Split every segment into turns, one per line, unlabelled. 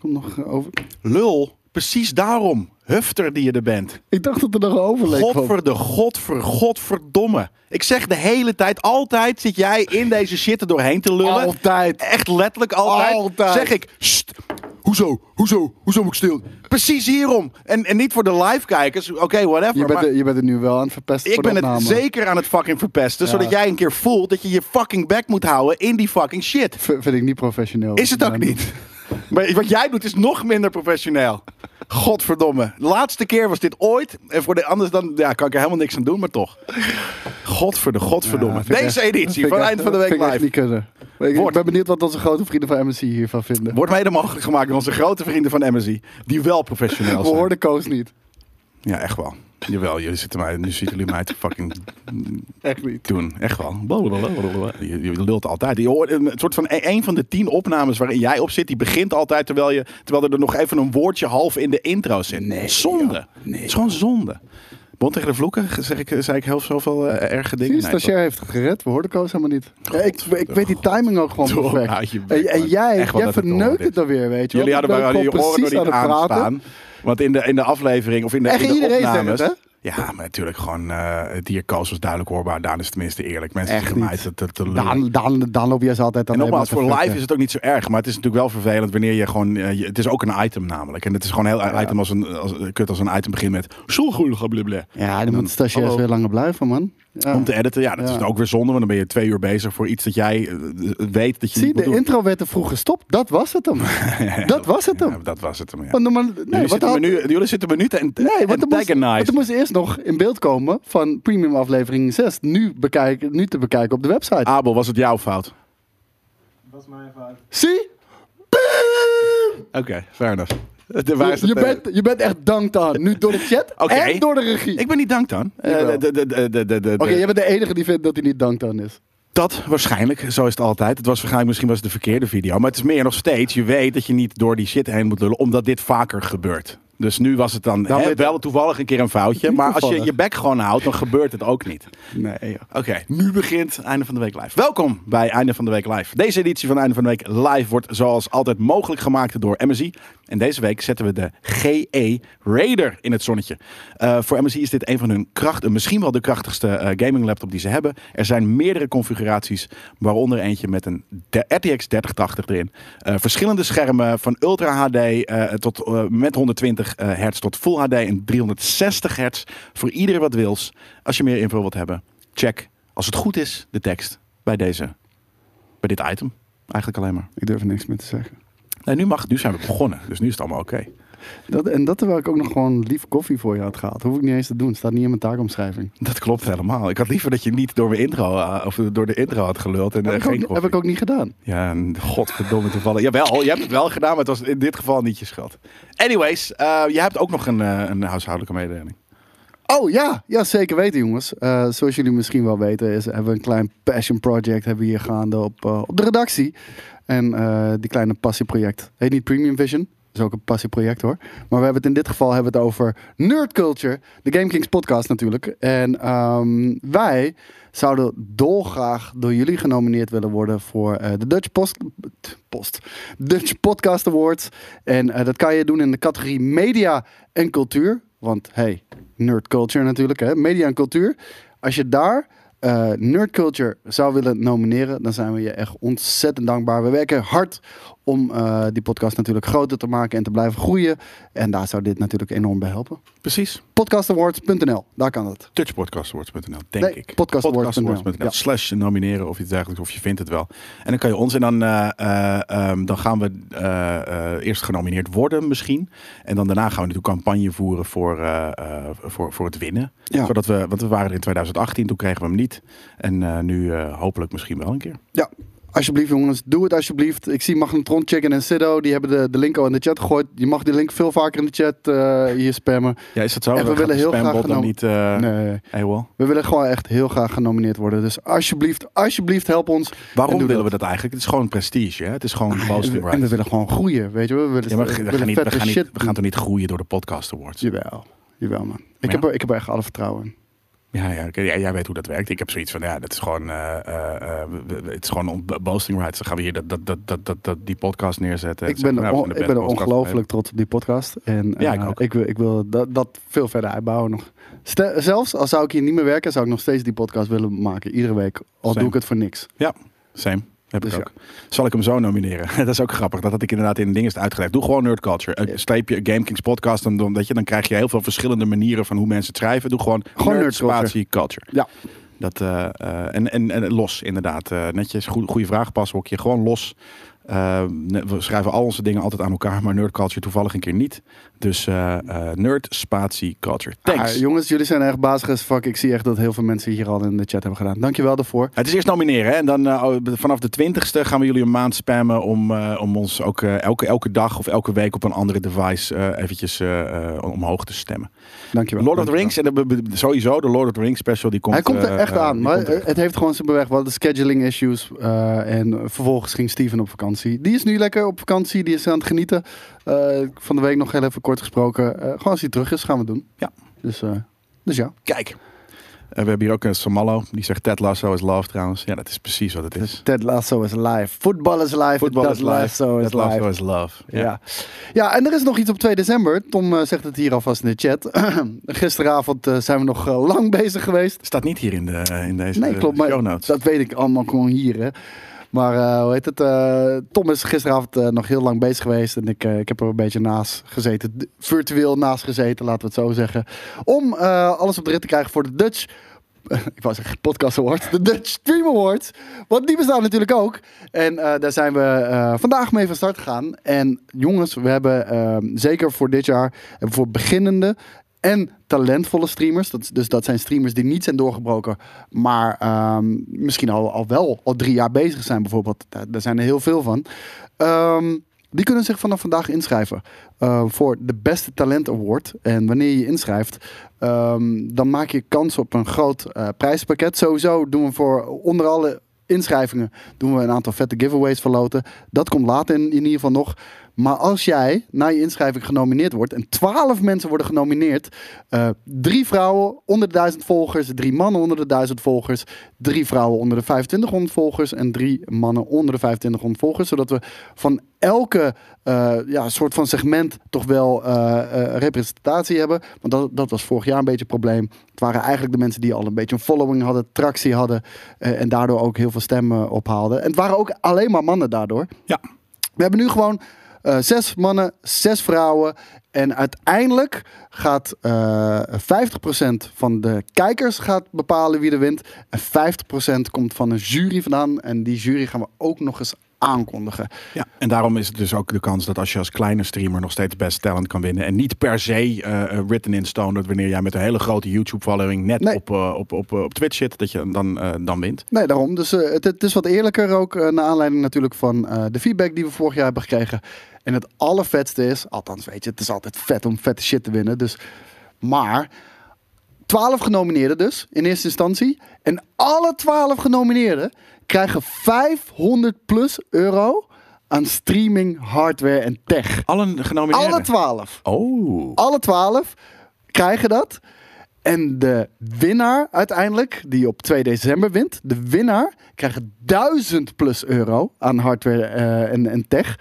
komt nog eh, over.
Lul, precies daarom. Hufter die je er bent.
Ik dacht dat er nog een overleek kwam.
Godver de godver, godverdomme. Ik zeg de hele tijd, altijd zit jij in deze shit er doorheen te lullen.
Altijd.
Echt letterlijk altijd.
Altijd.
Zeg ik, "Sst, hoezo, hoezo, hoezo moet ik stil? Precies hierom. En, en niet voor de live kijkers, oké, whatever.
Je bent,
maar-
er, je bent er nu wel aan het verpesten
ik
voor de
ben het
opname.
zeker aan het fucking verpesten.
Ja.
Zodat jij een keer voelt dat je je fucking back moet houden in die fucking shit.
V- vind ik niet professioneel.
Is het ook
Ja,
niet. Maar wat jij doet is nog minder professioneel. Godverdomme. Laatste keer was dit ooit. En voor de anders dan ja, kan ik er helemaal niks aan doen, maar toch. Godverde, godverdomme.
Ja, vind ik
Deze
echt-
editie
vind ik
van
echt-
Eind van de Week
vind ik echt
Live.
niet kunnen. Maar Ik, ik
Wordt.
ben benieuwd wat onze grote vrienden van MSC hiervan vinden.
Wordt mede mogelijk gemaakt door onze grote vrienden van MSI. Die wel professioneel
We
zijn.
hoorden Koos niet.
Ja, echt wel. Jawel, jullie zitten mij, nu zitten jullie mij te fucking
Echt niet.
doen. Echt wel. Blablabla. Je, je lult altijd. Je hoort een soort van e-, een van de tien opnames waarin jij op zit, die begint altijd terwijl, je, terwijl er nog even een woordje half in de intro zit.
Nee,
zonde.
joh. Nee,
Het is gewoon zonde. Bond tegen de vloeken, zeg ik, zei ik heel zoveel eh, erge dingen.
Die
Nee,
stagiair heeft het gered. We hoorden Koos helemaal niet. Ja, ik, ik weet die timing ook gewoon
Doe,
perfect.
houd Nou, je bek,
En, en
man.
jij,
Echt wel
jij
dat het dom
verneukt
dit.
het dan weer, weet je.
Jullie
want
hadden
ik
bij
ben
je
gewoon
oren nog
precies
niet
aan het praten.
aanstaan. Want in de, in de aflevering of in de,
Echt,
in de
iedereen zegt
opnames...
het,
Ja, maar natuurlijk gewoon... eh het dier Koos was duidelijk hoorbaar. Daan is tenminste eerlijk. Mensen
Echt
zitten mij
niet.
te, te, te lullen.
Daan, Daan, Daan loop jij ze altijd aan
En nogmaals,
helemaal
voor
te
live
vechten.
is het ook niet zo erg. Maar het is natuurlijk wel vervelend wanneer je gewoon... eh, je- het is ook een item namelijk. En het is gewoon een heel item als een... Als, kut als een item begint met... Schoelgoelig, blablabla.
Ja, dan moet stagiairs
hallo.
weer langer blijven, man. Ja.
Om te editen, ja, dat
Ja.
is dan ook weer zonde. Want dan ben je twee uur bezig voor iets dat jij eh, weet dat je
Zie,
niet moet
de
doen.
intro werd er vroeg gestopt. Dat was het hem. dat was het hem.
Ja, dat was het hem, ja.
Want normaal- nee,
jullie,
wat
zitten me
had-
nu, jullie zitten me nu te
Nee, want er, moest, want
antagonize.
er moest eerst nog in beeld komen van premium aflevering 6. Nu, bekijken, nu te bekijken op de website.
Abel, was het jouw fout?
Dat is mijn fout.
Zie?
Oké, fair enough. De
Je,
wijze-
je bent, je bent echt danked aan. Nu door de chat
eh? Oké.
en door de regie.
Ik ben niet dank dan. Eh,
Jawel.
de- de- de- de- de- de-
Oké, jij bent de enige die vindt dat hij niet danked aan is.
Dat waarschijnlijk, zo is het altijd. Het was waarschijnlijk misschien was het de verkeerde video. Maar het is meer nog steeds. Je weet dat je niet door die shit heen moet lullen, omdat dit vaker gebeurt. Dus nu was het dan
Nou,
hè,
weet-
wel toevallig een keer een foutje.
Niet
Maar als je
toevallig.
je bek gewoon houdt, dan gebeurt het ook niet.
Nee, ja.
Oké, nu begint Einde van de Week Live. Welkom bij Einde van de Week Live. Deze editie van Einde van de Week Live wordt zoals altijd mogelijk gemaakt door MSI. En deze week zetten we de GE Raider in het zonnetje. Eh, voor MSI is dit een van hun krachten, misschien wel de krachtigste eh, gaming laptop die ze hebben. Er zijn meerdere configuraties, waaronder eentje met een de- RTX 3080 erin. Eh, verschillende schermen van Ultra HD eh, tot, eh, met 120 eh, hertz tot Full HD en 360 hertz. Voor iedereen wat wils. Als je meer info wilt hebben check, als het goed is, de tekst bij deze, bij dit item. Eigenlijk alleen maar.
Ik durf er niks meer te zeggen.
Nee, nu mag, nu zijn we begonnen, dus nu is het allemaal oké.
Dat, en dat terwijl ik ook nog gewoon lief koffie voor je had gehaald. Hoef ik niet eens te doen. Staat niet in mijn taakomschrijving.
Dat klopt helemaal. Ik had liever dat je niet door mijn intro eh, of door de intro had geluld en eh,
heb, ik ook,
geen
niet-
koffie.
heb ik ook niet gedaan.
Ja, en godverdomme toevallig. Jawel, je hebt het wel gedaan, maar het was in dit geval niet je schuld. Anyways, eh je hebt ook nog een, eh, een huishoudelijke mededeling.
Oh ja, ja zeker weten jongens. Eh, zoals jullie misschien wel weten, is, hebben we een klein passion project hebben we hier gaande op, eh, op de redactie. En eh, die kleine passieproject heet niet Premium Vision. is ook een passieproject hoor. Maar we hebben het in dit geval hebben we het over Nerd Culture. De Game Kings podcast natuurlijk. En ehm, wij zouden dolgraag door jullie genomineerd willen worden voor eh, de Dutch Post, post Dutch Podcast Awards. En eh, dat kan je doen in de categorie media en cultuur. Want hey, nerd culture natuurlijk, hè? media en cultuur. Als je daar eh nerd culture zou willen nomineren, dan zijn we je echt ontzettend dankbaar. We werken hard om eh, die podcast natuurlijk groter te maken en te blijven groeien. En daar zou dit natuurlijk enorm bij helpen.
Precies.
Podcastawards.nl, daar kan het.
Touchpodcastwords.nl, denk
Nee,
ik.
podcastawards.nl, ja.
Slash nomineren of iets dergelijks, of je vindt het wel. En dan kan je ons en dan, eh, eh, ehm, dan gaan we eh, eh, eerst genomineerd worden misschien. En dan daarna gaan we natuurlijk campagne voeren voor, eh, eh, voor, voor het winnen.
Ja.
Zodat we, want we waren er in 2018, toen kregen we hem niet. En eh, nu eh, hopelijk misschien wel een keer.
Ja, alsjeblieft jongens, doe het alsjeblieft. Ik zie Magnetron, Chicken en Siddo, die hebben de, de link al in de chat gegooid. Je mag die link veel vaker in de chat eh, hier spammen.
Ja, is dat zo?
En we
Gaat
willen
de
heel
spambot
graag
dan
genom-
niet... eh
Nee,
AWOL?
we willen gewoon echt heel graag genomineerd worden. Dus alsjeblieft, alsjeblieft help ons.
Waarom
En doe
willen we dat eigenlijk? Het is gewoon prestige, hè? Het is gewoon boasting
Ah, En we
rights.
willen gewoon groeien, weet je wel. We willen,
Ja, maar
we
we
willen
gaan, niet, we,
vette
gaan
shit
niet, we gaan
doen.
toch niet groeien door de podcast awards?
Jawel, jawel man. Ik,
Ja?
heb er, ik heb er echt alle vertrouwen in.
Ja, ja, oké. Ja, jij weet hoe dat werkt. Ik heb zoiets van, ja, dat is gewoon, eh, eh, eh, we- we- het is gewoon on- boasting rights. Dan gaan we hier dat, dat, dat, dat, dat, dat- die podcast neerzetten.
Ik
Zeg
ben,
maar,
er
nou,
on-
we
ik
zijn de
ben er
beste podcast van
ongelooflijk trots op die podcast. En
Ja,
eh,
ik ook.
wil, ik wil dat, dat veel verder uitbouwen nog. Stel- zelfs al zou ik hier niet meer werken, zou ik nog steeds die podcast willen maken. Iedere week. Al
Same.
doe ik het voor niks.
Ja, same. Heb
Dus
ik ook. Zal ik hem zo nomineren? dat is ook grappig. Dat had ik inderdaad in de ding is uitgelegd. Doe gewoon Nerd Culture. Eh, Streep je Game Kings podcast. Dan, dan, weet je, dan krijg je heel veel verschillende manieren van hoe mensen het schrijven. Doe gewoon,
Gewoon
nerd,
Nerd Culture.
spatie culture.
Ja.
Dat, eh, eh, en, en, en los inderdaad. Eh, netjes, goede, goede vraag pashokje. Gewoon los. Eh, ne- we schrijven al onze dingen altijd aan elkaar. Maar Nerd Culture toevallig een keer niet. Dus eh, eh, Nerd Spatie Culture. Thanks.
Ah, jongens, jullie zijn echt bazig as fuck. Ik zie echt dat heel veel mensen hier al in de chat hebben gedaan. Dankjewel daarvoor.
Het is eerst nomineren hè? en dan eh, oh, vanaf de 20ste gaan we jullie een maand spammen om, eh, om ons ook eh, elke, elke dag of elke week op een andere device eh, eventjes eh, eh, omhoog te stemmen.
Dankjewel.
Lord of the
Dankjewel.
Rings, en de, be- be- sowieso de Lord of the Rings special, die komt
Hij komt er
eh,
echt
eh,
aan.
die
Maar
komt er echt.
het heeft gewoon zijn beweg. We hadden scheduling issues. eh, en vervolgens ging Steven op vakantie. Die is nu lekker op vakantie. Die is aan het genieten. Eh, van de week nog heel even kort gesproken. Eh, gewoon als hij terug is, gaan we het doen.
Ja.
Dus, eh, dus ja.
Kijk, Eh, we hebben hier ook een Samallo, die zegt Ted Lasso is love trouwens. Ja, dat is precies wat het Dus is.
Ted Lasso is live. Voetbal is live.
Voetbal
Dus Ted
is live,
Lasso is
Ted Lasso
live.
is love. Ja.
Ja. ja, en er is nog iets op 2 december. Tom eh, zegt het hier alvast in de chat. Gisteravond eh, zijn we nog eh, lang bezig geweest.
Staat niet hier in, de, eh, in deze
Nee, klopt. Maar
show notes.
Dat weet ik allemaal gewoon hier, hè. Maar eh, hoe heet het? eh, Tom is gisteravond eh, nog heel lang bezig geweest. En ik, eh, ik heb er een beetje naast gezeten. d- Virtueel naast gezeten, laten we het zo zeggen. Om eh, alles op de rit te krijgen voor de Dutch... Ik wou zeggen Podcast Awards. De Dutch Stream Awards. Want die bestaan natuurlijk ook. En eh, daar zijn we eh, vandaag mee van start gegaan. En jongens, we hebben eh, zeker voor dit jaar... hebben we voor beginnende en talentvolle streamers. Dat, dus dat zijn streamers die niet zijn doorgebroken, maar ehm, misschien al, al wel al drie jaar bezig zijn bijvoorbeeld. Daar, daar zijn er heel veel van. Ehm, die kunnen zich vanaf vandaag inschrijven eh, voor de Beste Talent Award. En wanneer je je inschrijft, ehm, dan maak je kans op een groot eh, prijspakket. Sowieso doen we voor onder alle inschrijvingen doen we een aantal vette giveaways verloten. Dat komt later in, in ieder geval nog. Maar als jij na je inschrijving genomineerd wordt en 12 mensen worden genomineerd, eh, drie vrouwen onder de 1000 volgers, drie mannen onder de 1000 volgers, drie vrouwen onder de 2500 volgers en drie mannen onder de 2500 volgers, zodat we van elke eh, ja, soort van segment toch wel eh, eh, representatie hebben. Want dat, dat was vorig jaar een beetje een probleem. Het waren eigenlijk de mensen die al een beetje een following hadden, tractie hadden eh, en daardoor ook heel veel stemmen ophaalden. En het waren ook alleen maar mannen daardoor.
Ja.
We hebben nu gewoon eh, zes mannen, zes vrouwen. En uiteindelijk gaat eh 50% van de kijkers gaat bepalen wie er wint. En 50% komt van een jury vandaan. En die jury gaan we ook nog eens aankondigen.
Ja, en daarom is het dus ook de kans dat als je als kleine streamer nog steeds best talent kan winnen. En niet per se eh, eh, written in stone dat wanneer jij met een hele grote YouTube-following net
Nee.
op, eh, op, op, eh, op Twitch zit, dat je dan, eh, dan wint.
Nee, daarom. Dus eh, het, het is wat eerlijker ook. eh, naar aanleiding natuurlijk van eh, de feedback die we vorig jaar hebben gekregen. En het allervetste is, althans weet je, het is altijd vet om vette shit te winnen. Dus, maar 12 genomineerden dus, in eerste instantie. En alle 12 genomineerden krijgen 500 plus euro aan streaming, hardware en tech.
Allen genomineerden.
Alle 12.
Oh.
Alle 12 krijgen dat. En de winnaar uiteindelijk, die op 2 december wint, de winnaar krijgt 1000 plus euro aan hardware eh, en, en tech.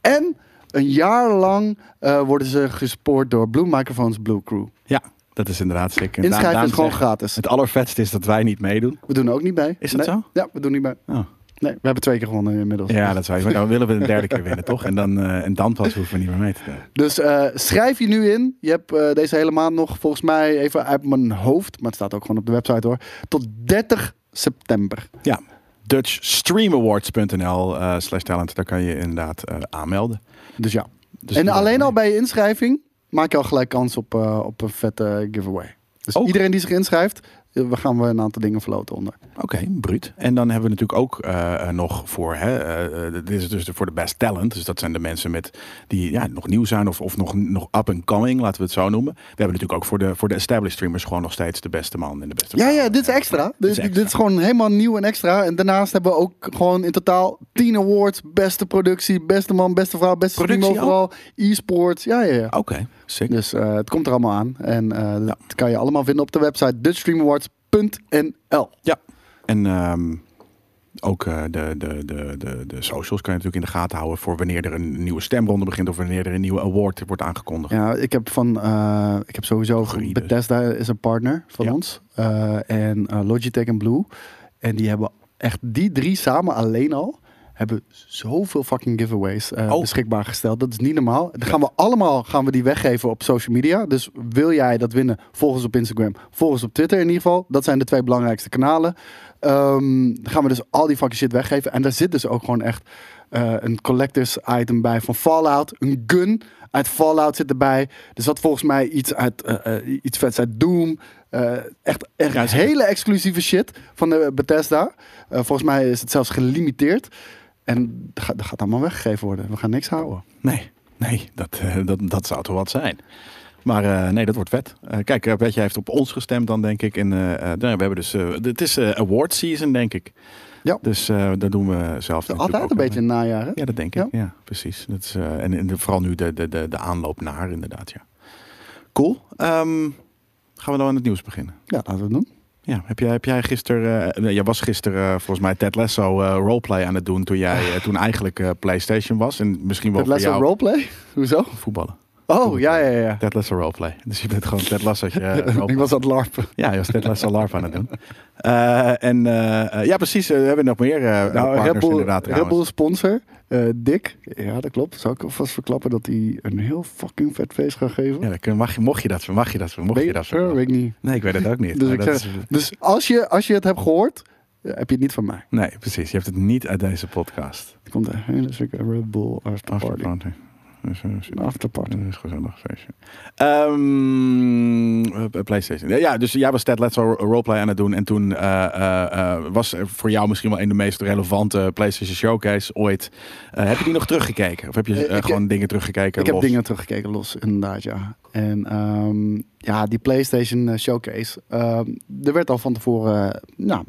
En een jaar lang eh, worden ze gespoord door Blue Microphones Blue Crew.
Ja, dat is inderdaad zeker.
Inschrijven
Daan-
is
Daan
gewoon
zegt,
gratis.
Het allervetste is dat wij niet meedoen.
We doen er ook niet bij.
Is dat
Nee.
zo?
Ja, we doen niet bij.
Oh.
Nee, we hebben twee keer gewonnen inmiddels.
Ja, dat zou je. Maar dan willen we een derde keer winnen, toch? En dan, eh, en dan pas hoeven we niet meer mee te doen.
Dus eh, schrijf je nu in. Je hebt eh, deze hele maand nog, volgens mij, even uit mijn hoofd. Maar het staat ook gewoon op de website hoor. Tot 30 september.
Ja, DutchStreamAwards.nl eh, slash talent. Daar kan je inderdaad eh, aanmelden.
Dus ja.
Dus
en
doe dat
alleen
mee.
al bij je inschrijving maak je al gelijk kans op, eh, op een vette giveaway. Dus
Ook.
iedereen die zich inschrijft, eh, eh, we gaan we een aantal dingen verloten onder.
Oké, bruut. En dan hebben we natuurlijk ook eh, eh, nog voor, hè, eh, eh, dit is dus de- voor de best talent. Dus dat zijn de mensen met, die ja, nog nieuw zijn of, of nog, nog up and coming, laten we het zo noemen. We hebben natuurlijk ook voor de, voor de established streamers gewoon nog steeds de beste man en de beste
Ja,
vrouw.
ja, dit is extra.
Dit
Dit,
is
dit
extra.
is gewoon helemaal nieuw en extra. En daarnaast hebben we ook gewoon in totaal 10 awards. Beste productie, beste man, beste vrouw, beste team
Productie
overal. E-sports, ja, ja, ja.
Oké, sick.
Dus eh, het komt er allemaal aan. En eh, dat kan je allemaal vinden op de website dutchstreamawards.nl.
Ja. En ehm, ook eh, de, de, de, de, de socials kan je natuurlijk in de gaten houden voor wanneer er een nieuwe stemronde begint of wanneer er een nieuwe award wordt aangekondigd.
Ja, ik heb van, eh, ik heb sowieso
Goeie dus.
Bethesda is een partner van
Ja.
ons Eh, en eh, Logitech en Blue en die hebben echt die drie samen alleen al hebben zoveel fucking giveaways eh,
Oh.
beschikbaar gesteld. Dat is niet normaal. Dan gaan we allemaal gaan we die weggeven op social media. Dus wil jij dat winnen? Volg ons op Instagram, volg ons op Twitter in ieder geval. Dat zijn de twee belangrijkste kanalen. Ehm, dan gaan we dus al die fucking shit weggeven. En daar zit dus ook gewoon echt eh, een collectors item bij van Fallout. Een gun uit Fallout zit erbij. Er zat volgens mij iets, uit, eh, eh, iets vets uit Doom. Eh, echt echt
Ja, zeker.
hele exclusieve shit van de Bethesda. Eh, volgens mij is het zelfs gelimiteerd. En dat gaat, dat gaat allemaal weggegeven worden. We gaan niks houden.
Nee, nee, dat, eh, dat, dat zou toch wat zijn. Maar eh, nee, dat wordt vet. Eh, kijk, eh, Betje heeft op ons gestemd dan, denk ik. En eh, eh, nou ja, we hebben dus... eh, het is eh, award season, denk ik.
Ja.
Dus eh daar doen we zelf natuurlijk
Altijd
ook
een
aan
beetje in het najaar, hè?
mee. Ja, dat denk ik. Ja, precies. Dat is, eh, en en de- vooral nu de, de, de, de aanloop naar, inderdaad, ja. Cool. Ehm, gaan we dan aan het nieuws beginnen?
Ja, laten we het doen.
Ja, heb jij, heb jij gisteren... eh, jij was gisteren eh, volgens mij Ted Lasso eh, roleplay aan het doen... toen jij eh, toen eigenlijk eh, Playstation was. En misschien wel
Het
voor
les
jou
roleplay? Hoezo?
voetballen.
Oh, ja, ja, ja.
Ted Lasso roleplay. Dus je bent gewoon Ted Lasso.
Ik was aan het larpen.
Ja, je was Ted Lasso larp aan het doen. Eh, en eh, eh, ja, precies. eh, we hebben nog meer eh
Nou,
partners
Red Bull,
inderdaad
Red
trouwens.
Bull sponsor, eh, Dick. Ja, dat klopt. Zou ik alvast verklappen dat hij een heel fucking vet feest gaat geven?
Ja, dan kun- mag je, mocht je dat ver- mag je dat ver- mocht
Ben
je dat
sure?
ver-
Weet ik niet.
Nee, ik weet het ook niet.
Dus,
maar
ik
dat
zeg-
is-
dus als, je, als je het hebt gehoord, eh, heb je het niet van mij.
nee, precies. Je hebt het niet uit deze podcast.
Er komt een hele zieke Red Bull after party.
Afterparty. Dus, eh,
Een after party.
Dat is gezellig feestje. Ehm, eh, PlayStation. Ja, Ja, dus jij was Ted Lasso roleplay aan het doen. En toen eh, eh, eh, was er voor jou misschien wel een de meest relevante PlayStation Showcase ooit. Eh, heb je die nog teruggekeken? Of heb je
Eh,
eh,
ik-
gewoon dingen teruggekeken?
Ik heb
los?
dingen teruggekeken los, inderdaad, ja. En ehm, ja, die PlayStation eh, Showcase. ehm, er werd al van tevoren... eh, nou,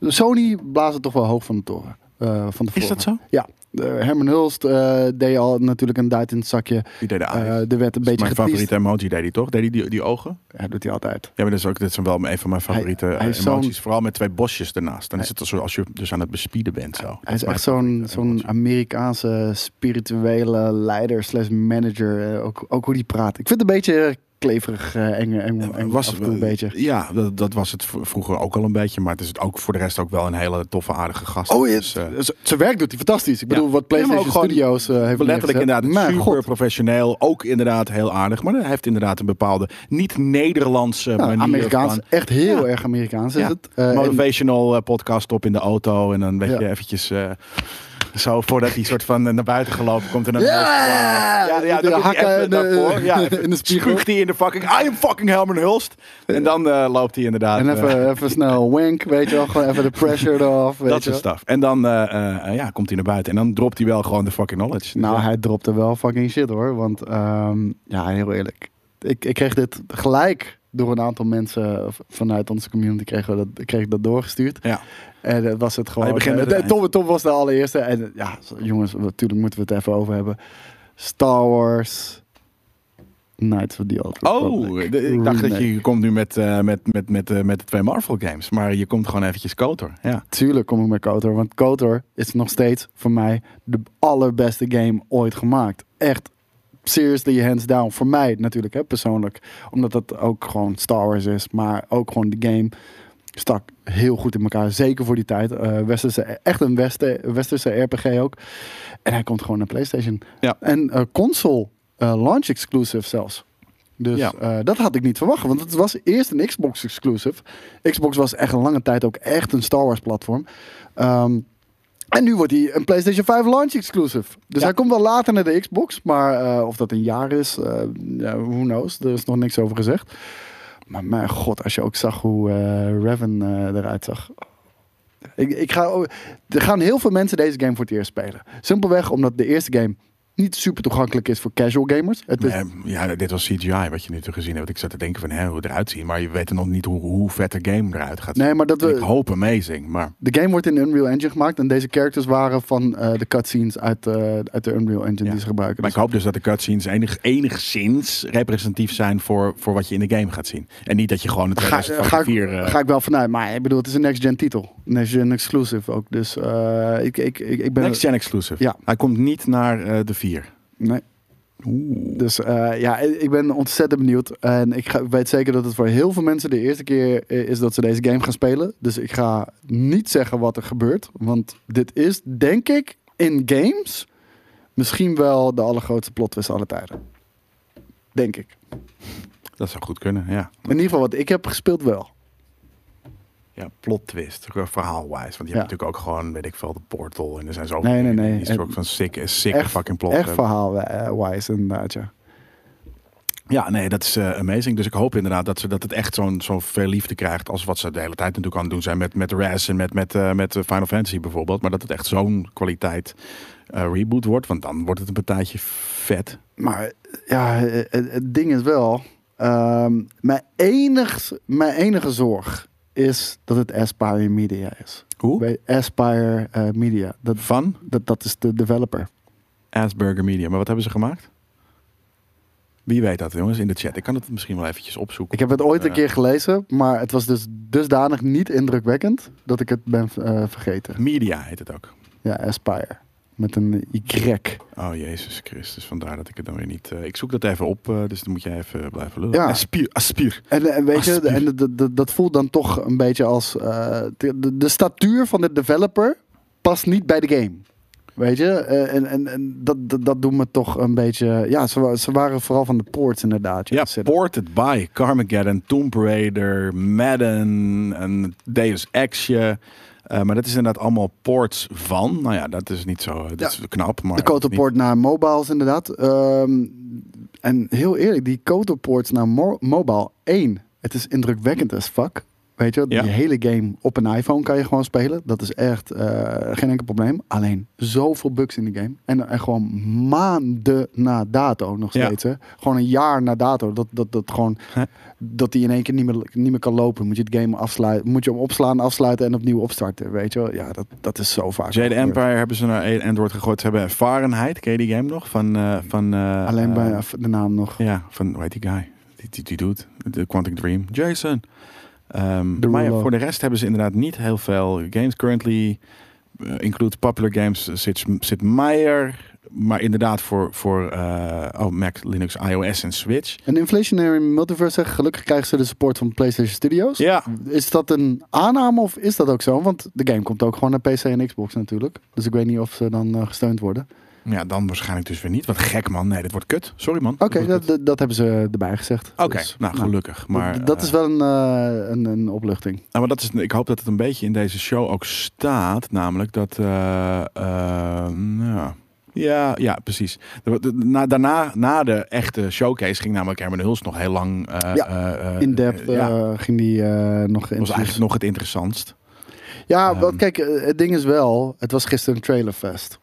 Sony blaast het toch wel hoog van de toren. eh, van tevoren.
Is dat zo?
Ja. Eh, Herman Hulst eh, deed al natuurlijk een duit in het zakje.
Die deed de
Eh,
eyes. Ah, Dat
er werd een
is
beetje
mijn
getiest.
favoriete emoji deed hij toch? Deed hij die, die ogen?
Ja, doet hij altijd.
Ja, maar dat is ook dit zijn wel een van mijn favoriete
hij
eh,
is zo'n-
emoties. Vooral met twee bosjes ernaast. Dan is het alsof als je dus aan het bespieden bent zo. Dat
Hij is
mijn
echt zo'n
favoriete
zo'n
emoji.
Amerikaanse spirituele leider slash manager. Eh, ook, ook hoe die praat. Ik vind het een beetje kleverig, eh, eng, eng, eng af en toe een beetje.
Ja, dat, dat was het v- vroeger ook al een beetje. Maar het is het ook voor de rest ook wel een hele toffe, aardige gast.
Oh, je-
Dus, eh,
z- zijn werk doet hij fantastisch. Ik bedoel, wat
Ja, maar
PlayStation
ook gewoon
Studios eh, heeft
letterlijk
neergezet.
inderdaad
Maar
super
god,
professioneel. Ook inderdaad heel aardig. Maar hij heeft inderdaad een bepaalde niet-Nederlandse
nou,
manier
Amerikaans.
van-
Echt heel
Ja.
erg Amerikaans is
Ja.
het. Eh, en-
motivational eh, podcast op in de auto. En dan weet
Ja.
je eventjes... eh, zo voordat hij soort van eh, naar buiten gelopen komt. En dan
Ja!
ja, ja,
De
dan
hakken
hakken
in de-
daarvoor. Ja,
in de spiegel.
spuugt hij in de fucking... I am fucking Helmer Hulst. En dan eh, loopt hij inderdaad...
En
eh,
even, even snel wank, weet je wel. Gewoon even de pressure eraf. Weet
Dat
je
soort
wel.
stuff. En dan eh, eh, eh, ja, komt hij naar buiten. En dan dropt hij wel gewoon de fucking knowledge.
Nou,
Dus ja.
hij dropte wel fucking shit hoor. Want ehm, ja, heel eerlijk. Ik, ik kreeg dit gelijk door een aantal mensen v- vanuit onze community. Kregen we dat, kreeg ik dat doorgestuurd.
Ja. Ah,
En dat was het gewoon.
je begint
eh,
met het
eh, Tom, Tom was de allereerste. En eh, ja, zo- jongens, natuurlijk moeten we het even over hebben. Star Wars. Knights of the Old
Oh,
Republic.
de- ik dacht dat
Remake.
je komt nu met, eh, met, met, met, eh, met de twee Marvel games. Maar je komt gewoon eventjes koter. Ja.
Tuurlijk kom ik met KOTOR, want KOTOR is nog steeds voor mij de allerbeste game ooit gemaakt. Echt, seriously, hands down. Voor mij natuurlijk, hè, persoonlijk. Omdat dat ook gewoon Star Wars is, maar ook gewoon de game stak heel goed in elkaar. Zeker voor die tijd. Eh, westerse, echt een westen, westerse RPG ook. En hij komt gewoon naar PlayStation.
Ja.
En eh, console eh, launch exclusive zelfs. Dus
Ja.
eh, dat had ik niet verwacht. Want het was eerst een Xbox exclusive. Xbox was echt een lange tijd ook echt een Star Wars platform. Ehm, en nu wordt hij een PlayStation 5 launch exclusive. Dus
Ja.
hij komt wel later naar de Xbox. Maar eh, of dat een jaar is, eh, ja, who knows. Er is nog niks over gezegd. Maar mijn god, als je ook zag hoe eh Raven eh, eruit zag. Ik, ik ga, ook- er gaan heel veel mensen deze game voor het eerst spelen. Simpelweg omdat de eerste game niet super toegankelijk is voor casual gamers. Het is,
Nee, Eh, ja, dit was CGI wat je nu toe gezien hebt. Want Ik zat te denken van, hè, hoe het eruit ziet. Maar je weet nog niet hoe, hoe vet de game eruit gaat zien.
Nee, maar dat we-
Ik hoop amazing, maar...
de game wordt in Unreal Engine gemaakt. En deze characters waren van eh, de cutscenes uit, eh, uit de Unreal Engine
Ja.
die ze gebruiken.
Maar
Dus-
ik hoop dus dat de cutscenes enig, enigszins representatief zijn voor, voor wat je in de game gaat zien. En niet dat je gewoon het
Ga, ga, ik,
2004... eh,
ga ik wel vanuit. Maar ik bedoel, het is een next-gen titel. Next-gen exclusive ook. Dus eh, ik, ik, ik, ik ben...
Next Gen exclusive.
Ja.
Hij komt niet naar eh, de 4.
Nee. Dus eh, ja, i- ik ben ontzettend benieuwd. En ik, ga, ik weet zeker dat het voor heel veel mensen de eerste keer eh, is dat ze deze game gaan spelen. Dus ik ga niet zeggen wat er gebeurt. Want dit is, denk ik, in games misschien wel de allergrootste plot twist aller tijden. Denk ik.
Dat zou goed kunnen, ja.
In ieder geval wat ik heb gespeeld wel.
Ja, plot twist, verhaalwijs. Want je
Ja.
hebt natuurlijk ook gewoon, weet ik veel, de portal. En er zijn zoveel
Nee, nee,
dingen
nee.
die soort van sick, sick
Echt-
fucking plot
Echt eh,
hebben.
verhaal-wise inderdaad, ja.
Ja, nee, dat is eh, amazing. Dus ik hoop inderdaad dat, ze, dat het echt zo'n zo'n verliefde krijgt. Als wat ze de hele tijd natuurlijk aan het doen zijn met, met Raz en met, met, eh, met eh, Final Fantasy bijvoorbeeld. Maar dat het echt zo'n kwaliteit eh, reboot wordt. Want dan wordt het een partijtje vet.
Maar ja, het, het ding is wel. ehm, mijn, enig, mijn enige zorg is dat het Aspire Media is.
Hoe?
Bij Aspire eh, Media. Dat,
Van
dat, dat is de developer.
Asperger Media. Maar wat hebben ze gemaakt? Wie weet dat, jongens, in de chat. Ik kan het misschien wel eventjes opzoeken.
Ik heb het ooit een
Eh.
keer gelezen, maar het was dus dusdanig niet indrukwekkend dat ik het ben eh, vergeten.
Media heet het ook.
Ja, Aspire. Met een Y.
Oh, Jezus Christus. Vandaar dat ik het dan weer niet... eh, ik zoek dat even op, eh, dus dan moet jij even blijven lullen.
Ja.
Aspier, aspier.
En, en weet je,
Alsjeblieft.
en dat- dat, dat voelt dan toch een beetje als. eh, de, de- de statuur van de developer past niet bij de game. Weet je, Eh, en, en, en dat, dat, dat doet me toch een beetje. Ja, ze, wa- ze waren vooral van de ports inderdaad.
Ja,
Ze-
Ported by Carmageddon, Tomb Raider, Madden, een Deus Exje. Eh, maar dat is inderdaad allemaal ports van. Nou ja, dat is niet zo dat
Ja.
is knap. Maar
de Koto
niet-
port naar mobiles inderdaad. Ehm, en heel eerlijk, die Koto ports naar mo- mobile 1. Het is indrukwekkend as fuck. Weet je,
Ja.
die hele game op een iPhone kan je gewoon spelen. Dat is echt eh, geen enkel probleem. Alleen zoveel bugs in de game. En, en gewoon maanden na dato nog
Ja.
steeds. Hè? Gewoon een jaar na dato. Dat, dat, dat, gewoon,
Hè?
dat die in één keer niet meer, niet meer kan lopen. Moet je het game afsluiten. Moet je hem opslaan, afsluiten en opniw opstarten. Weet je wel? Ja, dat, dat is zo vaak.
Jade
gebeurd.
Empire hebben ze naar Android gegooid. Ze hebben Fahrenheit, ken je die game nog? Van, eh, van, eh,
Alleen bij
eh,
de naam nog.
Ja, van, hoe heet die guy? Die, die, die dude, de Quantic Dream. Jason. Ehm,
De
maar ja,
Ruler.
voor de rest hebben ze inderdaad niet heel veel games. Currently eh, include popular games eh, zit, zit Meijer. Maar inderdaad voor, voor eh, oh, Mac, Linux, iOS en Switch.
Een inflationary multiverse zegt, gelukkig krijgen ze de support van PlayStation Studios.
Ja,
Is dat een aanname of is dat ook zo? Want de game komt ook gewoon naar PC en Xbox natuurlijk. Dus ik weet niet of ze dan eh, gesteund worden.
ja, dan waarschijnlijk dus weer niet. Wat gek man, nee, dit wordt kut. Sorry man.
Oké,
Dit wordt
dat,
kut.
dat- dat hebben ze erbij gezegd.
Oké,
Dus,
nou gelukkig.
d-
Maar,
dat
eh,
is wel een, eh, een, een opluchting.
Nou, maar dat is, ik hoop dat het een beetje in deze show ook staat. Namelijk dat. eh, eh, ja. ja, ja, precies. De- de- na, daarna, na de echte showcase, ging namelijk Herman Huls nog heel lang. eh,
Ja,
eh, eh,
In depth
eh, ja,
eh, ging die eh, nog in.
was eigenlijk nog het interessantst.
Ja, want
Ehm.
kijk, eh, het ding is wel, het was gisteren een trailerfest.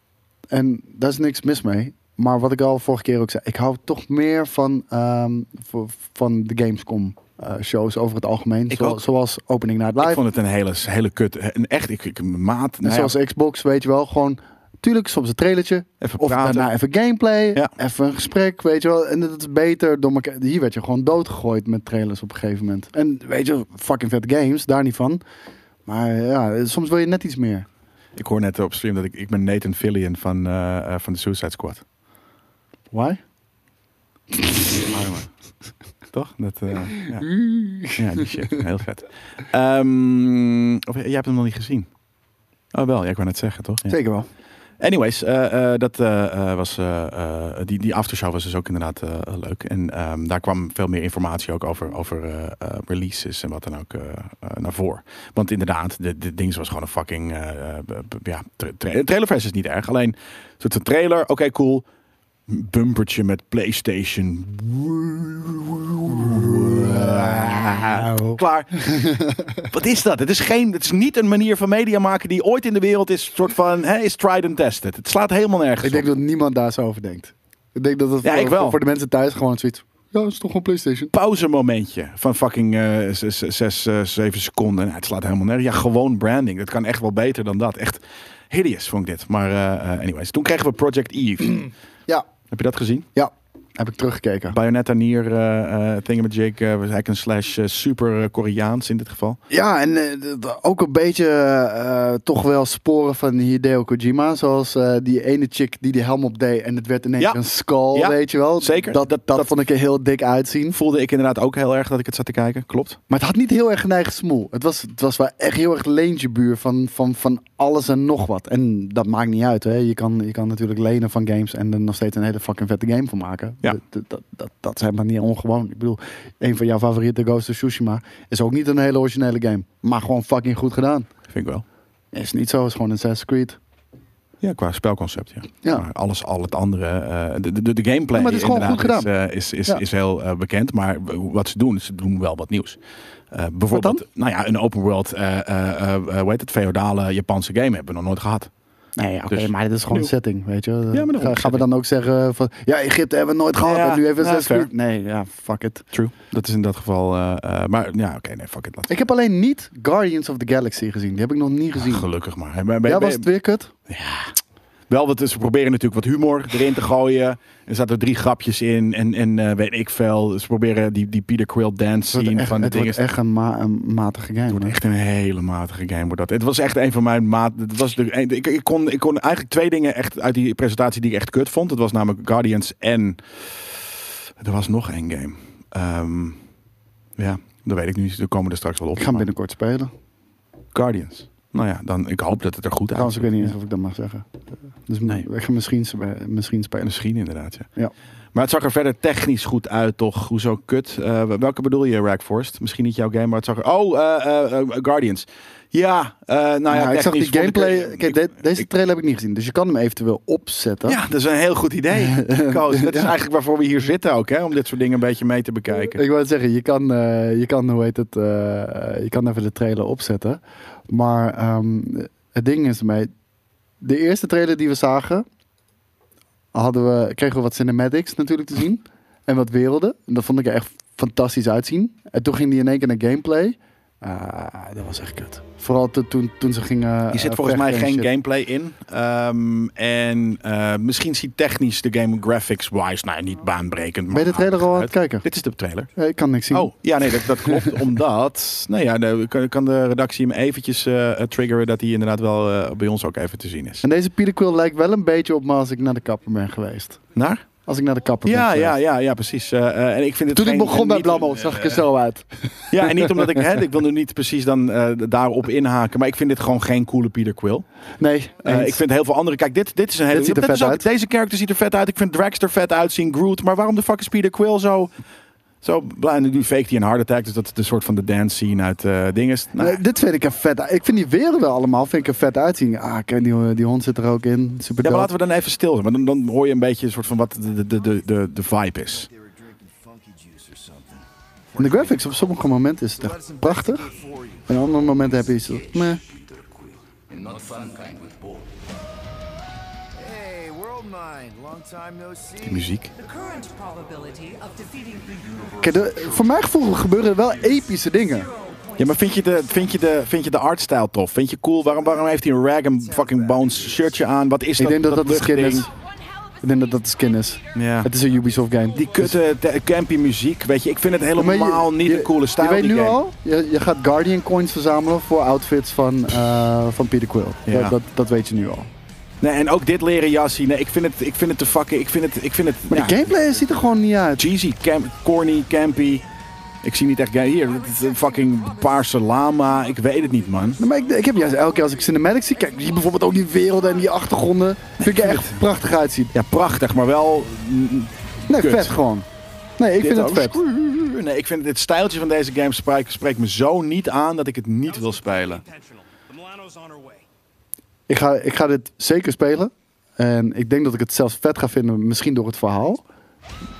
En daar is niks mis mee. Maar wat ik al vorige keer ook zei, ik hou toch meer van, ehm, v- van de Gamescom eh, shows over het algemeen.
Ik
Zo-
ook.
Zoals Opening Night
Ik
Live.
vond het een hele, hele kut. Een echt, ik, ik maat.
en
Nou ja,
zoals Xbox, weet je wel. Gewoon, tuurlijk soms een trailertje.
even
Of
praten.
daarna even gameplay.
Ja.
Even een gesprek, weet je wel. En dat is beter door elkaar. Hier werd je gewoon doodgegooid met trailers op een gegeven moment. En weet je, fucking vet games, daar niet van. Maar ja, soms wil je net iets meer.
Ik hoor net op stream dat ik, ik ben Nathan Fillion van, eh, eh, van de Suicide Squad.
Why?
Arme. Toch? Dat, eh, ja. Ja, die shit. Heel vet. Ehm, of, jij hebt hem nog niet gezien? Oh, wel. Ja, ik wou net zeggen, toch? Ja.
Zeker wel.
Anyways, eh, eh, dat eh, eh, was, eh, eh, die, die aftershow was dus ook inderdaad eh, eh, leuk. En ehm, daar kwam veel meer informatie ook over, over eh, eh, releases en wat dan ook eh, eh, naar voren. Want inderdaad, de, de ding was gewoon een fucking... eh, eh, b- b- ja, tra- tra- trailerfest is niet erg. Alleen, een soort van trailer, oké cool. Bumpertje met PlayStation.
Nou.
Klaar. Wat is dat? Het is, geen, het is niet een manier van media maken die ooit in de wereld is soort van hè, is tried and tested. Het slaat helemaal nergens
Ik denk
op.
dat niemand daar zo over denkt. Ik denk dat het
Ja,
voor,
ik wel.
voor de mensen thuis gewoon zoiets. Ja, dat is toch een PlayStation?
Pauzemomentje van fucking eh, 6, 7 seconden. Nou, het slaat helemaal nergens. Ja, gewoon branding. Dat kan echt wel beter dan dat. Echt hideous vond ik dit. Maar eh, eh, anyways, toen kregen we Project Eve.
Ja,
Heb je dat gezien?
ja. Heb ik teruggekeken.
Bayonetta Nier, eh eh Thingamajig, eh, hack and slash, eh, super eh, Koreaans in dit geval.
Ja, en eh, d- d- ook een beetje eh, toch wel sporen van Hideo Kojima. Zoals eh, die ene chick die die helm op deed en het werd ineens
Ja.
een skull,
Ja,
weet je wel.
zeker.
Dat, dat,
Dat-
vond ik er heel dik uitzien.
Voelde ik inderdaad ook heel erg dat ik het zat te kijken. Klopt.
Maar het had niet heel erg geneigd smoel. Het was, het was wel echt heel erg leentje buur van, van, van alles en nog wat. En dat maakt niet uit. Hè. Je, kan, je kan natuurlijk lenen van games en er nog steeds een hele fucking vette game van maken.
Ja.
Dat- Dat, dat, dat, dat zijn maar niet ongewoon. Ik bedoel, een van jouw favoriete Ghost of Tsushima is ook niet een hele originele game. Maar gewoon fucking goed gedaan.
Vind ik wel.
Is niet zo, is gewoon een Assassin's Creed.
Ja, qua spelconcept, ja.
Ja.
Maar alles, al het andere, eh, de, de, de gameplay
Ja, maar het is gewoon
inderdaad
goed gedaan.
Is, eh, is, is,
Ja.
is heel eh, bekend, maar w- wat ze doen, ze doen wel wat nieuws. Eh, bijvoorbeeld, nou ja, een open world, eh eh, eh, hoe heet het, feodale Japanse game hebben we nog nooit gehad.
Nee, oké,
Dus-
maar dit is gewoon een
Nieuw.
setting, weet je.
maar daarom,
Ga- gaan we
setting.
dan ook zeggen van... Ja, Egypte hebben we nooit gehad
Ja,
en nu even
ja,
Assassin's
fair.
Creed. Nee, ja, fuck it.
True. Dat is in dat geval, eh, eh, maar ja, oké, nee, fuck it. Laat.
Ik heb alleen niet Guardians of the Galaxy gezien. Die heb ik nog niet gezien.
Gelukkig maar. Hey, maar ben-
ja,
ben-
was het weer kut?
Wel, wat, ze proberen natuurlijk wat humor erin te gooien. Er zaten drie grapjes in en, en eh, weet ik veel. Ze proberen die, die Peter Quill dance
Het wordt
scene
echt-
van de
het
dingen.
wordt echt een, ma- een matige game.
Het
hè?
wordt echt een hele matige game. Wordt dat. Het was echt een van mijn maat. Het was de, ik, ik, kon, ik kon eigenlijk twee dingen echt uit die presentatie die ik echt kut vond. Het was namelijk Guardians en. Er was nog één game. Ehm, ja, dat weet ik nu. Er komen er straks wel op.
Ik ga hem
Maar
binnenkort spelen.
Guardians. Nou ja, dan, ik hoop dat het er goed
Trouwens, ik
uitziet.
weet niet eens of ik dat mag zeggen. Dus m-
Nee.
ik ga misschien, sp- misschien spelen.
Misschien inderdaad, ja.
Ja.
Maar het zag er verder technisch goed uit, toch? Hoezo kut? Eh, welke bedoel je, Rack Forest? Misschien niet jouw game, maar het zag er... Oh, eh, eh, eh, Guardians. Ja, eh, nou ja,
Nou, ik zag die
technisch vond ik-
gameplay...
ik-
Kijk, de- deze
ik-
trailer heb ik niet gezien. Dus je kan hem eventueel opzetten.
ja, dat is een heel goed idee, Koos. Dat is eigenlijk waarvoor we hier zitten ook, hè? Om dit soort dingen een beetje mee te bekijken.
Ik wou het zeggen, je kan, eh, je kan hoe heet het, eh, eh, je kan even de trailer opzetten. Maar ehm, het ding is ermee, de eerste trailer die we zagen, hadden we, kregen we wat cinematics natuurlijk te zien. En wat werelden. En dat vond ik er echt fantastisch uitzien. En toen ging die in één keer naar gameplay. Ah, dat was echt kut. Vooral to- toen, toen ze gingen...
Hier zit
eh,
volgens mij
vechten en
geen
shit.
gameplay in. Ehm, en eh, misschien ziet technisch de game graphics-wise... Nou, ja, niet baanbrekend, maar...
Ben je de trailer
aardig
al aan
uit.
het kijken?
Dit is de trailer.
Eh, Ik kan niks zien.
Oh, ja, nee, dat, dat klopt. omdat, nou ja, de- kan, kan de redactie hem eventjes eh, eh, triggeren dat hij inderdaad wel eh, bij ons ook even te zien is.
En deze Peter Quill lijkt wel een beetje op me als ik naar de kapper ben geweest.
Naar?
Als ik naar de kapper ben
Ja,
geweest.
ja, ja, ja, precies. Eh, eh, en ik vind het
Toen ik
geen-
begon bij
niet-
Blammo zag ik er zo uit.
Ja, en niet omdat ik, hè, ik wil nu niet precies dan eh, daarop inhaken, maar ik vind dit gewoon geen coole Peter Quill.
Nee,
Eh,
eens.
ik vind heel veel andere. Kijk, dit, dit is een hele.
Dit ziet er
dat is
vet
ook-
uit.
Deze character ziet er vet uit. Ik vind Dragster vet uitzien, Groot. Maar waarom de fuck is Peter Quill zo. Zo blij. En Nu fake hij een hard attack. Dus dat is de soort van de dance scene uit eh dinges. Nou,
Nee, dit vind ik er vet uit. Ik vind die werelden allemaal vind ik er vet uitzien. Ah, kijk, die, die hond zit er ook in. Super
Ja, maar
dope.
laten we dan even stil zijn. Want dan, dan hoor je een beetje een soort van wat de, de, de, de, de vibe is.
They were drinking funky juice or something.
En de graphics op sommige momenten is het echt prachtig.
For you.
En op andere momenten heb je iets dat- meh.
Hey, world mind. Long time no see.
Die muziek.
The current probability of defeating the universe
Kijk, de- voor mijn gevoel gebeuren er wel epische dingen.
Ja, maar vind je de, vind je de, vind je de artstyle tof? Vind je cool? Waarom, waarom heeft hij een rag and fucking bones shirtje aan? Wat is
Ik
dat?
denk dat dat de skin
luchtding?
is. Ik denk dat dat de skin is.
Ja.
Het is een Ubisoft game.
Die kutte te- campy muziek, weet je. Ik vind het
Maar je-
helemaal niet
je-
een coole stijl.
Je weet
die
nu
game.
al, je, je gaat Guardian coins verzamelen voor outfits van, eh, van Peter Quill.
Ja.
Dat, dat, dat weet je nu al.
Nee, en ook dit leren jasje. Nee, ik vind het, ik vind het te fucking... Ik vind het... Ik vind het
Maar
ja,
de gameplay ziet er gewoon niet uit.
cheesy, cam- corny, campy. Ik zie niet echt... ga- Hier, dit is een fucking paarse lama. Ik weet het niet, man.
Nou, maar ik, ik heb juist elke keer als ik cinematics zie, kijk hier bijvoorbeeld ook die werelden en die achtergronden. Vind ik er echt prachtig uitzien.
Ja, prachtig, maar wel... mm,
Nee,
Kut.
vet gewoon. Nee, ik
Dit
vind het
ook.
vet.
Nee, ik vind het stijltje van deze game spreekt, spreekt me zo niet aan dat ik het niet wil spelen.
Ik ga, ik ga dit zeker spelen. En ik denk dat ik het zelfs vet ga vinden, misschien door het verhaal.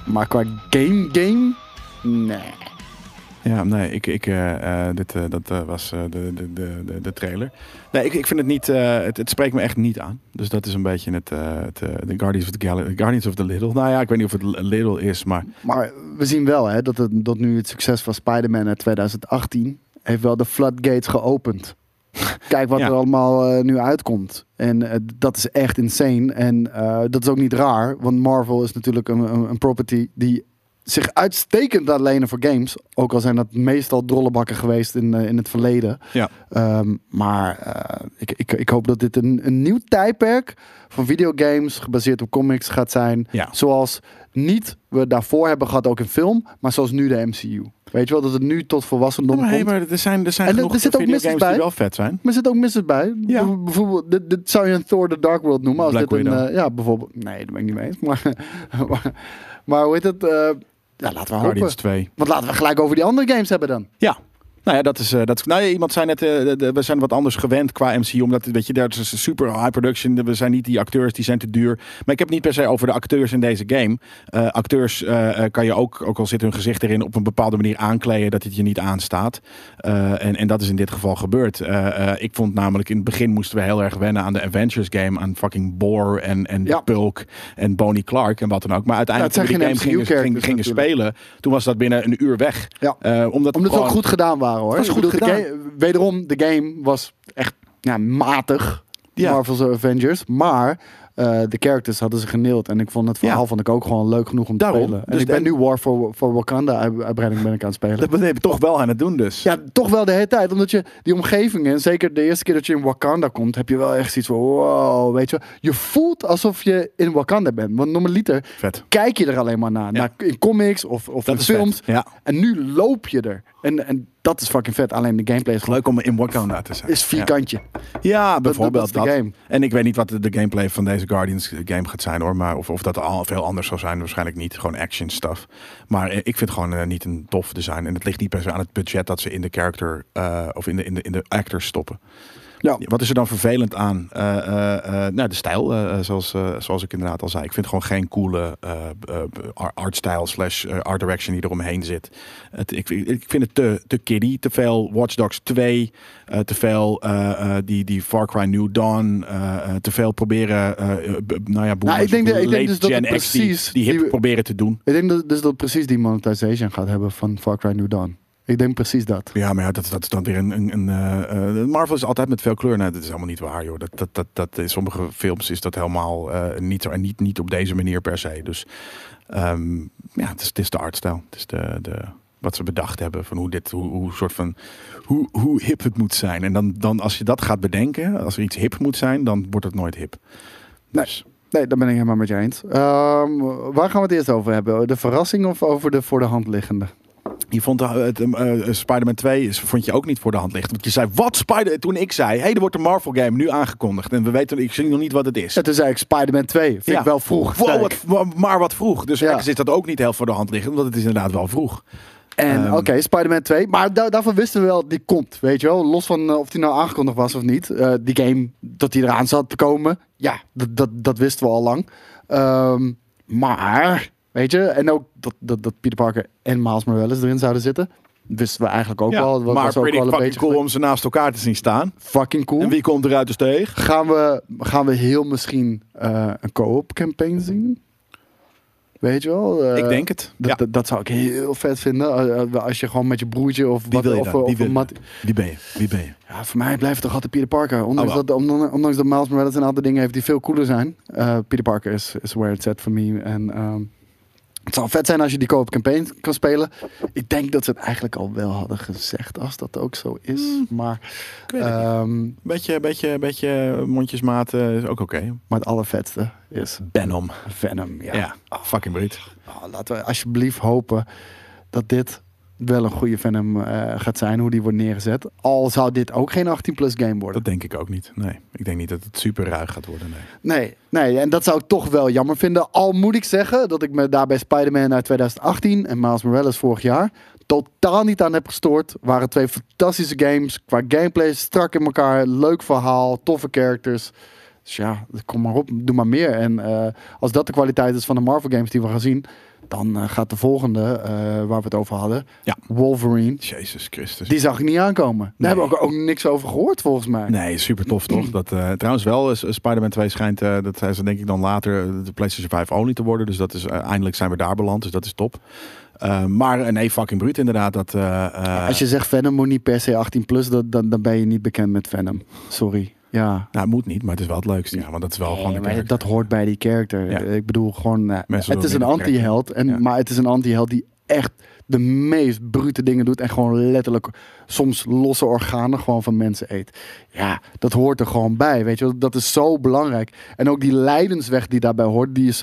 Maar qua game, game, nee.
Ja, nee, ik, ik, eh, eh, dit, eh, dat eh, was eh, de, de, de, de- de trailer. Nee, ik, ik vind het niet, eh, het, het spreekt me echt niet aan. Dus dat is een beetje het, eh, het eh, de Guardians of the Galaxy, Guardians of the Little. Nou ja, ik weet niet of het L- Little is, maar
Maar we zien wel hè, dat, het, dat nu het succes van Spider-Man uit 2018 heeft wel de floodgates geopend. Kijk wat
Ja.
er allemaal eh, nu uitkomt. En eh, dat is echt insane. En eh, dat is ook niet raar, want Marvel is natuurlijk een, een, een property die zich uitstekend laat lenen voor games. Ook al zijn dat meestal drollebakken geweest in, eh, in het verleden.
ja.
Ehm, maar eh, ik, ik, ik hoop dat dit een, een nieuw tijdperk van videogames gebaseerd op comics gaat zijn.
Ja.
Zoals niet we daarvoor hebben gehad ook in film, maar zoals nu de MCU. Weet je wel, dat het nu tot volwassendom
maar, hey,
komt.
maar er zijn, er zijn
En er-
genoeg
er zit ook
videogames
misses bij.
die wel vet zijn.
Maar er zit ook misses bij.
Ja.
Bijv- Bijvoorbeeld, dit, dit zou je een Thor The Dark World noemen. Als
Black
dit een,
Widow.
eh, ja, bijvoorbeeld. Nee, daar ben ik niet mee eens. Maar, maar, maar hoe heet het? eh, ja, laten we
Guardians
hopen.
2.
Want laten we gelijk over die andere games hebben dan.
Ja. Nou ja, dat is, eh, dat, nou ja, iemand zei net, eh, de- de- we zijn wat anders gewend qua MCU. Omdat, weet je, dat is dus een super high production. We zijn niet die acteurs, die zijn te duur. Maar ik heb het niet per se over de acteurs in deze game. Eh, acteurs eh, eh, kan je ook, ook al zit hun gezicht erin, op een bepaalde manier aankleden dat het je niet aanstaat. Eh, en, en dat is in dit geval gebeurd. Eh, eh, ik vond namelijk, in het begin moesten we heel erg wennen aan de Avengers game. Aan fucking Boar en, en
Ja.
Bulk en Bonnie Clark en wat dan ook. Maar uiteindelijk
Nou, het
toen
zijn
we
geen
die game gingen, gingen,
MCU-characters
gingen spelen, toen was dat binnen een uur weg.
Ja.
Eh, omdat
Omdat ze ook
gewoon-
goed gedaan waren hoor.
Het was
Ik
goed
bedoel, de
gedaan.
ga- wederom, de game was echt ja, matig.
Ja.
Marvel's Avengers. Maar eh, de characters hadden ze geneeld. En ik vond het verhaal
Ja.
vond ik ook gewoon leuk genoeg om te
Daarom.
spelen. En
Dus
ik ben
de-
nu War for, for Wakanda uit- uitbreiding ben ik aan het spelen.
Dat ben je toch wel aan het doen dus.
Ja, toch wel de hele tijd. Omdat je die omgevingen, en zeker de eerste keer dat je in Wakanda komt, heb je wel echt zoiets van, wow, weet je wel. Je voelt alsof je in Wakanda bent. Want normaliter
Vet.
kijk je er alleen maar naar. naar in comics of, of
Dat
in
is vet,
films.
ja.
En nu loop je er. En, en dat is fucking vet. Alleen de gameplay is, gewoon-
Leuk om in Wakanda te zijn.
is vierkantje.
Ja, ja bijvoorbeeld
dat
dat.
is de game.
En ik weet niet wat de de gameplay van deze Guardians game gaat zijn hoor. Maar of, of dat al veel anders zal zijn, waarschijnlijk niet. Gewoon action stuff. Maar eh, ik vind het gewoon eh, niet een tof design. En het ligt niet per se aan het budget dat ze in de character eh, of in de, in, de, in de actors stoppen.
Ja.
Wat is er dan vervelend aan? Eh, eh, eh, nou, de stijl, eh, eh, zoals, eh, zoals ik inderdaad al zei. Ik vind gewoon geen coole eh eh, ar- artstyle slash eh, art direction die eromheen zit. Het, ik, ik vind het te, te kiddie. Te veel Watch Dogs 2. eh, te veel eh, eh, die, die Far Cry New Dawn. eh, eh, te veel proberen, eh, eh, b- nou ja, boomers,
ik denk dat- ik denk
late
dus dat
Gen
het
X die-
precies
die, hip
die-
proberen te doen.
Ik denk dat, dus dat precies die monetization gaat hebben van Far Cry New Dawn. Ik denk precies dat.
Ja, maar ja, dat, dat is dan weer een... een, een eh, eh, Marvel is altijd met veel kleur. Nou, dat is helemaal niet waar, joh. Dat, dat, dat, dat, in sommige films is dat helemaal eh, niet zo. En niet, niet op deze manier per se. Dus ehm, ja, het is, het is de artstijl. Het is de, de, wat ze bedacht hebben van hoe dit... Hoe, hoe, soort van, hoe, hoe hip het moet zijn. En dan, dan als je dat gaat bedenken, als er iets hip moet zijn... dan wordt het nooit hip.
Nee.
Dus,
Nee, daar ben ik helemaal met je eens. Ehm, waar gaan we het eerst over hebben? De verrassing of over de voor de hand liggende?
je vond eh, het, eh, eh, Spider-Man 2 is- vond je ook niet voor de hand licht. Want je zei, wat Spider... Toen ik zei, hé, hey, er wordt een Marvel game nu aangekondigd. En we weten, ik zie nog niet wat het is.
Ja, toen zei ik Spider-Man 2. Vind ik wel vroeg.
Wow,
Sterk.
wat- wa- maar wat vroeg. Dus
Ja.
ergens is dat ook niet heel voor de hand liggen, omdat het is inderdaad wel vroeg.
En
Ehm,
oké, Spider-Man 2. Maar da- daarvan wisten we wel, die komt, weet je wel. Los van eh, of die nou aangekondigd was of niet. Eh, die game, dat die eraan zat te komen. Ja, dat, dat, dat wisten we al lang. Ehm, maar, weet je. En ook dat, dat, dat Peter Parker en Miles Morales erin zouden zitten. Wisten we eigenlijk ook
Ja,
wel. Dat
maar
was ook
pretty
wel een
fucking
beetje
cool om ze naast elkaar te zien staan.
fucking cool.
En wie komt eruit de steeg?
Gaan, we, gaan we heel misschien eh, een co-op campaign zien? Weet je wel? eh,
ik denk het.
Dat,
Ja.
dat, dat zou ik heel vet vinden. eh, eh, Als je gewoon met je broertje of
Wie
wat
wil je
of, eh,
dan?
of
Wie,
een
wil je?
mat-
Wie ben je? Wie ben je?
Ja, voor mij blijft het toch altijd Peter Parker. Ondanks,
Oh, wel.
dat, on- ondanks dat Miles Morales een aantal dingen heeft die veel cooler zijn. Eh, Peter Parker is, is where it's at for me. En ehm, het zou vet zijn als je die co-op campaign kan spelen. Ik denk dat ze het eigenlijk al wel hadden gezegd als dat ook zo is. Maar,
Hmm. weet het
ehm,
Beetje, beetje, beetje mondjesmaat eh, is ook oké.
maar het allervetste is
Venom.
Venom.
Ja,
Ja.
fucking bruut.
Nou, laten we alsjeblieft hopen dat dit wel een goede Venom eh, gaat zijn. Hoe die wordt neergezet. Al zou dit ook geen 18 plus game worden.
Dat denk ik ook niet. Nee, ik denk niet dat het super ruig gaat worden. Nee.
Nee, nee, en dat zou ik toch wel jammer vinden. Al moet ik zeggen dat ik me daar bij Spider-Man uit 2018 en Miles Morales vorig jaar totaal niet aan heb gestoord. Waren twee fantastische games qua gameplay, strak in elkaar, leuk verhaal, toffe characters. Dus ja, kom maar op, doe maar meer. En eh, als dat de kwaliteit is van de Marvel games die we gaan zien, dan eh, gaat de volgende eh, waar we het over hadden,
Ja.
Wolverine,
Jezus Christus.
die zag ik niet aankomen. Daar
Nee.
hebben we ook, ook niks over gehoord volgens mij.
Nee, super tof toch? Dat, eh, trouwens wel, is- is Spider-Man 2 schijnt, eh, dat zijn ze denk ik dan later eh, de PlayStation 5 only te worden. Dus dat is, eh, eindelijk zijn we daar beland, dus dat is top. Eh, maar eh, nee, fucking bruut inderdaad. Dat, eh, eh,
Als je zegt Venom moet niet per se 18 plus, dat, dan, dan ben je niet bekend met Venom. Sorry. Ja.
Nou, het moet niet, maar het is wel het leukste. Ja, want dat is wel gewoon de
Nee, maar
kerk.
dat hoort bij die character.
Ja.
Ik bedoel gewoon, eh,
Mensen
het is een
willen meer
anti-held, en,
Ja.
maar het is een anti-held die echt de meest brute dingen doet en gewoon letterlijk soms losse organen gewoon van mensen eet. Ja, dat hoort er gewoon bij, weet je wel? Dat is zo belangrijk. En ook die lijdensweg die daarbij hoort, die is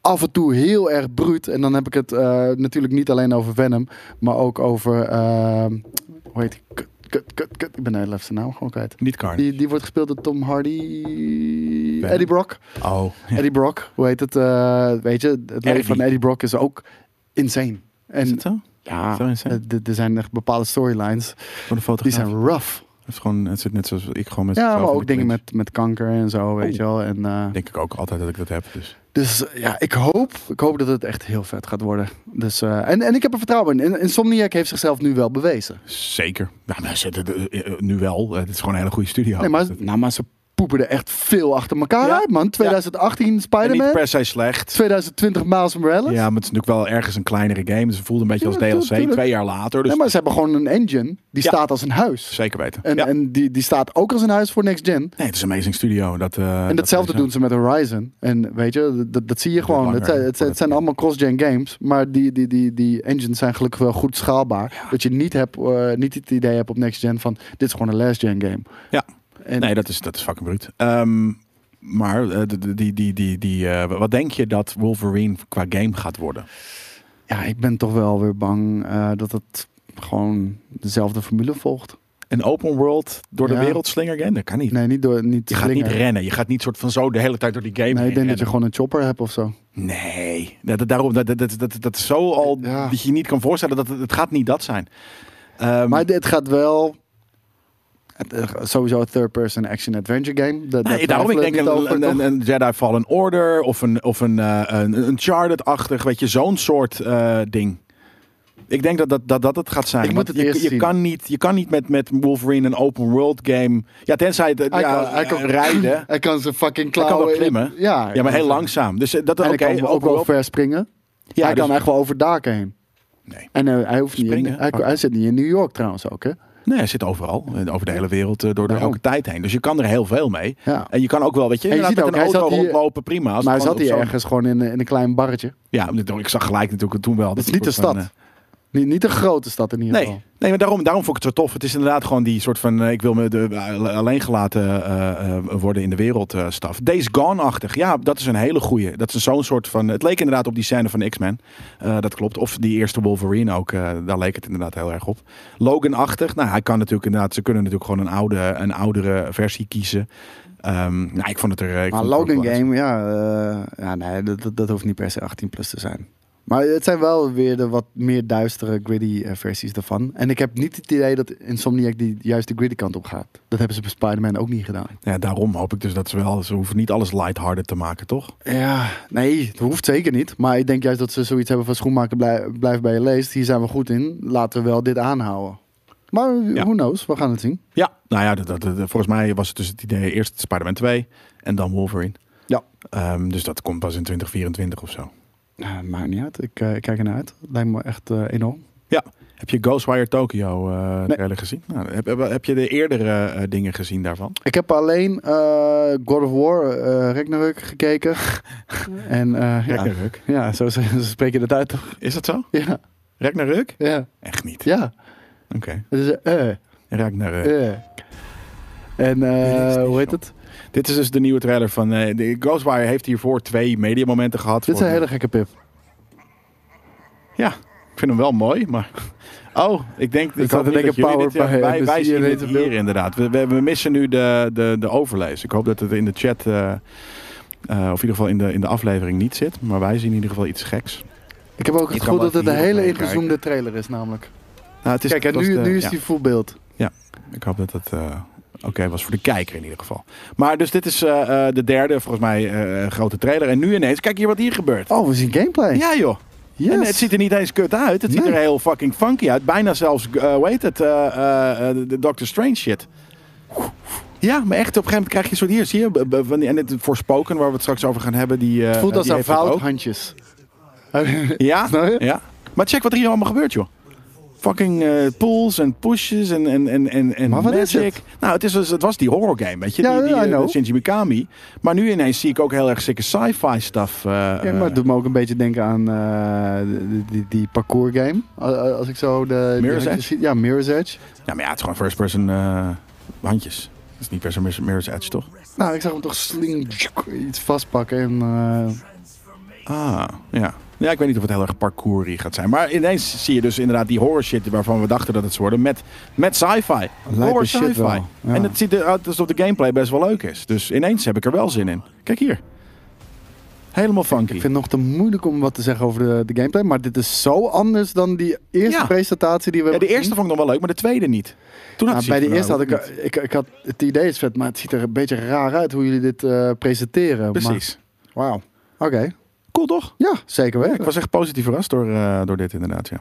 af en toe heel erg bruut. En dan heb ik het eh, natuurlijk niet alleen over Venom, maar ook over, eh, hoe heet die? Kut, kut, kut, kut. Ik ben de hele naam gewoon kwijt.
Niet Carnage.
Die, die wordt gespeeld door Tom Hardy. Eddie Brock.
Oh,
Eddie Brock, hoe heet het? eh, weet je, het leven
Eddie.
van Eddie Brock is ook insane. En
is het zo?
ja,
Zo insane?
eh, d- er zijn echt bepaalde storylines.
Voor de fotograaf.
Die zijn rough.
Het, is gewoon, het zit net zoals ik gewoon met
Ja,
zelf
maar
in de
ook dingen
clinch.
met, met kanker en zo, weet
Oh.
je wel. En, eh,
Denk ik ook altijd dat ik dat heb. Dus.
dus eh, ja, ik hoop, ik hoop dat het echt heel vet gaat worden. Dus, eh, en, en ik heb er vertrouwen in. En Insomniac heeft zichzelf nu wel bewezen.
Zeker. Nou, maar ze, de- de- nu wel. Eh, Het is gewoon een hele goede studio.
Nee, maar,
Dat-
nou, maar ze poepen er echt veel achter elkaar
Ja.
uit, man. 2018
en niet
Spider-Man,
per se slecht.
2020 Miles Morales.
Ja, maar het is natuurlijk wel ergens een kleinere game. Dus het voelde een beetje als
Ja,
DLC.
tuurlijk.
Twee jaar later. Dus
Nee, maar ze hebben gewoon een engine die
Ja.
staat als een huis.
zeker weten.
En,
ja.
en die, die staat ook als een huis voor Next Gen.
nee, het is een amazing studio. Dat, eh,
En
dat
datzelfde
is, eh,
doen ze met Horizon. En weet je, dat, dat zie je gewoon.
langer,
Het zijn, het zijn, het zijn allemaal cross-gen games. Maar die, die, die, die engines zijn gelukkig wel goed schaalbaar. Dat je niet, hebt, eh, niet het idee hebt op Next Gen van... dit is gewoon een last-gen game.
Ja.
En-
Nee, dat is, dat is fucking bruut. Ehm, maar eh, de- de- die, die, die, die, eh, wat denk je dat Wolverine qua game gaat worden?
Ja, ik ben toch wel weer bang eh, dat het gewoon dezelfde formule volgt.
Een open world door
Ja.
de wereld slinger game? Dat kan niet.
Nee, niet door... Niet
Je gaat niet
slingeren.
rennen. Je gaat niet soort van zo de hele tijd door die game
Nee,
heen
ik denk dat je
rennen.
gewoon een chopper hebt of zo.
Nee, dat, dat- daarom, dat, dat, dat, dat, dat is zo al
Ja.
dat je je niet kan voorstellen. Dat, het- het gaat niet dat zijn. Ehm,
Maar dit gaat wel... het, eh, Sowieso een third-person action-adventure game. Dat,
nee,
dat
daarom
twijfel
ik denk
niet
een,
over,
een,
toch?
een, een Jedi Fallen Order of een, of een, eh, een, een Uncharted-achtig, weet je, zo'n soort eh, ding. Ik denk dat dat, dat, dat het gaat zijn.
Ik moet
Want
het
je,
eerst
je
zien.
Kan niet, je kan niet met, met Wolverine een open world game. Ja, tenzij het
Hij
ja,
kan- hij kan-
rijden.
Hij kan zijn fucking
Hij
klauwen.
kan wel
in-
klimmen.
Ja, hij
Ja, maar
kan
heel
zo-
langzaam. Dus eh, dat
En hij
oké.
kan ook
open
wel
world-
ver springen.
Ja,
hij
dus-
kan echt wel over daken heen.
Nee.
En eh, hij, hoeft niet in,
Springen? Oh.
hij, hij zit niet in New York trouwens ook, hè?
Nee, hij zit overal. eh, Over de hele wereld, eh, door de
Daarom.
elke tijd heen. Dus je kan er heel veel mee.
Ja.
En je kan ook wel, weet je,
En je
inderdaad
ziet
met
ook,
een
hij
auto
zat hier-
rondlopen, prima. Als
maar hij zat
het gewoon
hier
op zo'n-
ergens gewoon in, eh, in een klein barretje.
Ja, ik zag gelijk natuurlijk toen wel.
Dat is niet de
een soort
stad.
van,
Niet, niet een grote stad in
eh,
ieder
Nee,
geval.
nee maar daarom, daarom vond ik het zo tof. Het is inderdaad gewoon die soort van... eh, ik wil me de, alleen gelaten eh, eh, worden in de wereld eh, staf. Days Gone-achtig. Ja, dat is een hele goeie. Dat is zo'n soort van... Het leek inderdaad op die scène van X-Men. Eh, dat klopt. Of die eerste Wolverine ook. eh, daar leek het inderdaad heel erg op. Logan-achtig. Nou, hij kan natuurlijk inderdaad... Ze kunnen natuurlijk gewoon een, oude, een oudere versie kiezen. Ehm, nou, ik vond het er... eh, ik
Maar
vond het er ook
Logan
wel-
Game, ja, eh, ja nee, dat, dat, dat hoeft niet per se 18 plus te zijn. Maar het zijn wel weer de wat meer duistere, gritty eh, versies daarvan. En ik heb niet het idee dat Insomniac die juist de gritty kant op gaat. Dat hebben ze bij Spider-Man ook niet gedaan.
Ja, daarom hoop ik dus dat ze wel... Ze hoeven niet alles lighthearted te maken, toch?
Ja, nee, het hoeft zeker niet. Maar ik denk juist dat ze zoiets hebben van schoenmaker blij- blijf bij je leest. Hier zijn we goed in. Laten we wel dit aanhouden. Maar
Ja.
who knows, we gaan het zien.
Ja, nou ja, dat, dat- dat- volgens mij was het dus het idee eerst Spider-Man 2 en dan Wolverine.
Ja.
Ehm, dus dat komt pas in 2024 of zo.
Nou, maakt niet uit. Ik, eh, ik kijk ernaar uit. Lijkt me echt eh, enorm.
Ja. Heb je Ghostwire Tokyo eh
Nee.
trailer gezien? Nou, heb, heb, heb je de eerdere eh, dingen gezien daarvan?
Ik heb alleen eh, God of War, eh Ragnarok gekeken. en eh, ja,
Ragnarök.
ja zo, zo spreek je dat uit toch?
Is dat zo?
Ja,
Ragnarök?
ja,
Echt niet.
ja.
Oké.
Het is eh,
Ragnarök.
eh, eh. En eh,
Dit is
hoe heet
zo.
het?
Dit is dus de nieuwe trailer van... eh, de Ghostwire heeft hiervoor twee mediamomenten gehad.
Dit is
voor-
een hele gekke pip.
Ja, ik vind hem wel mooi, maar... Oh, ik denk ik
zat
had
te
niet
denken
dat jullie dit
power
zeggen.
bij-
wij,
we
wij
zien
zien
het
het
in
hier
beeld.
inderdaad. We, we, we missen nu de, de, de overlees. Ik hoop dat het in de chat, eh, eh, of in ieder geval in de, in de aflevering niet zit. Maar wij zien in ieder geval iets geks.
Ik heb ook
Je
het
kan
gevoel
wel
dat het een
even
hele
hierop
ingezoomde trailer is namelijk.
Nou, het
Kijk, en
het was
nu,
de-
nu is
ja,
die full beeld.
Ik hoop dat het eh, Oké, was voor de kijker in ieder geval. Maar dus dit is eh, eh, de derde, volgens mij, eh, grote trailer. En nu ineens, kijk hier wat hier gebeurt.
Oh, we zien gameplay.
Ja joh.
Yes.
En het ziet er niet eens kut uit. Het ziet
Nee.
er heel fucking funky uit. Bijna zelfs, eh, hoe heet het, eh, eh, eh, de Doctor Strange shit. Ja, maar echt, op een gegeven moment krijg je een soort hier, zie je? b- b- van die- En het voorspoken, waar we het straks over gaan hebben, die eh,
Het voelt als
die
een
heeft dat
fout
ook.
handjes.
Ja,
Snap je?
ja. Maar check wat er hier allemaal gebeurt, joh. Fucking eh pulls en pushes en, en, en, en, en
Maar wat is
magic.
het?
Nou, het, is, dus- het was die horror game, weet je?
Ja,
die, die,
ja, I
eh,
know.
Shinji Mikami. Maar nu ineens zie ik ook heel erg sikke sci-fi stuff. eh,
Ja, maar het
eh,
doet me ook een beetje denken aan eh, die, die, die parkour game. Als als ik zo de... die
Mirror's
handjes
Edge?
zie- Ja, Mirror's Edge.
Ja, maar ja, het is gewoon first person eh, handjes. Het is niet per se Mirror's- Mirror's Edge, toch?
Nou, ik zag hem toch sling iets vastpakken en... eh,
Ah, ja. Ja, ik weet niet of het heel erg parcourie gaat zijn. Maar ineens zie je dus inderdaad die horror shit waarvan we dachten dat het zou worden. Met, met sci-fi. Horror
shit
sci-fi.
wel, ja.
En het ziet eruit alsof de gameplay best wel leuk is. Dus ineens heb ik er wel zin in. Kijk hier. Helemaal funky.
Ik vind het nog te moeilijk om wat te zeggen over de, de gameplay. Maar dit is zo anders dan die eerste
Ja.
presentatie die we
Ja, de
hebben
eerste vond ik nog wel leuk, maar de tweede niet. Toen had
Nou,
ik
bij de
zoiets
eerste
van,
had ik,
nou, dat
ik, ik had het idee is vet, maar het ziet er een beetje raar uit hoe jullie dit eh, presenteren.
niet.
maar-
Precies.
Wauw. Oké.
Cool toch?
Ja, zeker
Ik
weten.
was echt positief verrast door, eh, door dit inderdaad, ja.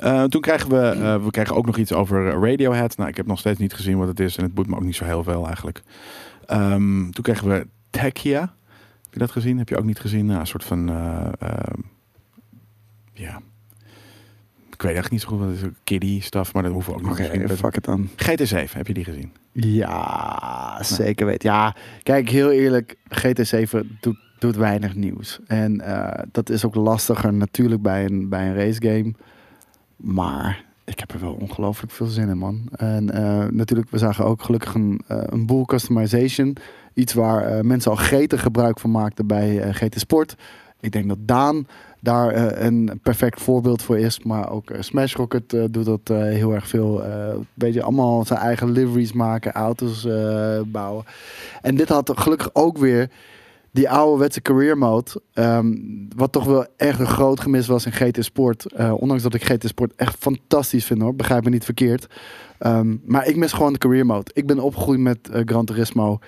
Eh, toen kregen we, eh, we kregen ook nog iets over Radiohead. Nou, ik heb nog steeds niet gezien wat het is en het boeit me ook niet zo heel veel eigenlijk. Ehm, toen kregen we Tekia. Heb je dat gezien? Heb je ook niet gezien? Nou, een soort van, eh, ehm, ja, ik weet echt niet zo goed wat het is. Kiddie stuff, maar dat hoeven we ook niet
Oké,
te zien.
fuck het dan.
GT7, heb je die gezien?
Ja, zeker weten. Ja, kijk, heel eerlijk, GT7 doet, doet weinig nieuws. En eh, dat is ook lastiger natuurlijk bij een, bij een racegame. Maar ik heb er wel ongelooflijk veel zin in, man. En eh, natuurlijk, we zagen ook gelukkig een, eh, een boel customization. Iets waar eh, mensen al gretig gebruik van maakten bij eh, GT Sport. Ik denk dat Daan daar eh, een perfect voorbeeld voor is. Maar ook eh, Smash Rocket eh, doet dat eh, heel erg veel. eh beetje allemaal zijn eigen liveries maken, auto's eh, bouwen. En dit had gelukkig ook weer die ouderwetse career mode. ehm, wat toch wel echt een groot gemis was in GT Sport. Eh, ondanks dat ik GT Sport echt fantastisch vind hoor. Begrijp me niet verkeerd. Ehm, maar ik mis gewoon de career mode. Ik ben opgegroeid met eh, Gran Turismo.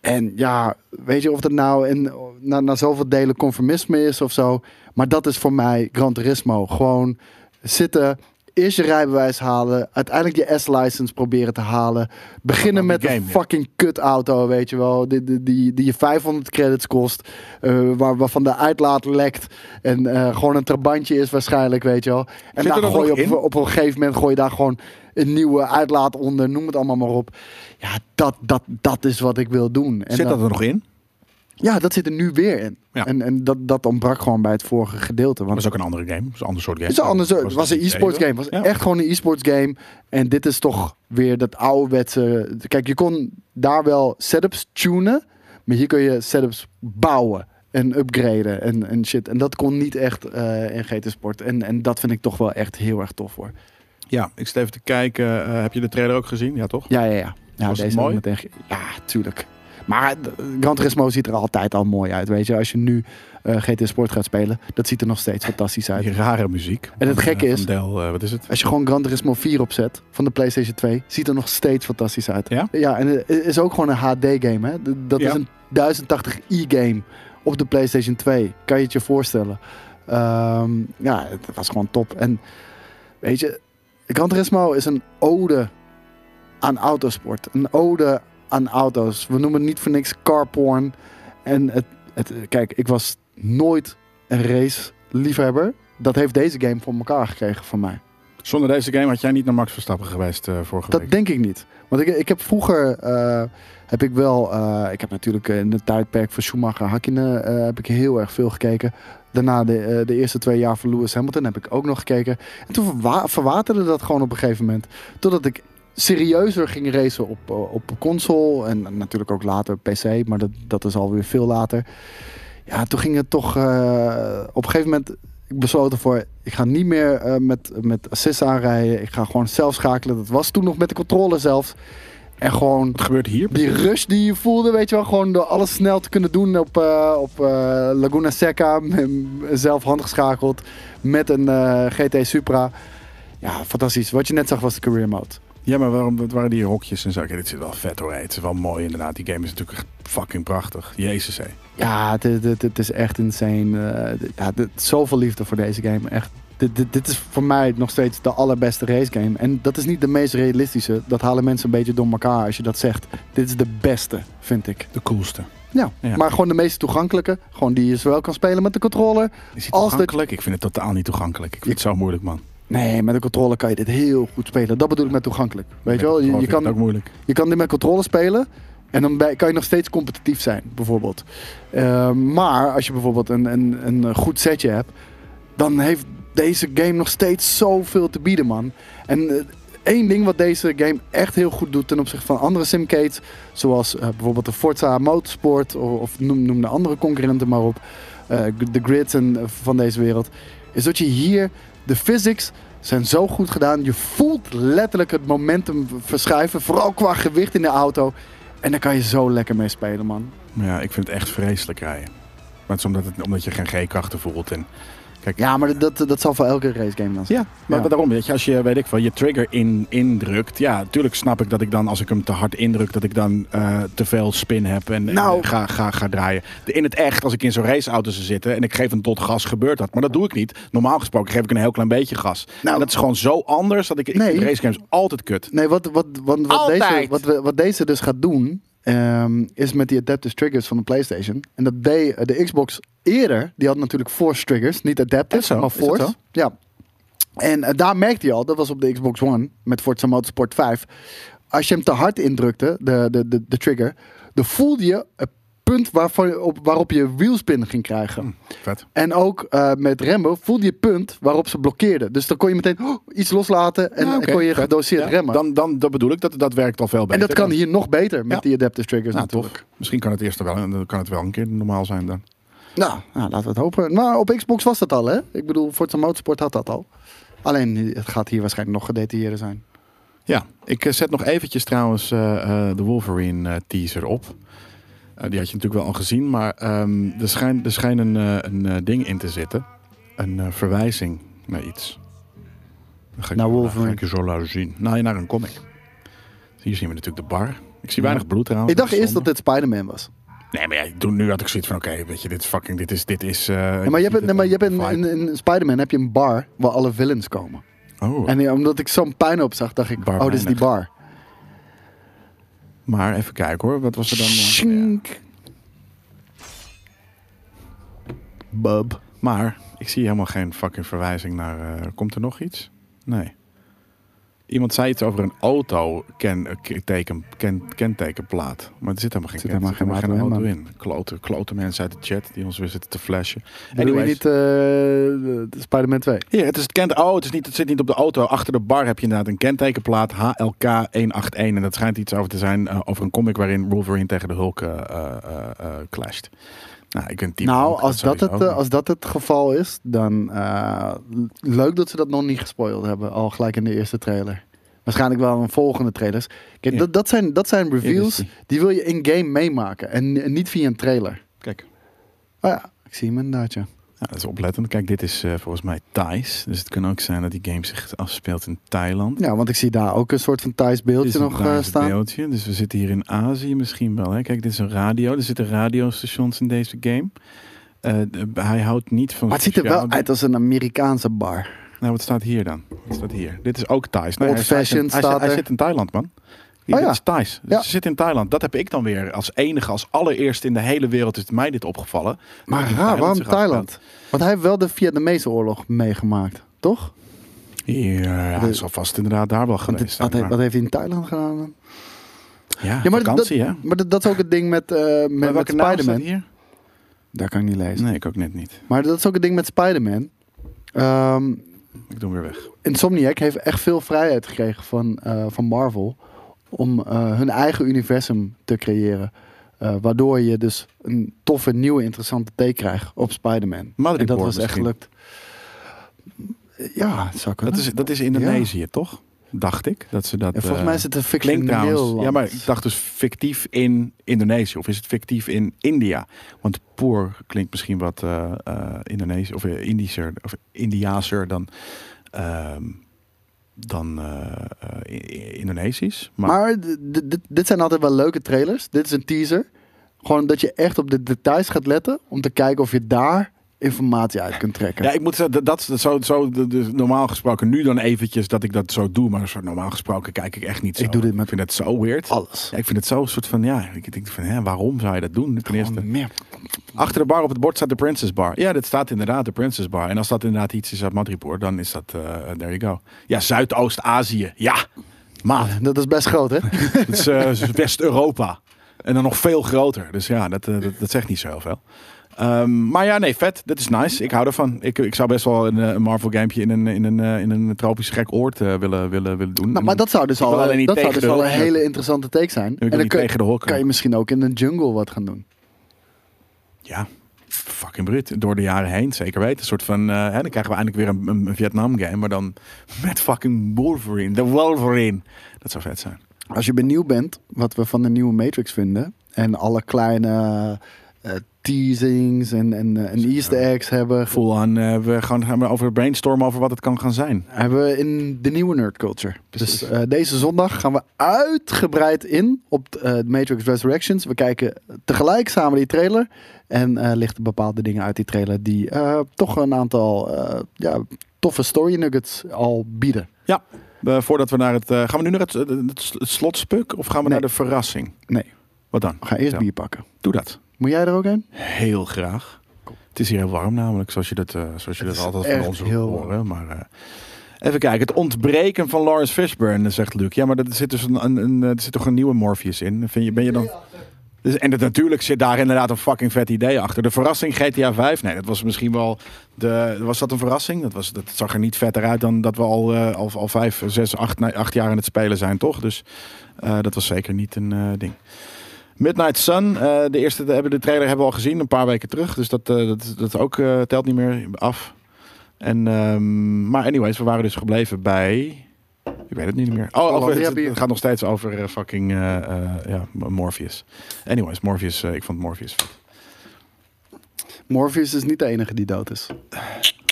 En ja, weet je of dat nou in, na, na zoveel delen conformisme is of zo. Maar dat is voor mij Gran Turismo. Gewoon zitten, eerst je rijbewijs halen. Uiteindelijk je S-license proberen te halen. Beginnen
Dat is
met
die
een
game, ja.
fucking kutauto, weet je wel. Die, die, die, die je 500 credits kost. eh, waar, waarvan de uitlaat lekt. En eh, gewoon een trabantje is waarschijnlijk, weet je wel. En
Zit er
daar
dat
gooi
nog
je op,
in?
op een gegeven moment gooi je daar gewoon een nieuwe uitlaat onder. Noem het allemaal maar op. Ja, dat, dat, dat is wat ik wil doen. En eh,
Zit
dan-
dat er nog in?
Ja, dat zit er nu weer in.
Ja.
En, en dat, dat ontbrak gewoon bij het vorige gedeelte. Want
Dat is ook een andere game. Dat is een ander soort game.
het is een ander soort- Het was een e-sports game. Het was
Ja.
echt gewoon een e-sports game. En dit is toch weer dat ouderwetse... Kijk, je kon daar wel setups tunen. Maar hier kun je setups bouwen. En upgraden en, en shit. En dat kon niet echt eh, in GT Sport. En, en dat vind ik toch wel echt heel erg tof hoor.
Ja, ik zit even te kijken. eh, heb je de trailer ook gezien? Ja, toch?
Ja, ja, ja. ja
Was het
had
mooi?
ik meteen ge- ja, tuurlijk. Maar eh, Gran Turismo ziet er altijd al mooi uit. Weet je, als je nu eh, GT Sport gaat spelen, dat ziet er nog steeds fantastisch uit.
Die rare muziek.
En het
Van,
gekke
eh,
is-
van Del, eh, wat is het?
Als je gewoon Gran Turismo 4 opzet van de PlayStation 2, ziet er nog steeds fantastisch uit.
Ja?
en het is ook gewoon een HD-game. hè. D- Dat
Ja.
is een 1080i-game op de PlayStation 2. Kan je het je voorstellen? Ehm, ja, het was gewoon top. En weet je, Gran Turismo is een ode aan autosport. Een ode aan auto's. We noemen het niet voor niks carporn. En het, het, kijk, ik was nooit een race-liefhebber. Dat heeft deze game voor elkaar gekregen voor mij.
Zonder deze game had jij niet naar Max Verstappen geweest eh, vorige
Dat
week.
denk ik niet. Want ik, ik heb vroeger, eh, heb ik wel, eh, ik heb natuurlijk eh, in het tijdperk van Schumacher Hakkinen eh, heb ik heel erg veel gekeken. Daarna de, eh, de eerste twee jaar van Lewis Hamilton heb ik ook nog gekeken. En toen verwa- verwaterde dat gewoon op een gegeven moment. Totdat ik serieuzer ging racen op, eh, op console en natuurlijk ook later PC, maar dat, dat is alweer veel later. Ja, toen ging het toch eh, op een gegeven moment ik besloot ervoor, ik ga niet meer eh, met, met assist aanrijden. Ik ga gewoon zelf schakelen. Dat was toen nog met de controle zelfs. En gewoon
Wat gebeurt hier?
die rush die je voelde, weet je wel, gewoon door alles snel te kunnen doen op, eh, op eh, Laguna Seca, m- zelf handgeschakeld met een eh, GT Supra. Ja, fantastisch. Wat je net zag was de career mode.
Ja, maar waarom dat waren die hokjes en zo? Oké, dit zit wel vet hoor. hé. Het is wel mooi inderdaad. Die game is natuurlijk echt fucking prachtig. Jezus hé.
Ja, het, is- het- het is echt insane. eh ja, dit- zoveel liefde voor deze game. Echt. Dit, dit, dit is voor mij nog steeds de allerbeste race game. En dat is niet de meest realistische. Dat halen mensen een beetje door elkaar als je dat zegt. Dit is de beste, vind ik.
De coolste.
Ja,
Ja.
maar gewoon de meest toegankelijke. Gewoon die je zowel kan spelen met de controller.
Is het
Als
toegankelijk? Ik vind het totaal niet toegankelijk. Ik vind het zo moeilijk man.
Nee, met de controller kan je dit heel goed spelen. Dat bedoel ik met toegankelijk. Weet je wel, je, je
kan het ook
kan,
moeilijk.
je kan dit met controller spelen. En dan bij- kan je nog steeds competitief zijn, bijvoorbeeld. Eh, maar als je bijvoorbeeld een, een, een goed setje hebt, dan heeft deze game nog steeds zoveel te bieden, man. En eh, één ding wat deze game echt heel goed doet ten opzichte van andere simcades, zoals eh, bijvoorbeeld de Forza Motorsport of, of noem, noem de andere concurrenten maar op, eh, de grids en, eh, van deze wereld, is dat je hier de physics zijn zo goed gedaan. Je voelt letterlijk het momentum verschuiven, vooral qua gewicht in de auto. En daar kan je zo lekker mee spelen, man.
Ja, ik vind het echt vreselijk rijden. Maar het is omdat, het, omdat je geen G-krachten voelt. En kijk,
Ja, maar dat, dat zal voor elke race game dan zijn.
Ja, maar
Ja.
daarom, weet je, als je, weet ik wel, je trigger in, indrukt. Ja, natuurlijk snap ik dat ik dan, als ik hem te hard indruk, dat ik dan eh, te veel spin heb en, en
Nou.
ga, ga, ga draaien. De- In het echt, als ik in zo'n raceauto zou zitten en ik geef een tot gas, gebeurt dat. Maar dat doe ik niet. Normaal gesproken geef ik een heel klein beetje gas.
Nou.
Nou, dat is gewoon zo anders dat ik, ik
Nee.
vind racegames altijd kut.
Nee, wat, wat, wat, wat,
Altijd.
deze, wat, we- wat deze dus gaat doen, ehm, is met die adaptive triggers van de PlayStation. En dat deed eh, de Xbox eerder. Die had natuurlijk force triggers, niet adaptive,
Echt zo?
maar
Is dat
force.
zo?
Ja. En eh, daar merkte je al, dat was op de Xbox One met Forza Motorsport 5. Als je hem te hard indrukte, de, de, de, de trigger, dan voelde je het punt waarvan, op, waarop je wheelspin ging krijgen.
Hm. Vet.
En ook eh, met Rembo voelde je het punt waarop ze blokkeerden. Dus dan kon je meteen oh, iets loslaten en,
Ja,
en
oké,
kon je
vet.
gedoseerd
Ja,
remmen.
Dan, dan dat bedoel ik, dat, dat werkt al veel beter.
En dat kan hier nog beter met
Ja.
die adaptive triggers
Nou,
natuurlijk.
toch. Misschien kan het eerst wel, dan kan het wel een keer normaal zijn dan.
Nou, nou, laten we het hopen. Maar op Xbox was dat al, hè? Ik bedoel, Forza Motorsport had dat al. Alleen, het gaat hier waarschijnlijk nog gedetailleerder zijn.
Ja, ik eh, zet nog eventjes trouwens eh, eh, de Wolverine eh, teaser op. Eh, die had je natuurlijk wel al gezien, maar ehm, er schijnt er schijn een, eh, een eh, ding in te zitten. Een eh, verwijzing naar iets. Dat Ga ik,
Naar
dat
Wolverine.
Ga ik je zo laten zien. Nou, ja, naar een comic. Hier zien we natuurlijk de bar. Ik zie weinig bloed trouwens.
ik dacht eerst dat
zonde.
dit Spider-Man was.
Nee, maar ja, toen- nu had ik zoiets van, oké, weet je, dit is fucking, dit is... Dit is eh,
Nee, maar je hebt,
ziet
nee, maar je
het
hebt
aan
in,
de
in, in Spider-Man heb je een bar waar alle villains komen.
vibe. Oh,
En eh, omdat ik zo'n pijn op zag, dacht ik,
Bar
oh, dit is die
weinig.
bar.
maar even kijken hoor. Wat was er dan? eh, ja.
Shink. Bub.
Maar ik zie helemaal geen fucking verwijzing naar. eh, komt er nog iets? Nee. Iemand zei iets over een auto ken, eh, ke- teken, ken, kentekenplaat. Maar er zit helemaal geen,
Zit
ken-
helemaal
zit helemaal
geen
geen
auto
auto in. Klote, klote mensen uit de chat die ons weer zitten te flashen.
Doe je
Anyways.
niet eh, de- de Spider-Man 2?
Hier, het is het kent. Oh, het, is niet, het zit niet op de auto. Achter de bar heb je inderdaad een kentekenplaat HLK 181. En dat schijnt iets over te zijn eh, over een comic waarin Wolverine tegen de Hulk eh, eh, eh, eh, clasht. Nou, ik ben type Hulk,
Nou, als dat,
sowieso
het, eh,
ook.
als dat het geval is, dan eh, leuk dat ze dat nog niet gespoild hebben. Al gelijk in de eerste trailer. Waarschijnlijk wel in volgende trailers. Kijk,
Ja.
dat, dat, zijn, dat zijn reveals
die.
die. wil je in-game meemaken. En, en niet via een trailer.
Kijk.
Oh ja, ik zie hem inderdaad, ja.
Ja, dat is oplettend. Kijk, dit is eh, volgens mij Thais. Dus het kan ook zijn dat die game zich afspeelt in Thailand.
Ja, want ik zie daar ook een soort van Thais
Dit is
beeldje
een
nog eh,
Thais
staan.
beeldje. Dus we zitten hier in Azië misschien wel. Hè? Kijk, dit is een radio. Er zitten radiostations in deze game. Eh, de- hij houdt niet van.
Maar het ziet er
sociaal-
wel uit als een Amerikaanse bar.
Nou, wat staat hier dan? Wat staat hier? Dit is ook Thais. Nou,
Old
hij staat in-
fashioned
hij, zit-
staat
hij
er.
zit in Thailand, man. Hier,
Oh ja.
Dit is Thais. Dus
Ja.
Ze zit in Thailand. Dat heb ik dan weer als enige, als allereerste in de hele wereld is mij dit opgevallen.
Maar
Dat in
raar, waarom
zich afspeelt.
Thailand? Want hij heeft wel de Vietnamese oorlog meegemaakt, toch?
Ja, hij
De-
zal vast inderdaad daar wel
Want
geweest
dit-
zijn.
wat, heeft,
maar-
wat heeft hij in Thailand gedaan? dan?
Ja,
Ja, maar,
vakantie,
dat,
hè?
maar dat, dat is ook het ding met, eh, met, met Spider-Man.
hier?
Daar kan ik niet lezen.
Nee, ik ook net niet.
Maar dat is ook het ding met Spider-Man. Ehm,
Ik doe hem weer weg.
Insomniac heeft echt veel vrijheid gekregen van, eh, van Marvel om eh, hun eigen universum te creëren. Eh, waardoor je dus een toffe, nieuwe, interessante take krijgt op Spider-Man.
Madripoor
En dat was echt
misschien.
gelukt. Ja, dat zou kunnen.
Dat is, dat is Indonesië, toch? Dacht ik. Dat ze dat,
En volgens
eh,
mij is het een
klinkt
fictioneel
trouwens.
land.
Ja, maar ik dacht dus fictief in Indonesië. Of is het fictief in India? Want poor klinkt misschien wat eh eh Indonesisch of eh, Indischer of Indiaser dan ehm, dan eh, eh, I- Indonesisch. Maar,
Maar d- d- dit- dit zijn altijd wel leuke trailers. Dit is een teaser. Gewoon dat je echt op de details gaat letten om te kijken of je daar informatie uit kunt trekken.
ja, ik moet zeggen, dat, dat zo, zo de- de- normaal gesproken nu dan eventjes dat ik dat zo doe. Maar zo normaal gesproken kijk ik echt niet zo.
Ik doe dit met
ik vind het zo weird.
Alles.
Ja, ik vind het zo een soort van, ja, ik denk van, hè, waarom zou je dat doen? Ten eerste,
Gewoon meer.
achter de bar op het bord staat de Princess Bar. Ja, dat staat inderdaad de Princess Bar. En als dat inderdaad iets is uit Madripoor, dan is dat, eh, there you go. Ja, Zuidoost-Azië. Ja, maat.
Dat is best groot, hè?
Het is eh, West-Europa. En dan nog veel groter. Dus ja, dat, eh, dat, dat zegt niet zo heel veel. Ehm, maar ja, nee, vet. Dat is nice. Ik hou ervan. Ik, ik zou best wel een, eh, een Marvel-gamepje in een, in, een, eh, in een tropisch gek oord eh, willen, willen, willen doen.
Nou, maar dat zou dus
wil
al,
alleen niet
dat zou
tegen
dus
de
al een
hokken.
hele interessante take zijn.
wil
En dan
niet
kun,
tegen de hokken.
kan je misschien ook in een jungle wat gaan doen.
Ja, fucking Brit. Door de jaren heen, zeker weten. Een soort van, eh, hè, dan krijgen we eindelijk weer een, een- een Vietnam-game. Maar dan met fucking Wolverine. De Wolverine. Dat zou vet zijn.
Als je benieuwd bent wat we van de nieuwe Matrix vinden. En alle kleine eh, teasings en, en, eh, en easter eggs hebben,
Full aan, eh, we gaan, gaan we over brainstormen over wat het kan gaan zijn.
hebben we in de nieuwe nerd culture.
Precies.
Dus eh, deze zondag gaan we uitgebreid in op eh, Matrix Resurrections. We kijken tegelijk samen die trailer. En eh lichten bepaalde dingen uit die trailer die eh, toch een aantal eh, ja, toffe story nuggets al bieden.
Ja, eh, voordat we naar het. eh, gaan we nu naar het, het, het slotspuk of gaan we
Nee.
naar de verrassing?
Nee,
Wat dan?
we gaan eerst
Ja.
bier pakken.
Doe dat.
Moet jij er ook een?
Heel graag. Het is hier heel warm namelijk, zoals je dat, eh, zoals je dat
is
altijd
echt
van ons
heel
hoort. Maar eh, even kijken, het ontbreken van Lawrence Fishburne, dan zegt Luc. Ja, maar dat- er zit dus een, een, een, eh, er zit toch een nieuwe Morpheus in. Vind je, ben je dan... Dus- En dat, natuurlijk zit daar inderdaad een fucking vet idee achter. De verrassing GTA 5, nee, dat was misschien wel. De, was dat een verrassing? Dat, was, dat zag er niet vetter uit dan dat we al, eh, al, al vijf, zes, acht, nee, acht jaar aan het spelen zijn, toch? Dus eh, dat was zeker niet een eh, ding. Midnight Sun, eh, de eerste de, hebben- de trailer hebben we al gezien een paar weken terug. Dus dat, eh, dat, dat ook eh, telt niet meer af. En, ehm, maar anyways, we waren dus gebleven bij. Ik weet het niet meer. Oh, over, het,
Landia bier.
het gaat nog steeds over eh, fucking eh, eh, ja, Morpheus. Anyways, Morpheus, eh, ik vond Morpheus vet.
Morpheus is niet de enige die dood is.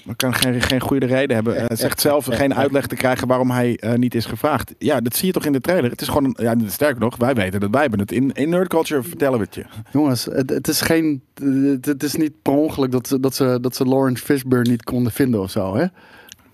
Maar kan geen, geen goede reden hebben. Hij zegt zelf geen uitleg te krijgen waarom hij eh, niet is gevraagd. Ja, dat zie je toch in de trailer. Het is gewoon, een- ja, sterker nog, wij weten dat wij hebben het. In, in Nerd Culture vertellen we het je.
Jongens, het, het is geen. Het, het is niet per ongeluk dat ze, dat, ze, dat ze Lawrence Fishburne niet konden vinden of zo, hè?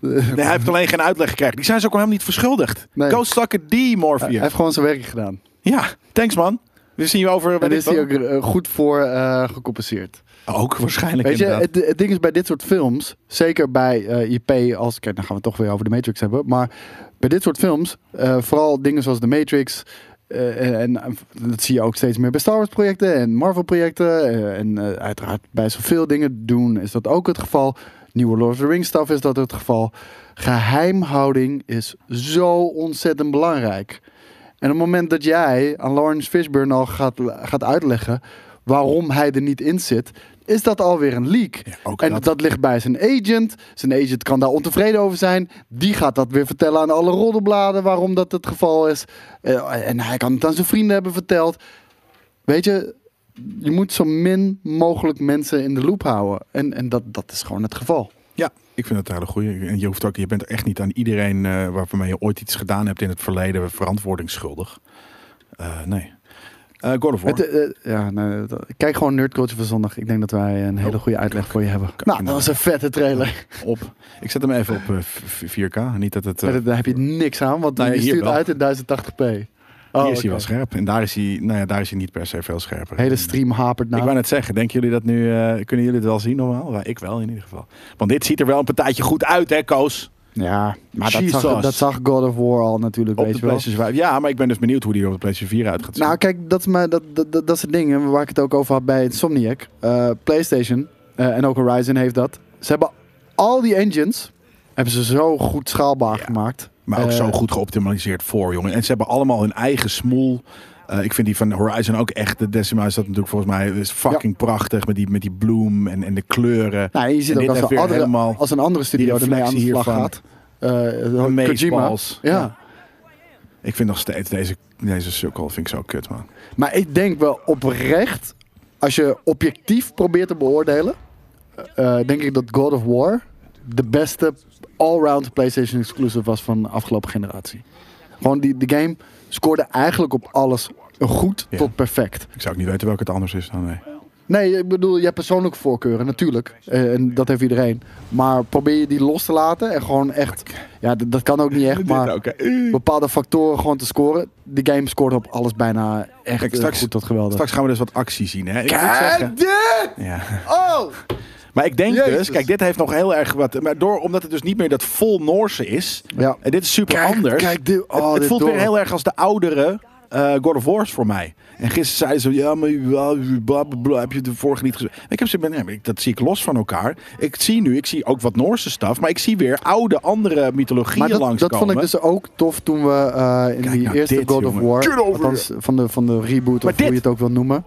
Nee, hij heeft alleen geen uitleg gekregen. Die zijn ze ook helemaal niet verschuldigd.
Nee.
Go sucker D, Morpheus.
Hij heeft gewoon zijn werk gedaan.
ja, thanks man. We zien je over... weet
En
ik
is hij
wel.
ook eh, goed voor eh, gecompenseerd.
Ook waarschijnlijk
Weet je,
inderdaad.
het, het ding is bij dit soort films, zeker bij eh, IP als. Kijk, dan gaan we het toch weer over de Matrix hebben. Maar bij dit soort films, eh, vooral dingen zoals de Matrix. eh, en en dat zie je ook steeds meer bij Star Wars projecten en Marvel projecten. eh, en eh, uiteraard bij zoveel dingen doen is dat ook het geval. Nieuwe Lord of the Rings stuff is dat het geval. Geheimhouding is zo ontzettend belangrijk. En op het moment dat jij aan Lawrence Fishburne al gaat, gaat uitleggen waarom hij er niet in zit, is dat alweer een leak.
ook
en
dat.
dat. ligt bij zijn agent. Zijn agent kan daar ontevreden over zijn. Die gaat dat weer vertellen aan alle roddelbladen waarom dat het geval is. Eh, en hij kan het aan zijn vrienden hebben verteld. Weet je, je moet zo min mogelijk mensen in de loop houden. En, en dat, dat is gewoon het geval.
Ja, ik vind het een hele goeie. En je, hoeft ook, je bent echt niet aan iedereen eh waarmee je ooit iets gedaan hebt in het verleden verantwoording schuldig. Eh, nee. Eh God of War.
Het, eh, eh, ja, nou, dat- kijk gewoon Nerdculture van zondag. Ik denk dat wij
Oh,
een hele goede uitleg voor je hebben. nou, dat was een vette trailer.
op. Ik zet hem even op eh, v- v- 4K. Niet dat het... eh,
Daar heb je niks aan, want
Nou ja,
je
hier
stuurt
wel.
uit in 1080p. Oh,
hier is
oké.
hij wel scherp. En daar is hij, nou ja, daar is hij niet per se veel scherper.
Hele stream hapert nou.
Ik
naar.
wou net zeggen, denken jullie dat nu... eh, kunnen jullie het wel zien normaal? Ja, ik wel in ieder geval. Want dit ziet er wel een partijtje goed uit, hè, Koos?
Ja, maar dat zag,
Jesus.
dat zag God of War al natuurlijk,
Op
weet
de
je wel.
PlayStation 5. Ja, maar ik ben dus benieuwd hoe die er op de PlayStation 4 uit gaat zien.
Nou, kijk, dat is, mijn, dat, dat, dat, dat is het ding hè, waar ik het ook over had bij Insomniac. Eh, PlayStation eh, en ook Horizon heeft dat. Ze hebben al die engines hebben ze zo goed schaalbaar
Ja.
gemaakt.
Maar ook
Eh,
zo goed geoptimaliseerd voor, jongen. En ze hebben allemaal hun eigen smoel. Eh, ik vind die van Horizon ook echt. De Decima is dat natuurlijk volgens mij is fucking prachtig. Met die, met die bloem en, en de kleuren.
Nou, en je ziet
En
ook
dit
als,
heeft
een
weer
andere,
helemaal
als een andere studio
die
ermee aan de
reflectie
slag
hiervan.
gaat. eh
Een
Kojima.
meesbals.
Ja.
Ja. Ik vind nog steeds deze, deze sukkel vind ik zo kut, man.
Maar ik denk wel oprecht, eh, als je objectief probeert te beoordelen, eh, denk ik dat God of War de beste all-round PlayStation exclusive was van de afgelopen generatie. Gewoon die, die game scoorde eigenlijk op alles goed
Ja.
tot perfect.
Ik zou ook niet weten welke het anders is dan nee.
Nee, ik bedoel, je hebt persoonlijke voorkeuren, natuurlijk. Eh, en dat heeft iedereen. Maar probeer je die los te laten en gewoon echt... Ja, d- dat kan ook niet echt, maar
Oké.
bepaalde factoren gewoon te scoren. Die game scoort op alles bijna echt
Kijk,
eh,
straks-
goed tot geweldig.
Straks gaan we dus wat actie zien. Hè? Ik moet zeggen-
Kijk dit!
Ja.
Oh!
Maar ik denk dus,
Jezus.
kijk, dit heeft nog heel erg wat. Maar door, omdat het dus niet meer dat vol Noorse is.
Ja.
En dit is super
Kijk,
anders.
kijk, dit- oh,
het, het
dit
voelt
dorp.
weer heel erg als de oudere eh, God of War's voor mij. En gisteren zeiden ze, ja, maar je- bla, bla, bla, heb je de vorige niet gezien? Ik heb ze, nee, maar ik- dat zie ik los van elkaar. Ik zie nu, ik zie ook wat Noorse staf, maar ik zie weer oude, andere mythologieën
Maar dat,
langskomen.
dat vond ik dus ook tof toen we eh, in
Kijk
die
nou
eerste
dit,
God of
jongen. Get
War,
over
althans van de, van de reboot
Maar
of hoe je
dit-
het ook wil noemen.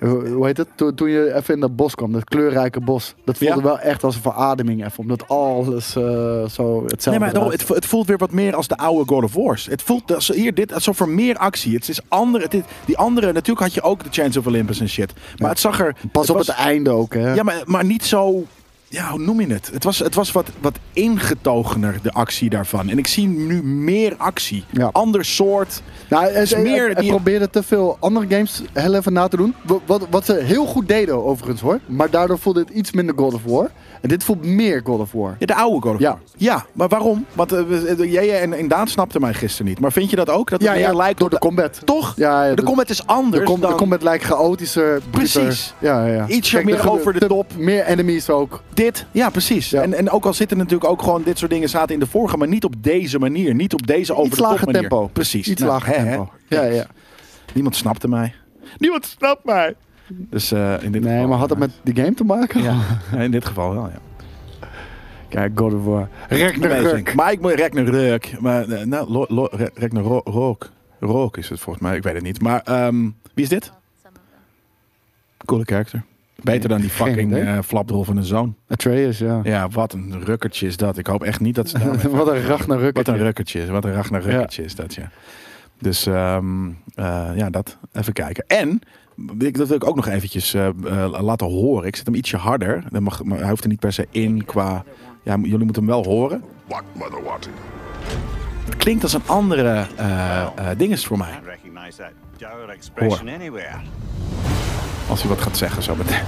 Eh, Hoe heet het? Toen, toen je even in dat bos kwam, dat kleurrijke bos. Dat voelde
Ja.
wel echt als een verademing even, omdat alles eh, zo hetzelfde
Nee, maar daarom,
eruit
het, vo- het voelt weer wat meer als de oude God of War's. Het voelt als, hier dit alsof er meer actie. Het is ander, het is- die andere, natuurlijk had je ook de Chance of Olympus en shit. Maar het zag er.
Pas op
was-
het einde ook, hè?
Ja, maar, maar niet zo. Ja, hoe noem je het? Het was, het was wat, wat ingetogener, de actie daarvan. En ik zie nu meer actie.
Ja.
Ander soort.
Nou, en,
is
en-
meer
en
die-
probeerde te veel andere games heel even na te doen. Wa- Wat, wat ze heel goed deden, overigens hoor. Maar daardoor voelde het iets minder God of War. En dit voelt meer God of War.
Ja, de oude God of
Ja.
War. Ja, maar waarom? Want eh, we- eh, jij en, en Daan snapten mij gisteren niet. Maar vind je dat ook? Dat het
Ja,
meer
ja,
lijkt
door
op
de combat.
Toch?
Ja, ja,
de
dat-
combat is anders
Er komt,
Dus dan...
er komt het lijkt chaotischer. bruter.
Precies.
Ja, ja, ja.
Ietsje
Kijk,
meer
er gebe-
over de
te-
top.
Meer enemies ook.
Dit, ja, precies.
Ja.
En, en ook al zitten natuurlijk ook gewoon dit soort dingen zaten in de vorige, maar niet op deze manier. Niet op deze over
Iets
de top
lager
manier.
tempo.
Precies.
Iets
Nou,
lager
hè, hè.
tempo. Ja, ja.
Niemand snapte mij. Niemand snapt mij. Dus eh, in dit
Nee,
geval.
maar had het met die game te maken?
Ja, in dit geval wel, ja.
Kijk, God of War.
Amazing.
Ragnarök.
Maar ik moet Ragnarök. Maar eh, nou, lo- lo- Ra- Ragnarok. Rook is het volgens mij, ik weet het niet. Maar ehm, wie is dit? Coole character. Beter dan die
Geen
fucking
idee.
eh, flapdrol van een zoon.
Atreus, ja.
Ja, wat een rukkertje is dat. Ik hoop echt niet dat ze daarmee
Wat een Ragnarök.
Wat een rukkertje is. Wat een ragnarukkertje is dat, ja. Dus ehm, eh, ja, dat. Even kijken. En, ik- dat wil ik ook nog eventjes eh, eh, laten horen. Ik zet hem ietsje harder. Dan mag, maar hij hoeft er niet per se in qua... Ja, jullie moeten hem wel horen. Het klinkt als een andere eh eh, dinges voor mij.
Can't recognize that dour expression anywhere.
Als hij wat gaat zeggen zo meteen.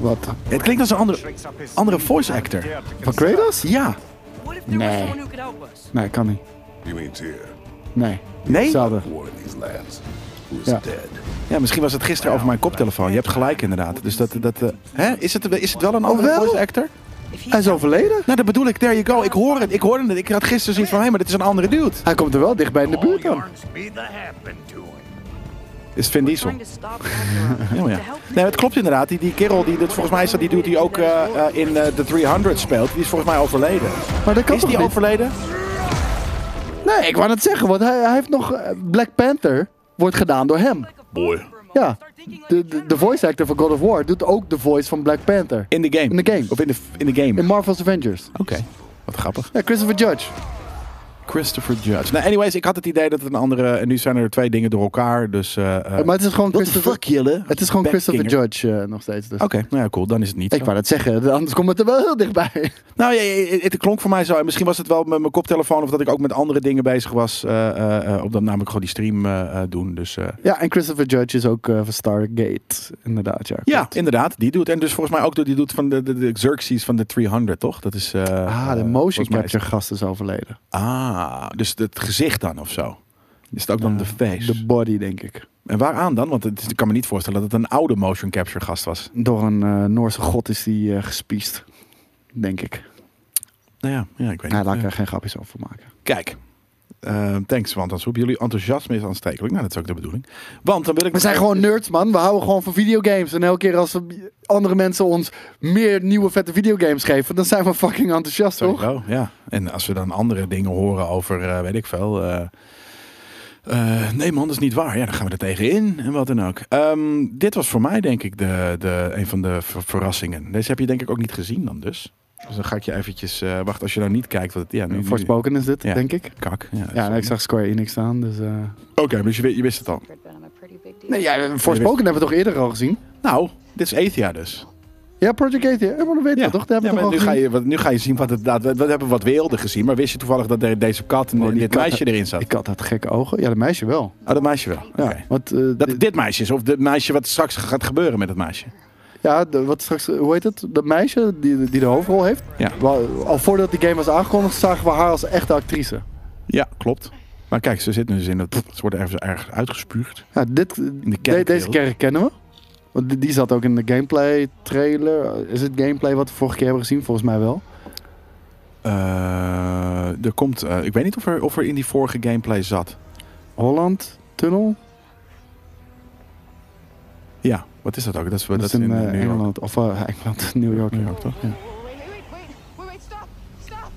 Wat?
Het klinkt als een andere,
Tricks up his
andere
sleeve
voice
and
actor.
dare to
Van
consider
Kratos?
Ja.
What if there was
Nee.
someone who could help us?
Nee, kan niet.
You ain't here.
Nee.
Nee?
Hetzelfde.
War in these lands. Who's
Ja.
dead?
Ja, misschien was het gisteren over mijn koptelefoon. Je hebt gelijk inderdaad. Dus dat... dat eh, hè? Is, het, is het wel een andere
Oh, wel?
voice actor?
If
Hij is overleden.
Nou, dat bedoel ik. There you go. Ik hoor het. Ik hoorde het. Ik had gisteren zoiets van, hé, maar dit is een andere dude.
Hij komt er wel dichtbij in de buurt dan.
Is Vin Diesel.
trying to stop Ragnarok,
Ja, maar
to
ja.
help
Nee, maar het klopt inderdaad. Die, die kerel, die, dat, volgens mij is dat die dude die ook eh, eh, in eh, de 300 speelt. Die is volgens mij overleden.
Maar dat kan
Is
toch
die
niet?
overleden?
Nee, ik wou net zeggen, want hij, hij heeft nog... eh, Black Panther wordt gedaan door hem.
Boy.
Ja. De, de, de voice actor van God of War doet ook de voice van Black Panther.
In de game.
In de game.
Of in de, in de game.
In
Oké.
Marvel's Avengers.
Wat grappig.
Ja, Christopher Judge.
Christopher Judge. Nou, anyways, ik had het idee dat het een andere... En nu zijn er twee dingen door elkaar, dus... eh, eh,
Maar het is gewoon
what the
Christopher...
fuck, jullie?
Het is gewoon Christopher
Backkinger.
Judge eh, nog steeds. Dus.
Oké, nou ja, cool. Dan is het niet
Ik
zo.
wou dat zeggen, anders komt het er wel heel dichtbij.
Nou, ja, ja, ja, het klonk voor mij zo. En Misschien was het wel met mijn koptelefoon of dat ik ook met andere dingen bezig was. eh, eh, eh, op dat namelijk gewoon die stream eh, eh, doen. Dus eh,
Ja, en Christopher Judge is ook eh, van Stargate, inderdaad. Ja,
ja,
klopt.
inderdaad, die doet. En dus volgens mij ook door die doet van de, de, de Xerxes van de 300, toch? Dat is. eh,
Ah, de
eh,
motion
volgens mij is-
capture gast is overleden.
Ah, dus het gezicht dan of zo. Is het ook dan de face?
De body, denk ik.
En waaraan dan? Want het, is- ik kan me niet voorstellen dat het een oude motion capture gast was.
Door een eh, Noorse god is die eh, gespiest, denk ik.
Nou ja, ja ik weet
Nou,
niet.
daar kan
Ja.
ik geen grapjes over maken.
Kijk. Eh, thanks, want dan hoop jullie enthousiasme is aanstekelijk. Nou, dat is ook de bedoeling. Want dan wil ik.
We zijn gewoon nerds, man. We houden gewoon van videogames. En elke keer als we- andere mensen ons meer nieuwe vette videogames geven, dan zijn we fucking enthousiast, toch?
Sowieso, ja. En als we dan andere dingen horen over, eh, weet ik veel. eh, eh, nee man, dat is niet waar. Ja, dan gaan we er tegenin en wat dan ook. Ehm, dit was voor mij denk ik de, de, een van de ver- verrassingen. Deze heb je denk ik ook niet gezien dan dus. Dus dan ga ik je eventjes... eh, wacht, als je nou niet kijkt... Wat, het- ja, nu, nu-
Forspoken is dit,
Ja.
denk ik.
Kak. Ja,
Ja, en ik zag Square Enix staan, dus... eh
Oké, dus je, wi- je wist het al.
but I'm a pretty big deal.
Nee, ja, Forspoken hebben we toch eerder al gezien?
Nou, dit is Athia dus.
Ja, Project 8, ja. Ja, maar dat weten we toch? Daar
Ja,
hebben we
maar nu,
toch
ga
al gezien.
je, wat- nu ga je zien wat het daad- We we hebben wat weelden gezien, maar wist je toevallig dat er deze kat en
Oh, die
dit
kat-
meisje erin zat?
Die kat had gekke ogen. Ja, dat meisje wel.
Oh, dat meisje wel.
Ja,
Oké.
want, eh,
Dat
dit-
dit meisje is, of dit meisje wat straks gaat gebeuren met het meisje.
ja de- wat straks, hoe heet het? Dat meisje die, die de hoofdrol heeft.
Ja.
Wel, Al voordat die game was aangekondigd, zagen we haar als echte actrice.
Ja, klopt. Maar kijk, ze zit nu dus in het. Ze wordt ergens, ergens uitgespuugd.
Ja, dit,
de
de-
kerk
deze
heel.
kerk kennen we. Want die- die zat ook in de gameplay trailer. Is het gameplay wat we vorige keer hebben gezien? Volgens mij wel.
Eh, er komt. eh, ik weet niet of er, of er in die vorige gameplay zat.
Holland
Oh,
Tunnel.
Ja, wat is dat ook? Dat is,
Dat, is in,
eh,
eh,
New York.
Engeland. Of eh, Engeland, New York.
New York, toch? Ja.
Wait, wait, wait, wait, wait, stop, stop.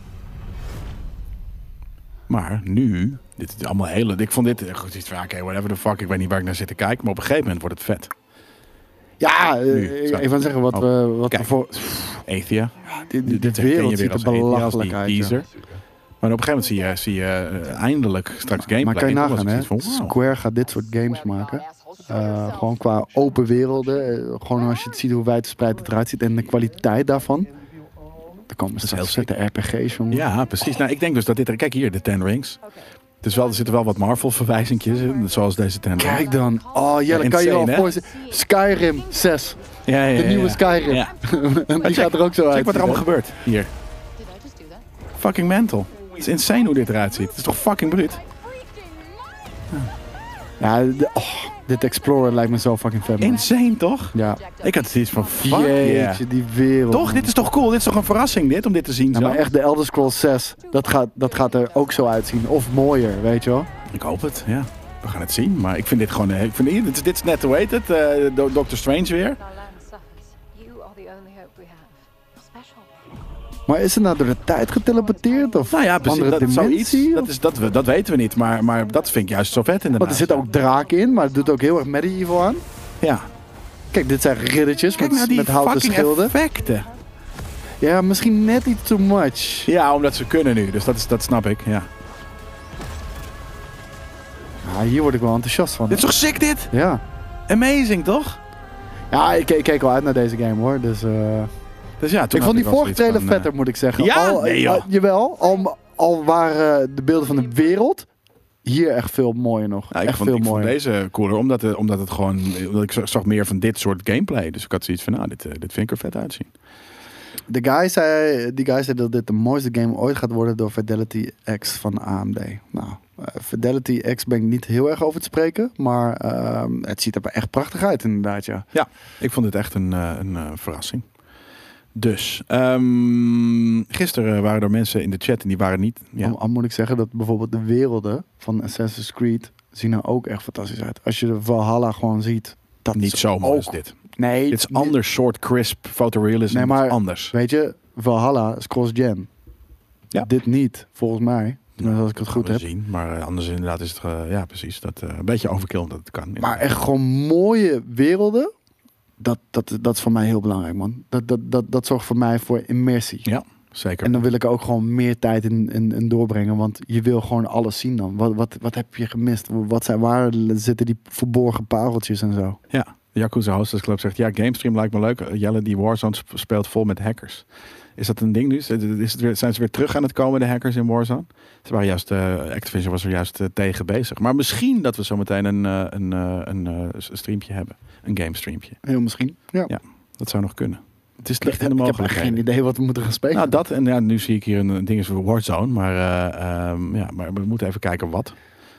Maar nu, dit is allemaal hele. Ik vond dit. eh, Goed, dit is vaak, hey, whatever the fuck. Ik weet niet waar ik naar zit te kijken. Maar op een gegeven moment wordt het vet.
Ja, eh,
Nu,
ik,
zo.
ik wil zeggen wat
Oh,
we, wat we
kijk.
voor...
Athea.
Dit,
Dit, dit herken je
wereld
weer
ziet er
als Athea, als
belachelijk
die
uit. ja.
teaser. Maar op een gegeven moment zie je, zie je eh, eindelijk straks gameplay.
Maar kan je
En toen was
nagaan,
ik
hè?
zoiets van, wauw.
Square gaat dit soort games maken. Eh, gewoon qua open werelden. eh, gewoon als je het ziet hoe wijdverspreid het eruit ziet en de kwaliteit daarvan. Er komen straks
heel
vette RPG's, jongen.
Ja, precies. Nou, ik denk dus dat dit er... Kijk hier, de Ten Rings. Dus wel, er zitten wel wat Marvel-verwijzingjes in, zoals deze Ten Rings.
Kijk dan. Oh, Jelle, kan je je al
insane, hè?
voorstellen. Skyrim 6.
ja, ja,
De
ja,
nieuwe
ja.
Skyrim.
Ja.
Die gaat er ook zo uit.
Kijk wat er allemaal gebeurt. Hier.
Did I just do that?
Fucking mental. Het is insane hoe dit eruit ziet. Het is toch fucking bruut?
Ja, de- oh, dit Explorer lijkt me zo fucking vet. man.
Insane, toch?
Ja.
Ik had zoiets van, fuck yeah.
Jeetje, die wereld.
Toch? Dit is toch cool? Dit is toch een verrassing, dit? Om dit te zien
Ja,
zo?
maar echt, de Elder Scrolls 6, dat gaat, dat gaat er ook zo uitzien. Of mooier, weet je wel.
Ik hoop het, ja. We gaan het zien. Maar ik vind dit gewoon... eh, Ik vind, hier, dit, is- dit is net, hoe heet het? eh, Do- Doctor Strange weer.
Our land suffers. You are the only hope we have. You're special.
Maar is het nou door de tijd geteleporteerd? Of
Nou ja, precies.
andere
Dat, zoiets,
dimensie?
dat,
Of-
is, dat, we- dat weten we niet. Maar, maar dat vind ik juist zo vet inderdaad.
Want er zit ook draak in, maar het doet ook heel erg medieval aan.
Ja.
Kijk, dit zijn riddertjes
Kijk
met,
naar die
met houten
fucking
schilden.
effecten.
Ja, misschien net iets too much.
Ja, omdat ze kunnen nu. Dus dat, is, dat snap ik, ja.
Ja, Ah, hier word ik wel enthousiast van.
Dit is toch sick dit?
Ja,
Amazing, toch?
ja ik, ik keek wel uit naar deze game hoor. Dus, eh,
Dus ja, toen
ik
had
vond die vorige
wel zoiets
trailer
van, eh,
vetter, moet ik zeggen.
Ja?
al,
Nee, joh.
al- jawel, al, al waren eh, de beelden van de wereld hier echt veel mooier nog.
nou, ik,
echt
vond,
veel
ik vond
mooier.
deze cooler, omdat, eh, omdat het gewoon... Omdat ik zag, zag meer van dit soort gameplay. Dus ik had zoiets van, nou, dit, eh, dit vind ik er vet uitzien.
De guy zei, die guy zei dat dit de mooiste game ooit gaat worden door Fidelity X van AMD. Nou, eh, Fidelity X ben ik niet heel erg over te spreken, maar ehm, het ziet er echt prachtig uit inderdaad, ja.
Ja, ik vond het echt een, eh, een eh, verrassing. Dus, ehm, gisteren waren er mensen in de chat en die waren niet... Ja,
Al, al moet ik zeggen dat bijvoorbeeld de werelden van Assassin's Creed zien er ook echt fantastisch uit. Als je de Valhalla gewoon ziet, dat
niet
is
zo mooi
ook-
als dit.
Nee,
Dit is
niet-
ander soort crisp fotorealisme.
Nee,
Het is
maar-
anders.
Weet je, Valhalla is cross-gen.
Ja.
Dit niet, volgens mij. Tenminste, Als ik het
Dat
goed
gaan
heb.
we zien. Maar eh, anders inderdaad is het, eh, ja precies, dat, eh, een beetje overkill dat het kan.
Maar
inderdaad.
echt gewoon mooie werelden. Dat, dat, dat is voor mij heel belangrijk, man. Dat, dat, dat, dat zorgt voor mij voor immersie.
Ja, zeker.
En dan wil ik er ook gewoon meer tijd in, in, in doorbrengen. Want je wil gewoon alles zien dan. Wat, wat, wat heb je gemist? Wat zijn, waar zitten die verborgen pareltjes en zo?
Ja, de Yakuza Hostess Club zegt, ja, GameStream lijkt me leuk. Eh, Jelle, die Warzone sp- speelt vol met hackers. Is dat een ding nu? Is is het weer, zijn ze weer terug aan het komen, de hackers in Warzone? Ze waren juist, eh, Activision was er juist eh, tegen bezig. Maar misschien dat we zometeen een, eh, een, eh, een eh, s- streampje hebben. Een gamestreampje.
Heel misschien. Ja.
Ja, dat zou nog kunnen. Het is
Ik,
licht in de
heb echt
mogelijkheden.
geen idee wat we moeten gaan spelen.
Nou, dat en ja, nu zie ik hier een, een ding is voor Warzone. Maar, eh, ehm, ja, maar we moeten even kijken wat.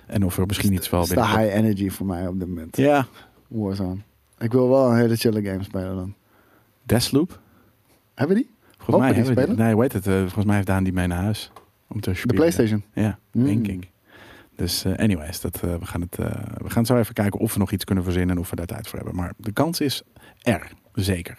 En of er misschien iets wel
is de
binnenkort-
high energy voor mij op dit moment.
Ja,
Warzone. Ik wil wel een hele chille game spelen dan.
Deathloop.
Hebben we die? Mogen we
Volgens mij
Oh, die
hebben we die-
spelen?
Nee, hoe heet het? eh, volgens mij heeft Daan die mee naar huis. Om te
De
spelen.
PlayStation.
Ja,
Mm.
denk ik. Dus eh, anyways, dat, eh, we, gaan het, eh, we gaan zo even kijken of we nog iets kunnen verzinnen en of we daar tijd voor hebben. Maar de kans is er, zeker.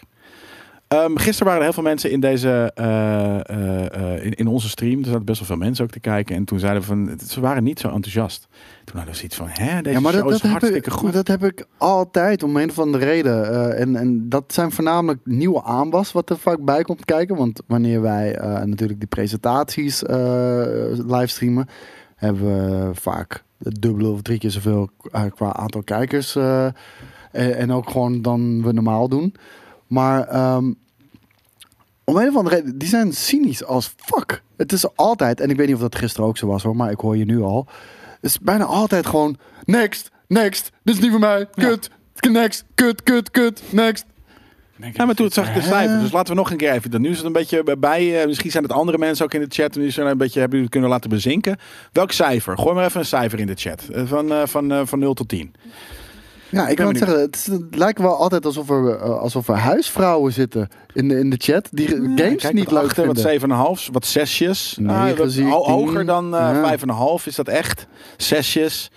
Ehm, gisteren waren er heel veel mensen in, deze, eh, eh, eh, in, in onze stream. Er zaten best wel veel mensen ook te kijken. En toen zeiden we van, ze waren niet zo enthousiast. Toen hadden we zoiets van, hè, deze show is
heb
hartstikke
ik,
goed.
maar dat heb ik altijd om een of andere reden. Eh, en, en dat zijn voornamelijk nieuwe aanwas wat er vaak bij komt kijken. Want wanneer wij eh, natuurlijk die presentaties eh livestreamen, hebben we vaak het dubbele of drie keer zoveel eh, qua aantal kijkers. eh, en, en ook gewoon dan we normaal doen. Maar ehm, Om een of andere reden, die zijn cynisch als fuck. Het is altijd, en ik weet niet of dat gisteren ook zo was hoor, maar ik hoor je nu al. Het is bijna altijd gewoon next, next, dit is niet voor mij, kut, next, kut, kut, kut, next.
Ja, maar toen zag ik de cijfers. Dus laten we nog een keer even. Dan nu is het een beetje bij. eh, misschien zijn het andere mensen ook in de chat. Nu zijn er een beetje hebben jullie het kunnen laten bezinken. Welk cijfer? Gooi maar even een cijfer in de chat. Eh, Van, eh, van, eh, van 0 tot 10.
Ja, ik
ben
wil
benieuwd.
het zeggen, het, is- het lijkt wel altijd alsof er, eh, alsof er huisvrouwen zitten in de, in de chat die re- games
Eh, Kijk,
niet
wat
leuk
achter,
vinden.
wat 7,5, wat zesjes. Nou,
Negen
wat
zie ik,
ho- hoger
tien.
dan eh,
Ja.
5,5 is dat echt. Zesjes,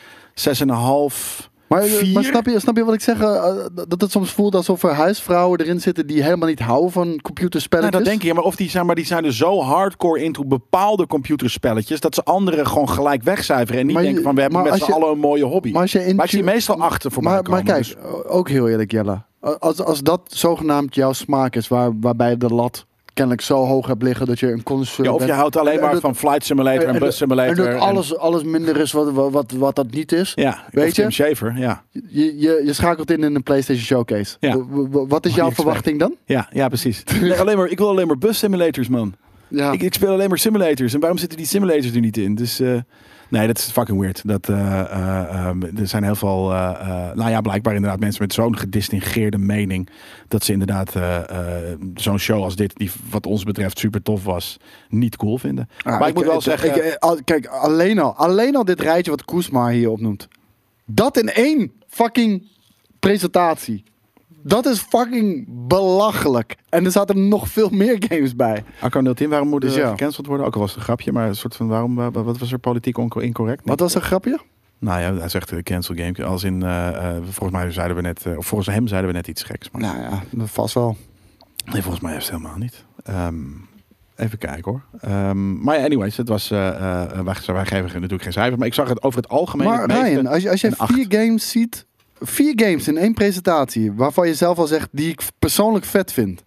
6,5.
Maar,
vier.
maar snap, je, snap je wat ik zeg? eh, dat het soms voelt alsof er huisvrouwen erin zitten die helemaal niet houden van
Nou,
computerspelletjes.
dat denk ik. Ja, maar, of die zijn, maar die zijn er zo hardcore into bepaalde computerspelletjes... dat ze anderen gewoon gelijk wegcijferen. En niet
Maar je-
denken van, we hebben
maar
met z'n
als je-
allen een mooie hobby.
Maar als je in-
Maar ik zie meestal achter voor mij
maar, maar
komen,
kijk,
dus-
ook heel eerlijk Jelle. Als, als dat zogenaamd jouw smaak is, waar, waarbij de lat kennelijk zo hoog hebt liggen dat je een console...
Ja, of je
bent-
houdt alleen
en
maar
dat-
van Flight Simulator en
en
Bus
dat-
Simulator.
En dat alles, alles minder is wat, wat, wat, wat dat niet is.
Ja,
Weet
weet
je?
Tim Shaver, ja.
Je, je, je schakelt in in een PlayStation Showcase.
Ja.
W- w- Wat is jouw
expert.
verwachting dan?
Ja, ja precies. Nee, alleen maar, ik wil alleen maar bus simulators, man.
Ja.
Ik, ik speel alleen maar simulators. En waarom zitten die simulators er niet in? Dus eh, nee, dat is fucking weird. Dat, eh, eh, ehm, er zijn heel veel, eh, eh, nou ja, blijkbaar inderdaad mensen met zo'n gedistingeerde mening. Dat ze inderdaad eh, eh, zo'n show als dit, die wat ons betreft super tof was, niet cool vinden.
Ja,
maar ik, moet wel
Ah, ik-
zeggen...
ik- al- kijk, alleen al, alleen al dit rijtje wat Koesma hier opnoemt. Dat in één fucking presentatie. Dat is fucking belachelijk. En er zaten nog veel meer games bij.
Akko 010, waarom moet
Dus
dus
ja.
gecanceld worden? Ook al was het een grapje, maar een soort van waarom, wa- wat was er politiek onco- incorrect?
Wat was een grapje?
Nou ja, hij zegt eh, cancel game. Als in, eh, eh, volgens mij zeiden we net, eh, of volgens hem zeiden we net iets geks. Maar
Nou ja, dat vast wel.
nee, volgens mij heeft het helemaal niet. Ehm, even kijken hoor. Ehm, maar ja, anyways, het was, eh, eh, wij, wij geven natuurlijk geen cijfers, maar ik zag het over het algemeen.
Maar
het meeste-
Ryan, als je, als je
een acht.
vier games ziet... Vier games in één presentatie... waarvan je zelf al zegt die ik persoonlijk vet vind.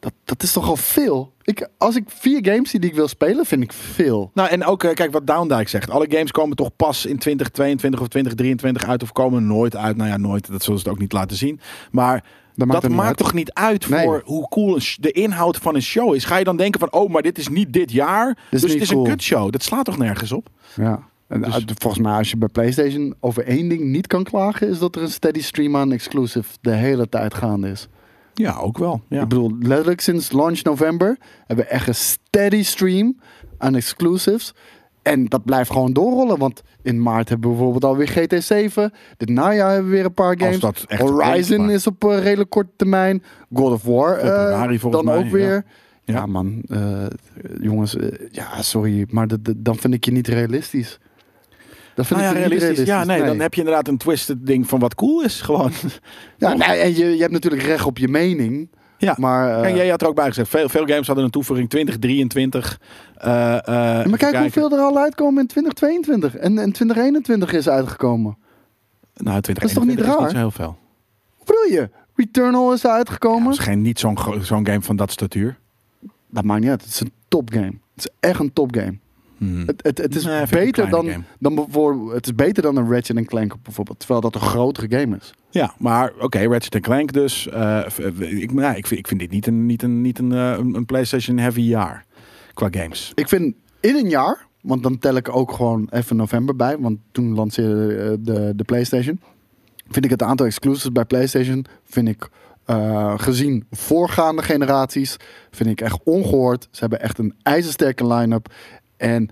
Dat, dat is toch al veel? Ik, als ik vier games zie die ik wil spelen, vind ik veel.
Nou, en ook, eh, kijk wat Downdijk zegt. Alle games komen toch pas in 2022 of 2023 uit of komen nooit uit. Nou ja, nooit. Dat zullen ze het ook niet laten zien. Maar dat
maakt
maakt,
het niet uit.
toch niet uit
Nee.
voor hoe cool een sh- de inhoud van een show is. Ga je dan denken van, oh, maar dit is niet dit jaar.
is
Dus het
niet
is
cool.
een kutshow. Dat slaat toch nergens op?
Ja. En uit- volgens mij, als je bij PlayStation over één ding niet kan klagen, is dat er een steady stream aan exclusive de hele tijd gaande is.
Ja, ook wel. Ja.
Ik bedoel, letterlijk sinds launch november hebben we echt een steady stream aan exclusives. En dat blijft gewoon doorrollen, want in maart hebben we bijvoorbeeld alweer GT 7. Dit najaar hebben we weer een paar games.
dat echt komt,
Horizon
maar-
is op eh, redelijk korte termijn. God of War eh,
Februari volgens
dan
mij,
ook
ja.
weer. Ja,
Ja.
man, eh, jongens, eh, ja, sorry, maar dat- dat- dan vind ik je niet realistisch. Dat vind
Nou ja,
ik je niet
realistisch. Ja, nee, dan heb je inderdaad een twisted ding van wat cool is gewoon.
ja, nee, en je, je hebt natuurlijk recht op je mening.
ja.
Maar, eh,
Kijk, jij had er ook bij gezegd. Veel, veel games hadden een toevoeging 2023. eh, eh, even
maar kijk
kijken.
hoeveel er al uitkomen in 2022 en, en 2021 is uitgekomen.
Nou, 2021 is
toch niet raar?
niet zo heel veel.
Wat bedoel je? Returnal is
Ja,
uitgekomen.
dat is geen, niet zo'n gro- zo'n game van dat statuur.
dat maakt niet uit, het is een topgame. Het is echt een topgame.
Hmm.
Het, het, het is
Nee, vind ik een
beter
kleine
dan,
game.
dan bijvoorbeeld, het is beter dan een Ratchet Clank bijvoorbeeld, terwijl dat een grotere game is.
Ja, maar oké, Ratchet Clank dus. eh, v- eh, ik, nou, ik, vind, ik vind dit niet een, niet een, niet een, eh, een een PlayStation heavy jaar qua games.
Ik vind in een jaar, want dan tel ik ook gewoon even november bij, want toen lanceerde eh, de, de PlayStation. Vind ik het aantal exclusives bij PlayStation, vind ik eh, gezien voorgaande generaties, vind ik echt ongehoord. Ze hebben echt een ijzersterke line-up. En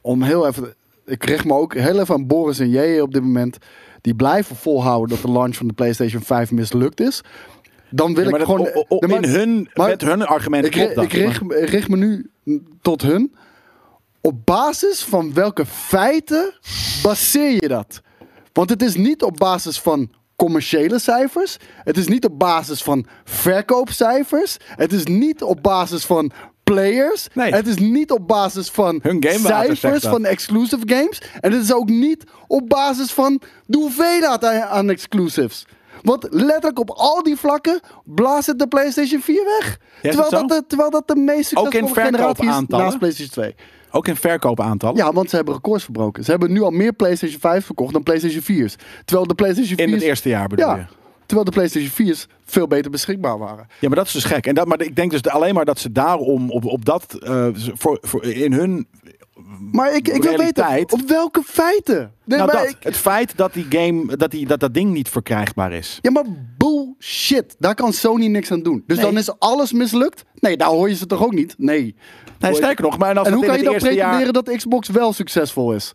om heel even, ik richt me ook heel even aan Boris en JJ op dit moment. Die blijven volhouden dat de launch van de PlayStation 5 mislukt is. Dan wil
Ja, maar
ik
dat-
gewoon.
o- o- o-
Nee, maar-
in hun,
maar-
met hun argument
ik,
klopt
ri-
dat.
ik richt, me- richt me nu tot hun. Op basis van welke feiten baseer je dat? Want het is niet op basis van commerciële cijfers. Het is niet op basis van verkoopcijfers. Het is niet op basis van players.
Nee.
Het is niet op basis van
Hun gamewater zegt
cijfers
dat.
van exclusive games. En het is ook niet op basis van de hoeveelheid aan, aan exclusives. Want letterlijk op al die vlakken blaast het de PlayStation 4 weg.
Ja, is
terwijl,
dat zo?
dat de, terwijl dat de meest
Ook in
succesvolle generatie is
verkoopaantallen?
naast PlayStation 2.
Ook in verkoopaantallen.
Ja, want ze hebben records verbroken. Ze hebben nu al meer PlayStation 5 verkocht dan PlayStation 4's. Terwijl de PlayStation 4's...
In het eerste jaar bedoel
ja.
je?
Terwijl de PlayStation 4's veel beter beschikbaar waren.
Ja, maar dat is dus gek. En dat, maar ik denk dus alleen maar dat ze daarom op, op dat, eh, voor, voor, in hun
Maar ik, ik wil weten,
Realiteit.
op welke feiten? Nee,
nou,
maar
dat,
ik-
het feit dat die game, dat, die, dat dat ding niet verkrijgbaar is.
ja, maar bullshit. Daar kan Sony niks aan doen. Dus
Nee.
dan is alles mislukt? Nee, daar hoor je ze toch ook niet? Nee.
Nee, sterker nog, maar als
en hoe
dat in
kan
het
je dan
eerste
pretenderen
jaar,
dat Xbox wel succesvol is?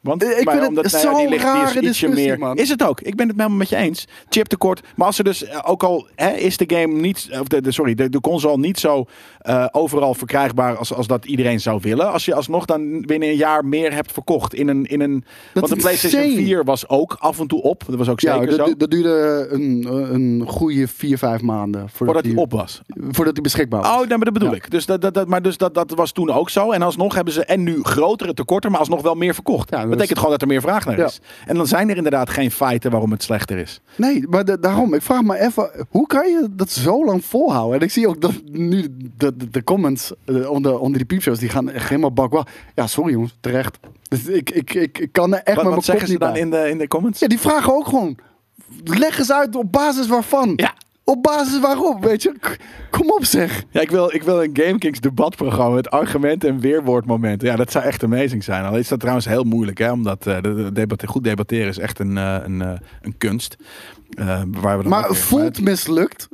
want
Ik vind het
nou ja, die
zo'n
ligt- die is
rare
ietsje
discussie,
meer,
man.
Is het ook? Ik ben het helemaal met je eens. Chiptekort. Maar als er dus eh, ook al hè, is de game niet, of de, de- sorry, de, de console niet zo eh, overal verkrijgbaar als, als dat iedereen zou willen. Als je alsnog dan binnen een jaar meer hebt verkocht in een, in een want de
is
PlayStation
insane.
4 was ook af en toe op. Dat was ook
Ja,
zeker zo.
dat, dat duurde een, een goede 4, 5 maanden voordat,
Voordat die op was.
voordat die beschikbaar was.
Oh, nee, maar dat bedoel
Ja.
ik. Dus, dat, dat, dat, maar dus dat, dat was toen ook zo. En alsnog hebben ze en nu grotere tekorten, maar alsnog wel meer verkocht.
Ja, dat
dat betekent
is-
gewoon dat er meer vraag naar
Ja.
is. En dan zijn er inderdaad geen feiten waarom het slechter is.
Nee, maar da- daarom, ik vraag me even, hoe kan je dat zo lang volhouden? En ik zie ook dat nu de, de, de comments eh, onder, onder die piepshows, die gaan echt helemaal bak. wa- Ja, sorry jongens, terecht. Dus ik, ik, ik, ik kan er echt maar
Wat, wat
mijn kop
zeggen ze
niet
dan
bij.
in de, in de comments?
Ja, die vragen ook gewoon, leg eens uit op basis waarvan.
Ja.
Op basis waarop, weet je. K- Kom op zeg.
Ja, ik wil, ik wil een GameKings debatprogramma met argumenten en weerwoordmomenten. Ja, dat zou echt amazing zijn. Al is dat trouwens heel moeilijk, hè? omdat eh, de- de debatte- goed debatteren is echt een, eh, een, eh, een kunst. Eh, waar we dan ook
Maar
weer-
voelt mislukt,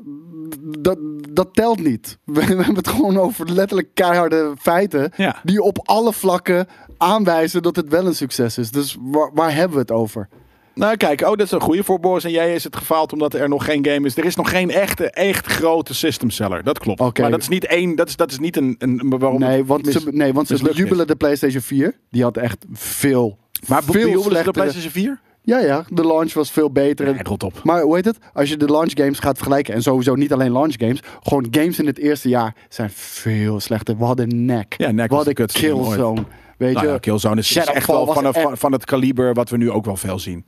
dat, dat telt niet. We, we hebben het gewoon over letterlijk keiharde feiten.
Ja.
Die op alle vlakken aanwijzen dat het wel een succes is. Dus waar, waar hebben we het over?
Nou, kijk, oh, dat is een goede voor Boris. En jij is het gefaald omdat er nog geen game is. Er is nog geen echte, echt grote system seller. Dat klopt.
Oké.
Maar dat is niet één. Dat is, dat is niet een. een waarom
Nee,
het
want
mis-
ze, nee, want ze
mislukt is.
bejubelen de PlayStation 4. Die had echt veel.
Maar
veel
veel de
slechtere-
PlayStation 4?
Ja, ja, de launch was veel beter.
Nee, rot op.
Maar hoe heet het? Als je de launch games gaat vergelijken, en sowieso niet alleen launch games, gewoon games in het eerste jaar zijn veel slechter. We hadden NEC.
Ja, NEC
We
was de
hadden
kutste game ooit.
Killzone. Weet
Nou
je?
ja, Killzone is, is echt
Shadowfall
wel
was
van, een-
echt-
van, van het kaliber wat we nu ook wel veel zien.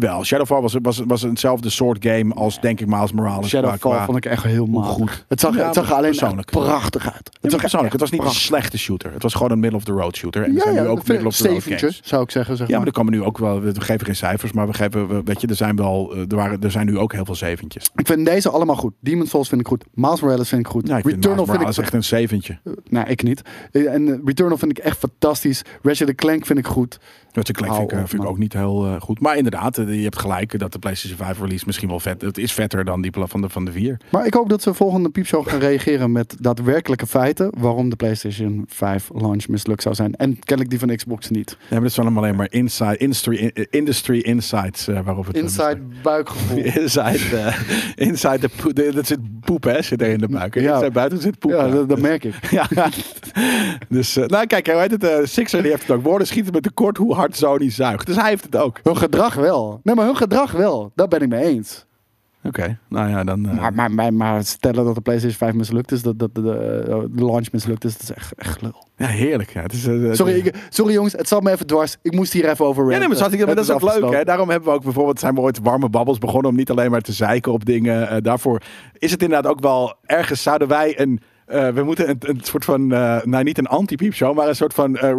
Jawel, Shadowfall was, was, was hetzelfde soort game als, denk ik, Miles Morales.
Shadowfall
qua- qua-
vond ik echt heel matig.
goed.
Het zag,
Ja,
het zag er alleen
persoonlijk.
echt prachtig uit.
Het
Het
was
zag
persoonlijk. Het was niet
prachtig.
een slechte shooter. Het was gewoon een middle-of-the-road shooter. En er
ja,
zijn nu
ja,
ook middle-of-the-road
zeventje,
games.
zou ik zeggen. Zeg
Ja, maar
maar.
er komen nu ook wel. We geven geen cijfers, maar we geven. we- Weet je, er zijn wel. eh, Er, waren, er zijn nu ook heel veel zeventjes.
Ik vind deze allemaal goed. Demon's Souls vind ik goed. Miles Morales vind ik goed.
Ja, ik vind
Returnal
Miles
vind ik
Morales echt een zeventje.
Nee, ik niet. Eh, En eh, Returnal vind ik echt fantastisch. Ratchet Clank vind ik goed.
Dat is vind, ik, eh,
Hou op,
vind ik
man.
ook niet heel eh, goed. Maar inderdaad, eh, je hebt gelijk eh, dat de PlayStation 5 release misschien wel vet. Het is vetter dan die pla- van de, van de 4.
Maar ik hoop dat ze volgende piepshow gaan reageren met daadwerkelijke feiten waarom de PlayStation 5 launch mislukt zou zijn. En kennelijk die van Xbox niet.
Nee, maar dat zijn allemaal alleen maar inside, industry, eh, industry insights eh, waarop het. eh,
Inside buikgevoel.
Inside, eh, inside de poe- de- dat zit poep, hè? Zit er in de buik.
Ja.
Ja. buiten zit poep.
Ja,
ja.
dat, dat merk ik.
Ja, dus eh, nou kijk, hoe heet het? eh, Sixer die heeft het ook. Woorden schieten met tekort hoe hard Sony zuigt. Dus hij heeft het ook.
Hun gedrag wel. Nee, maar hun gedrag wel. Daar ben ik mee eens.
Oké, nou ja, dan. eh,
Maar, maar, maar, maar stellen dat de PlayStation 5 mislukt is, dat, dat de, de- de launch mislukt is, dat is echt, echt lul.
ja, heerlijk. Ja. Het is, eh, het-
Sorry, ik- sorry jongens, het zat me even dwars. Ik moest hier even over
Ja, nee, maar, schat, ik- maar
Het
dat is ook leuk.
afgesloten.
Hè? Daarom hebben we ook bijvoorbeeld, zijn we ooit warme babbels begonnen om niet alleen maar te zeiken op dingen. Eh, daarvoor is het inderdaad ook wel ergens zouden wij een. eh, we moeten een, een soort van, eh, nou niet een anti-piepshow, maar een soort van eh,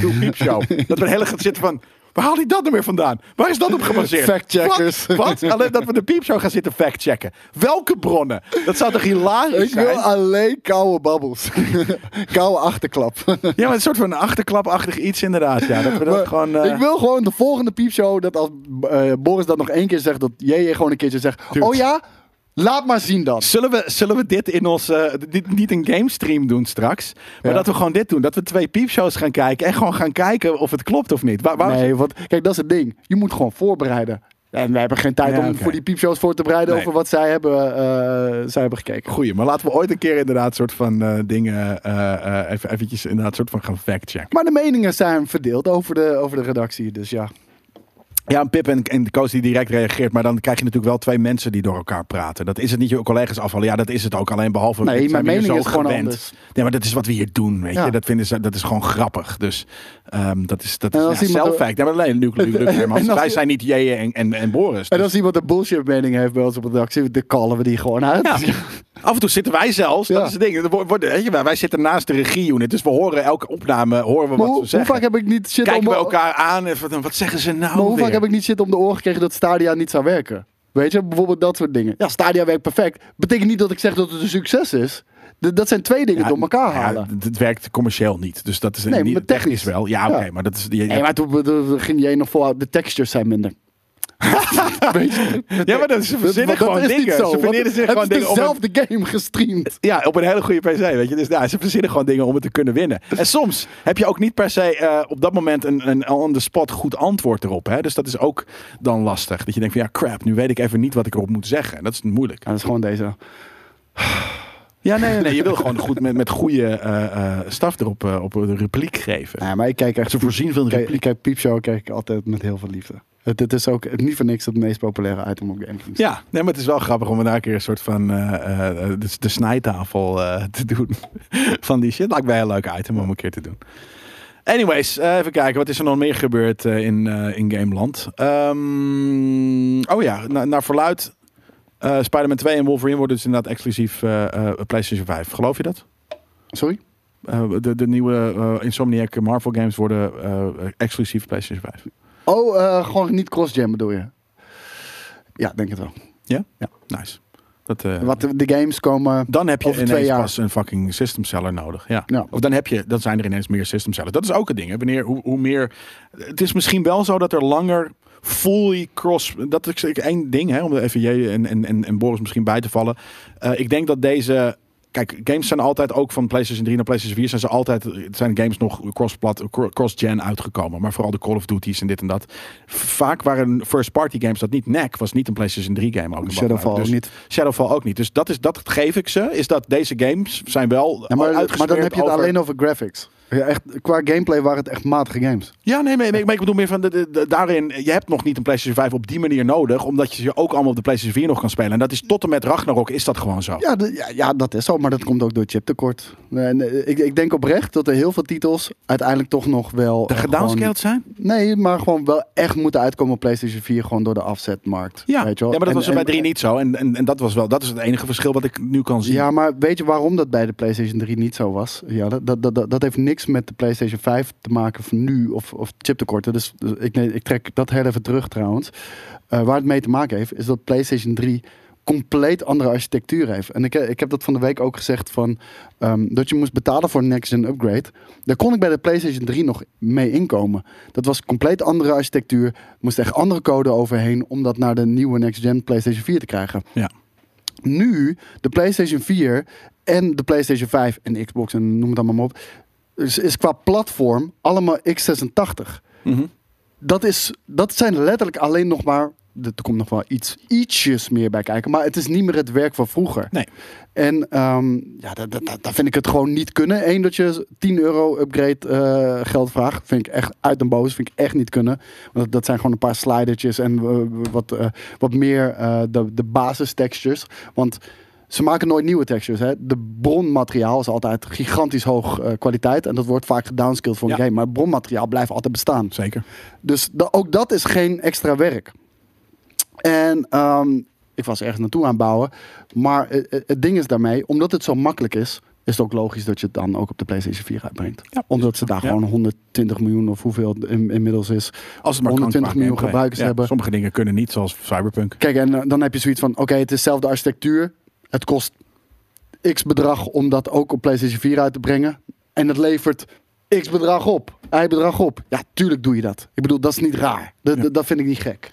to piepshow. dat we een hele gaat zitten van, waar haalt hij dat nou weer vandaan? Waar is dat op gebaseerd?
Factcheckers.
Wat? Wat? Alleen dat we de piepshow gaan zitten factchecken. Welke bronnen? Dat zou toch hilarisch
Ik
zijn?
wil alleen koude babbels. koude achterklap.
Ja, maar een soort van achterklapachtig iets inderdaad. Ja, dat we dat
Maar
gewoon... eh,
Ik wil gewoon de volgende piepshow dat als eh, Boris dat nog één keer zegt, dat JJ gewoon een keertje zegt:
Dude.
Oh ja, laat maar zien dan.
Zullen we, zullen we dit in ons. eh, dit, niet een gamestream doen straks. Maar
Ja.
dat we gewoon dit doen. Dat we twee piepshows gaan kijken. En gewoon gaan kijken of het klopt of niet. Waar, waar-
Nee, want kijk, dat is het ding. Je moet gewoon voorbereiden. En wij hebben geen tijd
Ja,
om
oké.
voor die piepshows voor te bereiden
Nee.
over wat zij hebben, eh, zij hebben gekeken.
Goeie, maar laten we ooit een keer inderdaad soort van eh, dingen. eh, eh, even, eventjes inderdaad soort van gaan factchecken.
Maar de meningen zijn verdeeld over de, over de redactie, dus ja.
Ja, en Pip en, en de coach die direct reageert. Maar dan krijg je natuurlijk wel twee mensen die door elkaar praten. Dat is het niet je collega's afvallen. Ja, dat is het ook. Alleen behalve.
Nee, mijn
zijn we hier
mening
zo
is gewoon
gewend.
anders.
Nee, maar dat is wat we hier doen. Weet
Ja.
je? Dat, vinden ze, dat is gewoon grappig. Dus ehm, dat is. Dat
En
is ja,
als iemand-
self-fact. Ja, maar nee, Luc, Luc, Luc, Hermans.
En als-
Wij zijn niet J en, en, en Boris.
En
Dus-
als iemand een bullshit mening heeft bij ons op de redactie, dan callen we die gewoon uit.
Ja. Af en toe zitten wij zelfs.
Ja.
Dat is het ding. Er wordt- wordt- weet je wel, wij zitten naast de regie-unit. Dus we horen elke opname horen we
Maar
wat
hoe,
ze
hoe
zeggen.
vaak heb ik niet shit
Kijken
om
we
de-
elkaar aan. En wat, wat zeggen ze nou
Maar hoe
weer?
vaak heb ik niet shit om de oren gekregen dat Stadia niet zou werken? Weet je, bijvoorbeeld dat soort dingen. Ja, Stadia werkt perfect. Betekent niet dat ik zeg dat het een succes is. D- dat zijn twee dingen
Ja,
door elkaar
ja,
halen.
d- het werkt commercieel niet. Dus dat is
Nee,
niet,
maar
technisch.
technisch.
wel. Ja,
Ja.
oké, maar dat is. je-
Nee, maar toen toen ging jij nog vooruit. De textures zijn minder. Weet je?
Ja, maar dat is- ze verzinnen
Want dat
gewoon
is niet
dingen.
zo,
Ze
want
verzinnen zich gewoon
hebben
dingen
ze
om het-
dezelfde game gestreamd.
Ja, op een hele goede PC, weet je. Dus nou, ze verzinnen gewoon dingen om het te kunnen winnen. En soms heb je ook niet per se eh, op dat moment een, een on-the-spot goed antwoord erop. Hè? Dus dat is ook dan lastig. Dat je denkt van, ja, crap, nu weet ik even niet wat ik erop moet zeggen. En dat is moeilijk.
Ja, dat is gewoon deze.
Ja, nee, nee, nee. Je wil gewoon goed met, met goede eh, eh, staf erop eh, op een repliek geven.
Ja, maar ik kijk echt
Ze voorzien van een
Kijk,
repliek.
ik heb Piepshow kijk ik altijd met heel veel liefde. Het, het is ook niet voor niks het meest populaire item op GameKings.
Ja, nee, maar het is wel grappig om daar een keer een soort van eh, eh, de, de snijtafel eh, te doen. van die shit. Lijkt mij een leuk item om een keer te doen. Anyways, eh, even kijken. Wat is er nog meer gebeurd eh, in, eh, in Gameland? Ehm, oh ja, na, naar verluid. eh Spider-Man 2 en Wolverine worden dus inderdaad exclusief eh, eh, PlayStation 5. Geloof je dat?
Sorry?
Eh, de, de nieuwe eh, Insomniac Marvel games worden eh, exclusief PlayStation 5.
Oh, eh, gewoon niet cross-gen bedoel je? Ja, denk het wel.
Ja?
Ja.
Nice. Dat, eh,
Wat de de games komen...
Dan heb je
Over
ineens
twee jaar.
pas een fucking system seller nodig. Ja.
Ja.
Of dan, heb je, dan zijn er ineens meer system sellers. Dat is ook een ding. Hè. Wanneer, hoe, hoe meer, het is misschien wel zo dat er langer fully cross... Dat is één ding, hè, om er even jij en, en, en- en Boris misschien bij te vallen. Eh, ik denk dat deze... Kijk, games zijn altijd ook van PlayStation 3 naar PlayStation 4 zijn ze altijd zijn games nog cross-plat, cro- cross-gen uitgekomen, maar vooral de Call of Duty's en dit en dat. Vaak waren first-party games dat niet. NAC was niet een PlayStation 3 game ook.
Shadowfall
Dus-
ook niet.
Shadowfall ook niet. Dus dat, is, dat geef ik ze. Is dat deze games zijn wel
Ja, maar, eh, maar dan heb je het
over-
alleen over graphics. Ja, echt, qua gameplay waren het echt matige games.
Ja, nee, nee, nee, maar ik bedoel meer van de, de- de- daarin. Je hebt nog niet een PlayStation 5 op die manier nodig, omdat je ze ook allemaal op de PlayStation 4 nog kan spelen. En dat is tot en met Ragnarok is dat gewoon zo.
Ja, d- ja, ja, dat is zo, maar dat komt ook door chiptekort. En, eh, ik, ik denk oprecht dat er heel veel titels uiteindelijk toch nog wel...
de
eh,
gedownscaled
gewoon-
zijn?
Nee, maar gewoon wel echt moeten uitkomen op PlayStation 4 gewoon door de afzetmarkt.
Ja.
weet je wel?
ja, maar dat
En-
was er bij
en-
3 niet zo. En, en, en dat was wel, dat is het enige verschil wat ik nu kan zien.
Ja, maar weet je waarom dat bij de PlayStation 3 niet zo was? Ja, dat, dat, dat, dat heeft niks met de PlayStation 5 te maken van nu of, of chiptekorten. Dus, dus ik, nee, ik trek dat heel even terug trouwens. Eh, waar het mee te maken heeft, is dat PlayStation 3 compleet andere architectuur heeft. En ik, eh, ik heb dat van de week ook gezegd van ehm, dat je moest betalen voor een next-gen upgrade. Daar kon ik bij de PlayStation 3 nog mee inkomen. Dat was compleet andere architectuur. Moest echt andere code overheen om dat naar de nieuwe next-gen PlayStation 4 te krijgen
Ja.
nu de PlayStation 4 en de PlayStation 5 en Xbox en noem het allemaal maar op, is, is qua platform allemaal x86. Dat, is, dat zijn letterlijk alleen nog maar. Er komt nog wel iets, ietsjes meer bij kijken. Maar het is niet meer het werk van vroeger.
Nee.
En ehm, ja, dat, dat, dat, dat vind ik het gewoon niet kunnen. Eén, dat je 10 euro upgrade eh, geld vraagt. Vind ik echt uit en boos. Vind ik echt niet kunnen. Want dat, dat zijn gewoon een paar slidertjes en eh, wat, eh, wat meer eh, de, de basis textures. Want ze maken nooit nieuwe textures. Hè? De bronmateriaal is altijd gigantisch hoog eh, kwaliteit. En dat wordt vaak gedownscaled voor een
Ja.
game. Maar het bronmateriaal blijft altijd bestaan.
Zeker.
Dus da- ook dat is geen extra werk. En ehm, ik was ergens naartoe aan het bouwen. Maar eh, eh, het ding is daarmee, omdat het zo makkelijk is, is het ook logisch dat je het dan ook op de PlayStation 4 uitbrengt.
Ja.
omdat ze daar
Ja.
gewoon 120 miljoen of hoeveel het in- inmiddels is.
Als het maar kan
120
qua
miljoen
gameplay.
gebruikers
Ja,
hebben.
Sommige dingen kunnen niet, zoals Cyberpunk.
Kijk, en eh, dan heb je zoiets van: oké, het is dezelfde architectuur. Het kost x bedrag om dat ook op PlayStation 4 uit te brengen. En het levert x bedrag op, y bedrag op. Ja, tuurlijk doe je dat. Ik bedoel, dat is niet raar. Dat, dat- dat vind ik niet gek.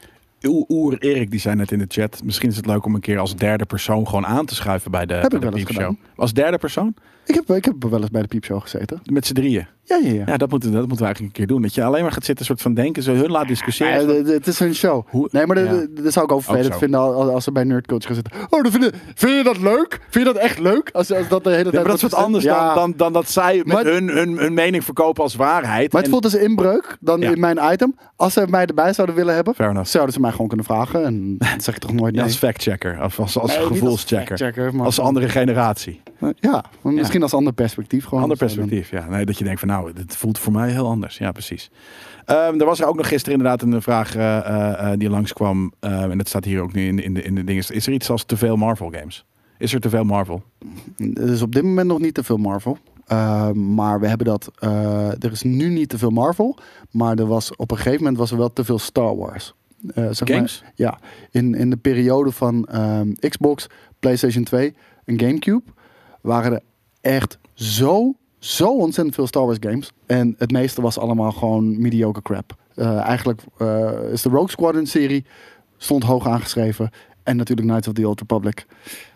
Oer- Oer Erik, die zei net in de chat. Misschien is het leuk om een keer als derde persoon gewoon aan te schuiven bij de,
ik
bij de
wel eens
piepshow.
gedaan.
Als derde persoon?
Ik heb, ik heb wel eens bij de piepshow gezeten.
Met z'n drieën.
Ja, ja, ja.
Ja, dat moeten, dat moeten we eigenlijk een keer doen. Dat je alleen maar gaat zitten, soort van denken, zo hun laat discussiëren.
Ja, d- d- het is een show.
Hoe-
nee, maar dat-
ja.
dat zou ik ook vervelend
zo.
vinden als, als ze bij nerdcoach gaan zitten. Oh, dan vind, je, vind je dat leuk? Vind je dat echt leuk? Als, als dat de hele tijd...
Ja, maar dat is wat
wordt
anders
gezegd. Ja.
dan, dan, dan dat zij met
Maar-
hun, hun, hun mening verkopen als waarheid.
Maar het
En-
voelt als een inbreuk dan
Ja.
in mijn item. Als ze mij erbij zouden willen hebben,
Fair enough.
zouden ze mij gewoon kunnen vragen. En dan zeg ik toch nooit
Ja,
nee.
als factchecker, of als, als
Nee, niet als
gevoelschecker.
factchecker, maar
als
gewoon-
andere generatie.
Ja, maar misschien als ander perspectief. Gewoon
Ander
Zo dan-
perspectief, ja. Nee, dat je denkt van nou, dit voelt voor mij heel anders. Ja, precies. Ehm, er was er ook nog gisteren inderdaad een vraag eh, eh, eh, die langskwam. ehm, en dat staat hier ook nu in, in, de, in de dingen. Is er iets als te veel Marvel games? Is er te veel Marvel?
Er is op dit moment nog niet te veel Marvel. Uh, maar we hebben dat. eh, er is nu niet te veel Marvel. Maar er was, op een gegeven moment was er wel te veel Star Wars. eh, zeg
Games?
Maar, ja, in, in de periode van ehm, Xbox, PlayStation 2 en GameCube waren er echt zo, zo ontzettend veel Star Wars games. En het meeste was allemaal gewoon mediocre crap. Eh, eigenlijk eh, is de Rogue Squadron serie stond hoog aangeschreven. En natuurlijk Knights of the Old Republic.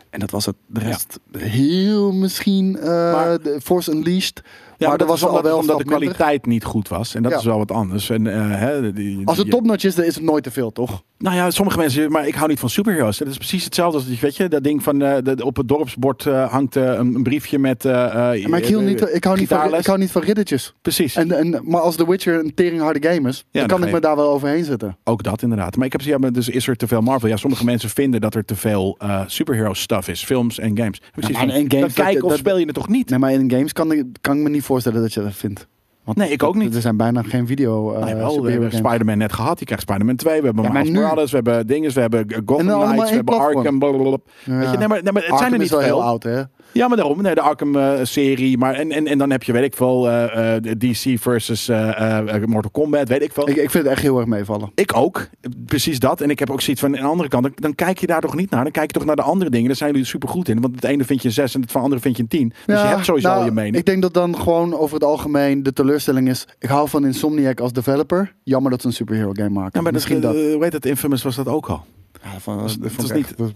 En dat was het. De rest heel misschien eh,
Maar-
de Force Unleashed.
Ja,
maar
maar
dat was al
omdat,
wel
omdat de
wat minder.
kwaliteit niet goed was. En dat
Ja.
is wel wat anders. En, eh, hè, die-
Als het
die-
topnotch is, dan is het nooit te veel, toch?
Nou ja, sommige mensen, maar ik hou niet van superheroes. Dat is precies hetzelfde als die- weet je, dat ding van eh, dat op het dorpsbord eh, hangt eh, een, een briefje met. eh, eh,
Maar ik, hield niet, ik, hou niet van,
gitaarles.
ik hou niet van riddertjes.
Precies.
En, en, maar als The Witcher een teringharde game is,
dan
dan kan
ga
ik
je-
me daar wel overheen zetten.
Ook dat inderdaad. Maar ik heb ze- ja, maar dus is er te veel Marvel? Ja, sommige mensen vinden dat er te veel eh superhero stuff is, films en games. Precies.
maar in games dat-
dan kijk of
dat-
speel je het toch niet?
Nee, maar in games kan ik, kan ik me niet voorstellen dat je dat vindt. Want
Nee, ik ook niet.
Er zijn bijna geen video eh
Nou, jawel, we
superhero
hebben
games.
Spider-Man net gehad. Die krijgt Spider-Man 2. We hebben
Ja, maar
Miles
nu-
Morales. We hebben dinges. We hebben Gotham
En dan allemaal
Knights.
één
We hebben
platform.
Arkham. blablabla. Weet je, nee, maar, nee, maar het zijn
Arkham
er niet
is wel
veel.
heel oud, hè?
Ja, maar daarom. Nee, de Arkham-serie. maar en, en, en dan heb je, weet ik veel, eh, eh, DC versus eh, eh, Mortal Kombat. Weet ik veel.
Ik,
Ik,
ik vind het echt heel erg meevallen.
ook. Precies dat. En ik heb ook zoiets van, aan de andere kant, dan, dan kijk je daar toch niet naar. Dan kijk je toch naar de andere dingen. Daar zijn jullie supergoed in. Want het ene vind je een 6 en het van andere vind je een 10. Dus
Ja,
je hebt sowieso
nou,
al je mening.
Ik denk dat dan gewoon over het algemeen de teleurstelling is... Ik hou van Insomniac als developer. Jammer dat ze een superhero game maken.
ja, maar
Misschien dat.
dat, eh, hoe heet dat? Infamous was dat ook al.
Ja, van, dat
het
vond
is
ik echt-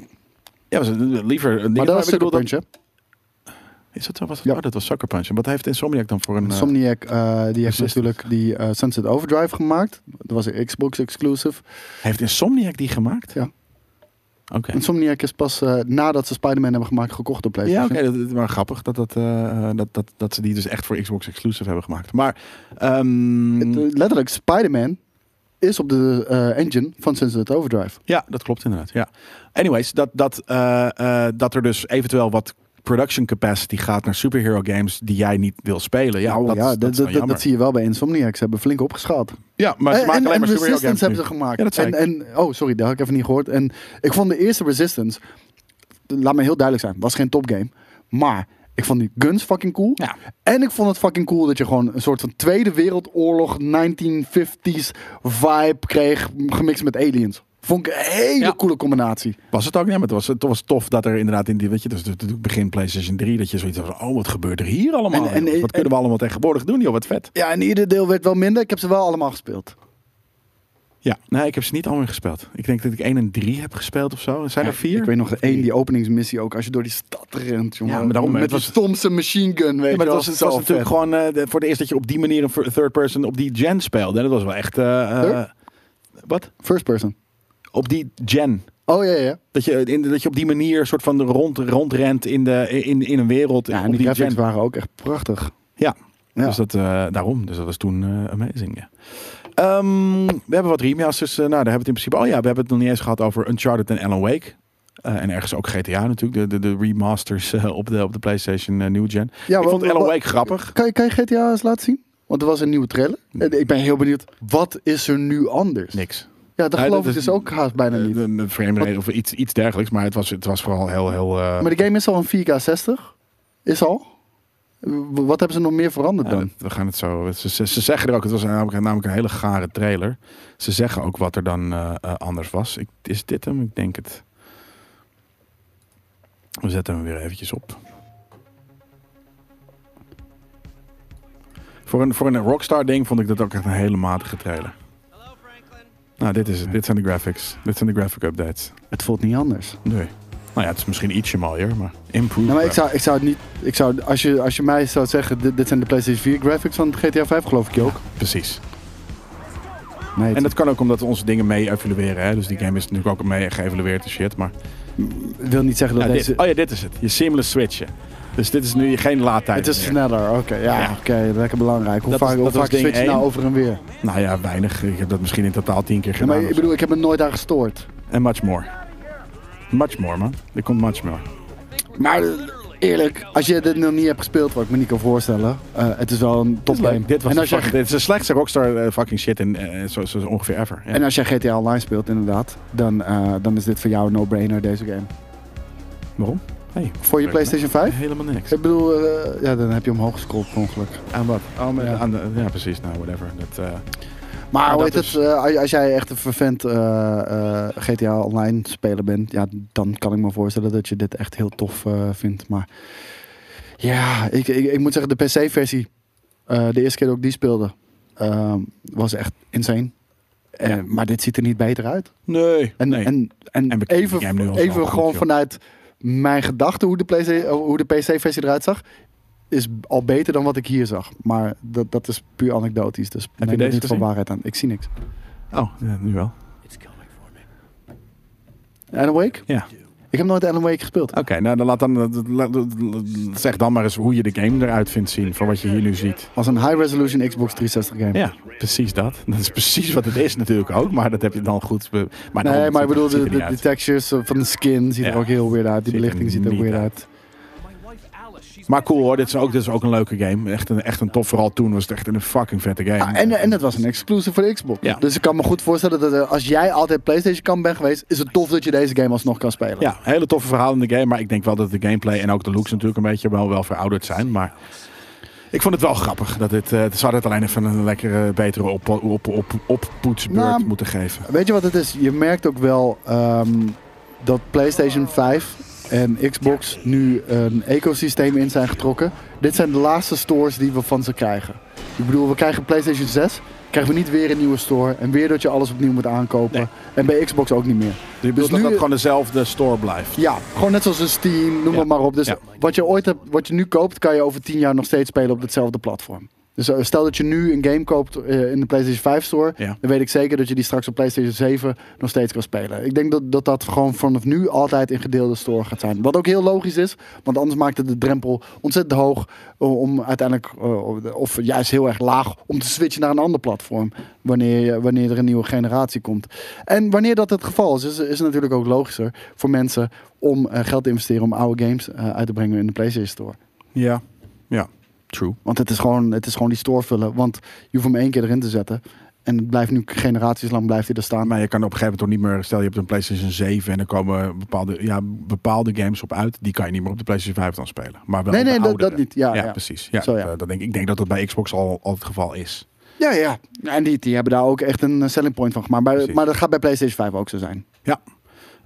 Ja, was, liever een ding.
maar dat was
ik
Sucker
bedoel,
Punch, hè?
Is dat zo? Was dat,
Ja.
oh, dat was Sucker Punch. En wat heeft Insomniac dan voor een... eh,
Insomniac, eh, die heeft
Resistance.
natuurlijk die eh, Sunset Overdrive gemaakt. Dat was een Xbox exclusive.
eh, heeft Insomniac die gemaakt?
Ja.
Oké.
Insomniac is pas eh, nadat ze Spider-Man hebben gemaakt gekocht door
Ja,
PlayStation.
oké. dat- dat- maar grappig dat, dat, eh, dat, dat, dat ze die dus echt voor Xbox Exclusive hebben gemaakt. Maar ehm,
Het, eh, letterlijk, Spider-Man is op de eh, engine van Sunset Overdrive.
ja, dat klopt inderdaad. Ja. Anyways, dat, dat, eh, eh, dat er dus eventueel wat production capacity gaat naar superhero games die jij niet wil spelen. Ja,
Nou,
dat,
ja,
is- dat,
dat,
is dan
dat, dat
jammer.
zie je wel bij Insomniac. Ze hebben flink opgeschaald.
Ja, maar ze
en, Eh,
maken
en,
alleen maar
en
superhero
Resistance
games
hebben ze
nu.
gemaakt.
Ja, dat zei
en, en, oh, sorry, dat had ik even niet gehoord. En ik vond de eerste Resistance, laat me heel duidelijk zijn, was geen topgame. Maar ik vond die guns fucking cool.
Ja.
En ik vond het fucking cool dat je gewoon een soort van Tweede Wereldoorlog 1950s vibe kreeg, gemixt met aliens. Vond ik een hele
Ja.
coole combinatie.
Was het ook? Ja, maar het was, het was tof dat er inderdaad in die, weet je, dus het- het begin PlayStation 3, dat je zoiets had van, oh, wat gebeurt er hier allemaal?
En- en-
joh? wat
en-
kunnen we allemaal tegenwoordig doen, joh, wat vet.
Ja, en ieder deel werd wel minder. Ik heb ze wel allemaal gespeeld.
Ja, nee, ik heb ze niet allemaal gespeeld. Ik denk dat ik 1 en 3 heb gespeeld of zo. Zijn er vier?
Ik weet nog de één, die openingsmissie ook. Als je door die stad rent, jongen.
maar daarom,
met
het
die
was-
Thompson machine gun, weet
Ja,
je
maar
wel.
het was, het was
Zo
natuurlijk
vet.
gewoon eh, de- voor de eerst dat je op die manier een fir- third person op die gen speelde. En dat was wel echt. eh, eh,
Third?
wat?
First person.
Op die gen.
Oh, ja, ja, ja.
Dat je, in, dat je op die manier soort van rond, rondrent in, de, in, in een wereld.
Ja,
op
en die
die gen.
graphics waren ook echt prachtig.
Ja.
Ja.
Dus dat, eh, daarom. Dus dat was toen eh, amazing. Ja. Ehm, we hebben wat remasters. eh, nou, daar hebben we het in principe. Oh ja, we hebben het nog niet eens gehad over Uncharted en Alan Wake. Eh, en ergens ook GTA natuurlijk. De, de, de remasters eh, op, de, op de PlayStation eh, New Gen.
Ja,
ik
wa-
vond
wa-
Alan
wa-
Wake grappig.
Kan je, kan je GTA eens laten zien? Want er was een nieuwe trailer. En ik ben heel benieuwd, wat is er nu anders?
Niks.
Ja, dat
Nee,
geloof
dat
ik
is-
dus ook haast bijna niet.
Een een frame rate of iets, iets dergelijks. Maar het was, het was vooral heel... heel eh,
Maar de game is al een 4K60. Is al. W- Wat hebben ze nog meer veranderd
ja,
dan?
dat- we gaan het zo... Ze, ze, ze zeggen er ook... Het was namelijk, namelijk een hele gare trailer. Ze zeggen ook wat er dan eh, eh, anders was. Ik, is dit hem? Ik denk het. We zetten hem weer eventjes op. Voor een, voor een Rockstar ding vond ik dat ook echt een hele matige trailer.
Hello, Franklin.
Nou, dit is het. Dit zijn de graphics. Dit zijn de graphic updates.
Het voelt niet anders.
Nee. Nou ja, het is misschien ietsje mooier, maar... eh, Improved.
Nou, maar ik
graphics.
zou, ik zou het niet... Ik zou, als, je, als je mij zou zeggen, dit, dit zijn de PlayStation 4 graphics van GTA 5, geloof ik je ook.
Precies.
Nee, het-
En dat kan ook omdat we onze dingen mee evalueren. Hè? Dus die game is natuurlijk ook mee geëvalueerd en shit. Maar
wil niet zeggen dat
Ja, dit,
deze...
oh ja, dit is het. Je seamless switchen. Dus dit is nu geen laadtijd
het is
meer.
sneller, oké. ja,
Ja.
oké, lekker belangrijk. Hoe
Dat
vaak,
is-
hoe
dat
vaak
was ding
switch je nou
één.
over en weer?
Nou ja, weinig. Ik heb dat misschien in totaal tien keer
Ja,
gedaan.
maar
of
ik
zo.
bedoel, ik heb me nooit aan gestoord.
En much more. Much more, man. Er komt much more.
Maar eh, eerlijk, als je dit nog niet hebt gespeeld, wat ik me niet kan voorstellen, eh, het is wel een topgame.
Dit was
en,
de
als
fucking,
jij,
dit is de slechtste Rockstar eh, fucking shit in eh, zo, zo, zo ongeveer ever. Ja.
en als jij GTA Online speelt, inderdaad, dan, eh, dan is dit voor jou een no-brainer, deze game.
Waarom? Hey,
Voor je PlayStation 5?
Helemaal niks.
Ik bedoel, eh, ja, dan heb je omhoog gescrollt per ongeluk. Aan wat?
Oh, maar ja, aan de- ja, precies. Nou, whatever. Dat, eh,
Maar
Ja,
hoe
dat
heet
is-
het, eh, als- als jij echt een vervent eh, eh, GTA Online speler bent, ja, dan kan ik me voorstellen dat je dit echt heel tof eh, vindt. Maar ja, ik, ik, ik moet zeggen, de PC-versie, eh, de eerste keer dat ik die speelde, eh, was echt insane. Eh, maar dit ziet er niet beter uit.
nee.
En,
nee.
en, en,
En we kijken hem nu
even,
alsnog
even
goed,
gewoon
joh.
vanuit mijn gedachten hoe de, PlayStation- hoe de PC-versie eruit zag, is al beter dan wat ik hier zag. Maar dat, dat is puur anekdotisch, dus neem
je
het
deze
niet voor
gezien?
waarheid aan. Ik zie niks.
oh, ja, nu wel.
Alan Wake?
Ja.
Ik heb nooit Alan Wake gespeeld.
Oké, nou dan laat dan. la- la- la- Zeg dan maar eens hoe je de game eruit vindt zien. Van wat je hier nu ziet.
Was een high-resolution Xbox 360 game.
Ja, precies dat. Dat is precies wat het is natuurlijk ook. Maar dat heb je dan goed. be- Maar
Nee, maar ik bedoel, de,
ziet er
de,
niet
de
uit.
textures eh, van de skin zien
Ja.
er ook heel weird uit. Die
Ziet er
belichting ziet er
niet
weird
uit.
uit.
My wife Alice, she's
Maar cool hoor, dit is ook, dit is ook een leuke game. Echt een, echt een tof, vooral toen was het echt een fucking vette game.
Ah, en, en het was een exclusive voor de Xbox.
Ja.
Dus ik kan me goed voorstellen dat eh, als jij altijd PlayStation kan bent geweest, is het tof dat je deze game alsnog kan spelen.
Ja, hele toffe verhaal in de game. Maar ik denk wel dat de gameplay en ook de looks natuurlijk een beetje wel, wel verouderd zijn. Maar ik vond het wel grappig. Dat dit, eh ze hadden het alleen even een lekkere, betere op, op, op, oppoetsbeurt
Nou,
moeten geven.
Weet je wat het is? Je merkt ook wel ehm, dat PlayStation 5 en Xbox nu een ecosysteem in zijn getrokken. Dit zijn de laatste stores die we van ze krijgen. Ik bedoel, we krijgen PlayStation 6, krijgen we niet weer een nieuwe store en weer dat je alles opnieuw moet aankopen.
Nee.
En bij Xbox ook niet meer.
Dus ik bedoel dat
nu-
dat gewoon dezelfde store blijft.
Ja, gewoon net zoals een Steam, noem
Ja.
het maar op. Dus
Ja.
wat je ooit hebt, wat je nu koopt, kan je over tien jaar nog steeds spelen op hetzelfde platform. Dus eh, stel dat je nu een game koopt eh, in de PlayStation 5 Store,
Ja.
dan weet ik zeker dat je die straks op PlayStation 7 nog steeds kan spelen. Ik denk dat dat, dat gewoon vanaf nu altijd in gedeelde store gaat zijn. Wat ook heel logisch is, want anders maakt het de drempel ontzettend hoog eh, om uiteindelijk, eh, of juist heel erg laag, om te switchen naar een ander platform. Wanneer, je- wanneer er een nieuwe generatie komt. En wanneer dat het geval is, is, is het natuurlijk ook logischer voor mensen om eh, geld te investeren om oude games eh, uit te brengen in de PlayStation Store.
Ja. Ja. True.
Want het is gewoon, het is gewoon die store vullen. Want je hoeft hem één keer erin te zetten. En het blijft nu generaties lang blijft hij er staan.
Maar je kan op een gegeven moment toch niet meer... Stel, je hebt een PlayStation 7 en er komen bepaalde, ja, bepaalde games op uit. Die kan je niet meer op de PlayStation 5 dan spelen. Maar wel
Nee,
op de
nee, dat-
oudere.
dat niet. Ja, ja.
precies. Ja,
Zo, ja.
eh, dat denk, ik- ik denk dat dat bij Xbox al, al het geval is.
Ja, ja. En die, die hebben daar ook echt een eh, selling point van gemaakt. Maar,
Precies.
maar dat gaat bij PlayStation 5 ook zo zijn.
Ja.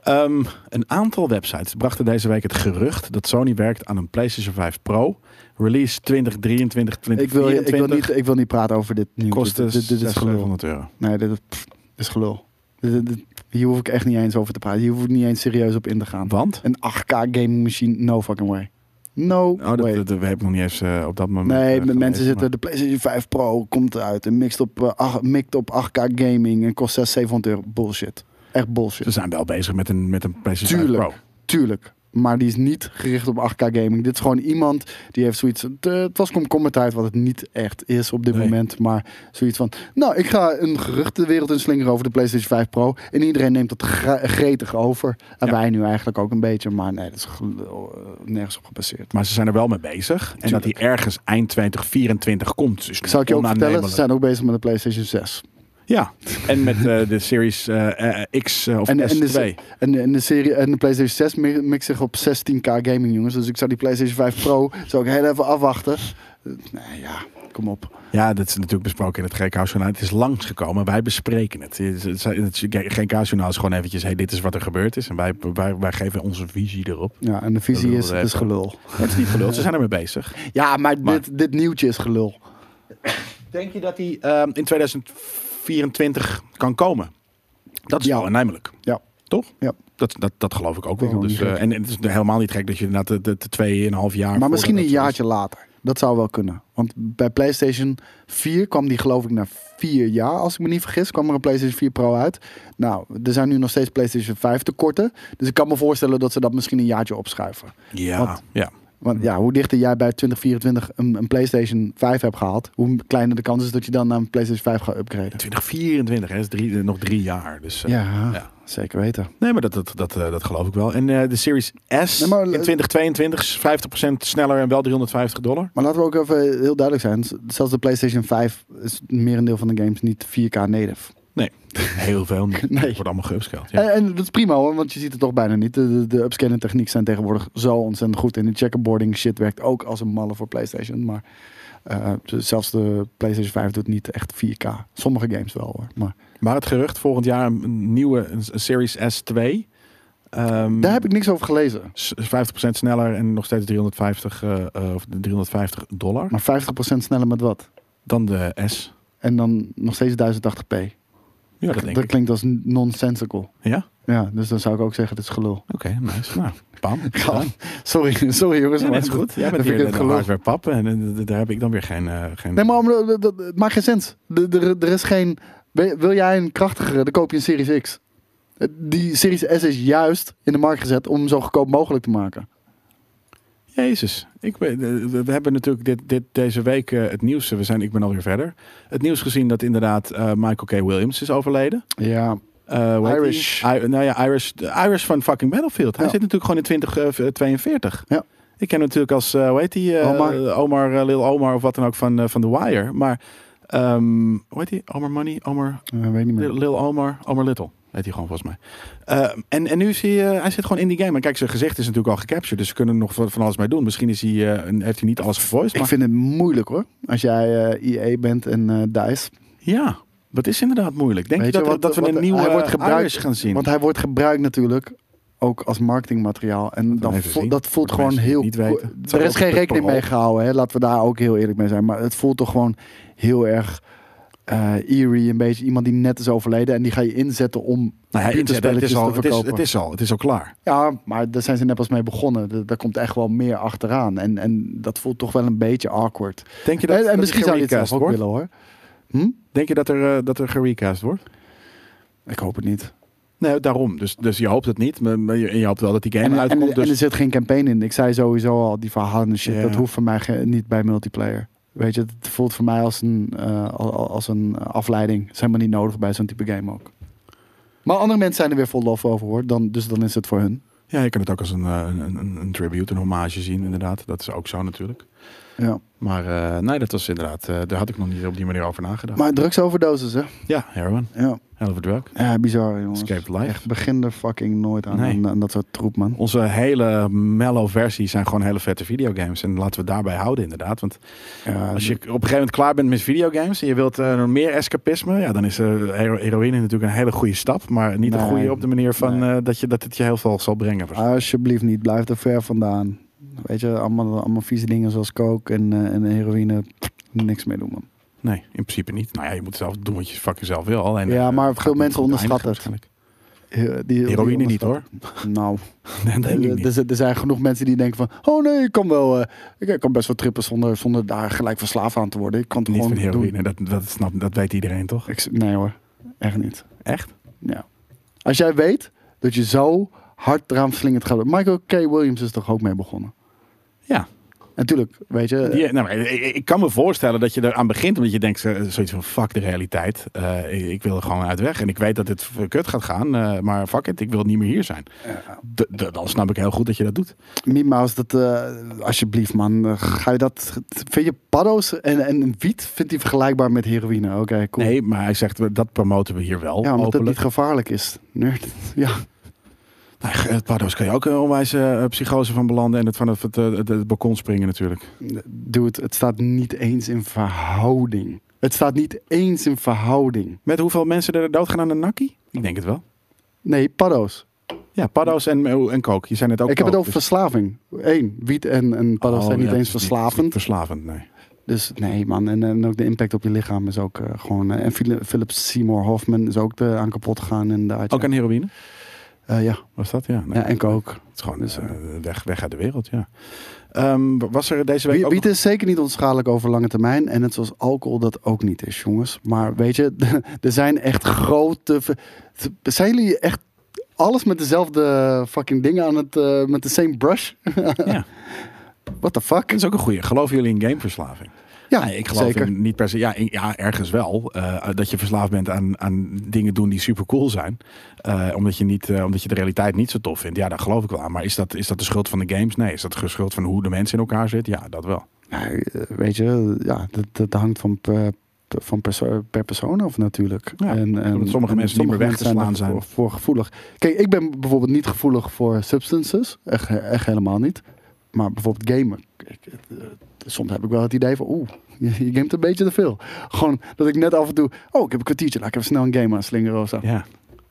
Ehm, een aantal websites brachten deze week het gerucht dat Sony werkt aan een PlayStation 5 Pro. Release 2023,
Ik wil,
2024.
ik, wil niet, ik wil niet praten over dit nieuws.
kosten
dit, dit, dit is gelul.
600 euro.
Nee, dit, pff, dit is gelul. Dit- dit- dit- hier hoef ik echt niet eens over te praten. Hier hoef ik niet eens serieus op in te gaan.
Want?
Een 8K gaming machine, no fucking way. No
Oh, dat,
way.
dat, dat heb ik nog niet eens eh, op dat moment. eh,
Nee, de
gelezen,
mensen
maar-
zitten, de PlayStation 5 Pro komt eruit en mixt op, eh, ach- mikt op 8K gaming en kost 600, 700 euro. Bullshit. Echt
Ze
bullshit.
zijn wel bezig met een, met een PlayStation
Tuurlijk,
5 Pro.
Dus tuurlijk. Maar die is niet gericht op 8K gaming. Dit is gewoon iemand die heeft zoiets. Het, eh, het was komkommertijd, wat het niet echt is op dit
Nee.
moment. Maar zoiets van. Nou, ik ga een gerucht de wereld in slingeren over de PlayStation 5 Pro. En iedereen neemt dat gra- gretig over. En
Ja.
wij nu eigenlijk ook een beetje. Maar nee, dat is gel- eh, nergens op gebaseerd.
Maar ze zijn er wel mee bezig. En dat die ergens eind 2024 komt. Is
Zou ik je ook vertellen, ze
onaannemelijk.
zijn ook bezig met de PlayStation 6.
Ja, en met eh, de Series eh, eh, X eh, of
En, en,
S2.
de, en, de- en de serie en de PlayStation 6 mi- mixt zich op 16k gaming, jongens. Dus ik zou die PlayStation 5 Pro zou ik heel even afwachten. Eh, Nou ja, kom op.
Ja, dat is natuurlijk besproken in het GK-journaal. Het is langsgekomen. Wij bespreken het. Het is- het GK-journaal is gewoon eventjes... Hey, dit is wat er gebeurd is. En wij, wij, wij geven onze visie erop.
Ja, en de visie
Dat
is,
wilde
het is
even.
gelul.
Het is niet gelul. Ze zijn ermee bezig.
Ja, maar,
Maar-
Dit, dit nieuwtje is gelul.
Denk je dat die ehm, in 2024 kan komen? Dat is
Ja.
wel aannemelijk.
Ja.
Toch?
Ja.
Dat, dat, dat geloof ik ook
Vind
wel.
ik ook
Dus,
niet
eh,
gek.
en het is helemaal niet gek dat je inderdaad de, de, de tweeënhalf jaar...
Maar
voordat
misschien
dat
een
zo is-
jaartje later. Dat zou wel kunnen. Want bij PlayStation 4 kwam die geloof ik na vier jaar, als ik me niet vergis, kwam er een PlayStation 4 Pro uit. Nou, er zijn nu nog steeds PlayStation 5 tekorten. Dus ik kan me voorstellen dat ze dat misschien een jaartje opschuiven.
Ja,
Want-
ja.
Want ja, hoe dichter jij bij 2024 een, een PlayStation 5 hebt gehaald, hoe kleiner de kans is dat je dan naar een PlayStation 5 gaat upgraden.
2024, hè, is drie, eh, nog drie jaar. Dus, eh,
Ja,
ja.
zeker weten.
Nee, maar dat, dat, dat, eh, dat geloof ik wel. En eh, de Series S
Nee, maar- eh,
in 2022 is 50% sneller en wel 350 dollar.
Maar laten we ook even heel duidelijk zijn. Zelfs de PlayStation 5 is het merendeel van de games niet 4K native.
Nee, heel veel niet. Het wordt allemaal geupscaled. Ja.
En, en dat is prima hoor, want je ziet het toch bijna niet. De, de, de upscaling technieken zijn tegenwoordig zo ontzettend goed. En de checkerboarding shit werkt ook als een malle voor PlayStation. Maar eh, zelfs de PlayStation 5 doet niet echt 4K. Sommige games wel hoor. Maar
Maar het gerucht volgend jaar een nieuwe een, een Series S2. ehm,
daar heb ik niks over gelezen.
s- 50% sneller en nog steeds 350, eh, eh, of 350 dollar
Maar 50% sneller met wat?
dan de S.
En dan nog steeds 1080p.
Ja, dat denk
dat
ik.
klinkt als nonsensical.
Ja?
Ja, dus dan zou ik ook zeggen, dit is gelul.
Oké, nice. Nou, bam.
Ja,
gedaan.
sorry, sorry jongens.
Ja,
maar
net is goed. Jij
Dan
bent
vind
hier
ik het
de
gelul.
hardware pap en eh, d- daar heb ik dan weer geen... eh, geen...
Nee, maar om- dat, dat- het maakt geen sens. De- de- Er is geen. Wil wil jij een krachtigere, dan koop je een Series X. Die Series S is juist in de markt gezet om hem zo goedkoop mogelijk te maken.
Jezus. Ik ben, eh, we- we hebben natuurlijk dit, dit, deze week eh, het nieuws... eh, We zijn, ik ben alweer verder. Het nieuws gezien dat inderdaad eh, Michael K. Williams is overleden.
Ja,
Eh, hoe heet die?
Irish.
I- nou ja, Irish, de Irish van fucking Battlefield. Hij
Ja.
zit natuurlijk gewoon in 2042.
Ja.
Ik ken hem natuurlijk als, eh, hoe heet die? eh,
Omar.
Omar, eh, Lil Omar of wat dan ook van, eh, van The Wire. Maar, ehm, hoe heet die? Omar Money? Omar,
eh, weet niet meer.
Lil Omar? Omar Little. Heet hij gewoon volgens mij. Ehm, en, en nu is hij, eh, hij zit gewoon in die game. En kijk, zijn gezicht is natuurlijk al gecaptured. Dus ze kunnen er nog van, van alles mee doen. Misschien is hij, eh, een- heeft hij niet alles gevoiced.
Ik
Maar
vind het moeilijk hoor. Als jij eh EA bent en eh DICE.
ja, dat is inderdaad moeilijk. Denk
Weet
je
je
dat,
wat-
dat we
wat-
een
hij
nieuwe
wordt
eh,
gebruikt-
Irish gaan zien?
Want hij wordt gebruikt natuurlijk ook als marketingmateriaal. En dan
even
voelt-
zien.
dat voelt
Voor de
gewoon
mensen
heel...
die het niet weten. Het
Er
zou
is geen
ook
rekening
per
mee
ongeluk.
gehouden. Hè? Laten we daar ook heel eerlijk mee zijn. Maar het voelt toch gewoon heel erg eh eerie. Een beetje iemand die net is overleden. En die ga je inzetten om
Nou, hij inzet, het,
computerspelletjes
is al,
te
het, is,
verkopen.
het is al, het is al klaar.
Ja, maar daar zijn ze net pas mee begonnen. Da- Daar komt echt wel meer achteraan. En, en dat voelt toch wel een beetje awkward.
Denk je dat,
en, en
dat
misschien
er
zou je het zelf
gerecast
ook
wordt?
willen hoor.
Denk je dat er, eh, dat er gerecast wordt?
Ik hoop het niet.
Nee, daarom. Dus, dus je hoopt het niet. Maar, maar je, en je hoopt wel dat die game
En, en,
uitkomt.
en
dus
er zit geen campaign in. Ik zei sowieso al, die verhalende shit,
Ja.
dat hoeft voor mij ge- niet bij multiplayer. Weet je, het voelt voor mij als een, eh, al- al- als een afleiding. Zijn maar niet nodig bij zo'n type game ook. Maar andere mensen zijn er weer vol lof over hoor. Dan, dus dan is het voor hun.
ja, je kan het ook als een, eh, een, een, een tribute, een hommage zien inderdaad. Dat is ook zo natuurlijk.
Ja.
Maar eh, nee, dat was inderdaad... eh, daar had ik nog niet op die manier over nagedacht.
Maar drugsoverdoses hè.
ja, heroin.
Ja,
Hell of a drug.
ja bizar jongens.
Escape the life.
Echt, begin er fucking nooit aan,
Nee.
aan, aan dat soort troep man.
Onze hele mellow versies zijn gewoon hele vette videogames. En laten we het daarbij houden inderdaad. Want eh,
Ja,
Als je op een gegeven moment klaar bent met videogames en je wilt eh, meer escapisme, ja, dan is eh, hero- heroïne natuurlijk een hele goede stap. Maar niet een
Nee,
goede op de manier van eh, dat, je, dat het je heel veel zal brengen.
Alsjeblieft niet, blijf er ver vandaan. Weet je, allemaal, allemaal vieze dingen zoals coke en, eh, en heroïne. Niks mee doen man.
Nee, in principe niet. Nou ja, je moet zelf doen wat je fucking zelf wil. Alleen,
Ja,
eh,
maar
het
veel
gaat niet
mensen
goed
onderschatten
eindigen
Ja, Eh, die- die
Heroïne niet,
onderschatten. Nou,
waarschijnlijk. Nee, dat denk ik
er,
niet.
er zijn- er zijn genoeg mensen die denken van... Oh nee, ik kan wel... eh, ik ik kan best wel trippen zonder, zonder daar gelijk verslaafd aan te worden. Ik kan het
Niet
gewoon
van
doen.
heroïne, dat, dat, snap, dat weet iedereen toch?
Ik z- nee hoor, echt niet.
Echt?
Ja. Als jij weet dat je zo hard eraan verslingerd gaat... worden- Michael K. Williams is toch ook mee begonnen?
Ja.
En natuurlijk, weet je...
Die- nou, maar ik, ik kan me voorstellen dat je eraan begint omdat je denkt eh, zoiets van fuck de realiteit. Eh, ik, ik wil er gewoon uit weg en ik weet dat het kut gaat gaan, eh, maar fuck it, ik wil niet meer hier zijn. D- d- dan snap ik heel goed dat je dat doet.
Mimaus, dat, eh, alsjeblieft man, eh, ga je dat... Vind je paddo's en, en wiet, vindt die vergelijkbaar met heroïne? Oké, cool.
Nee, maar hij zegt we- dat promoten we hier wel.
ja, omdat het
openlijk.
niet gevaarlijk is. Nerd. Ja.
Nou, ge- het paddo's kan je ook een onwijze eh, psychose van belanden en het van het, het, eh, het- het balkon springen natuurlijk.
Dude, het staat niet eens in verhouding. Het staat niet eens in verhouding.
Met hoeveel mensen er dood gaan aan de nakkie? Ik denk het wel.
Nee, paddo's.
Ja, paddo's en, eh, en kook. Je zei net ook.
ik heb het
kook,
over
dus-
verslaving. Eén, wiet en, en paddo's
Oh,
zijn niet
ja, het
eens
is niet-
verslavend.
Verslavend, nee.
Dus nee man, en, en ook de impact op je lichaam is ook eh, gewoon... eh, en Phil- Philip Seymour Hoffman is ook eh, aan kapot gegaan in de Eh,
Ook aan heroïne?
ja.
Was dat? Ja, nee.
ja, en coke.
Het is gewoon eh, weg, weg uit de wereld, ja. Ehm, was er deze week
Wie-
ook
Wiet is zeker niet onschadelijk over lange termijn. En net zoals alcohol dat ook niet is, jongens. Maar weet je, er zijn echt grote... ver- Zijn jullie echt alles met dezelfde fucking dingen aan het... eh, met de same brush?
nog- Ja,
What the fuck?
dat is ook een goeie. Geloven jullie in gameverslaving?
Ja,
Nee, ik geloof
zeker.
in niet per se. Ja, in- ja ergens wel. eh, dat je verslaafd bent aan, aan dingen doen die super cool zijn. Eh, omdat, je niet, eh, omdat je de realiteit niet zo tof vindt. Ja, daar geloof ik wel aan. Maar is dat, is dat de schuld van de games? Nee. Is dat de schuld van hoe de mensen in elkaar zitten? Ja, dat wel.
Nou, eh, weet je, ja, dat, dat hangt van per, te- van perso- per persoon af natuurlijk.
Ja, omdat sommige mensen niet meer weg te
mensen
slaan
er
zijn.
Voor, voor gevoelig. Kijk, ik ben bijvoorbeeld niet gevoelig voor substances. Echt, echt helemaal niet. Maar bijvoorbeeld gamen. Ik- eh, Soms heb ik wel het idee van, oeh, je, je gamet een beetje te veel. Gewoon dat ik net af en toe, oh, ik heb een kwartiertje, laat ik even snel een game aanslingeren of zo.
Ja.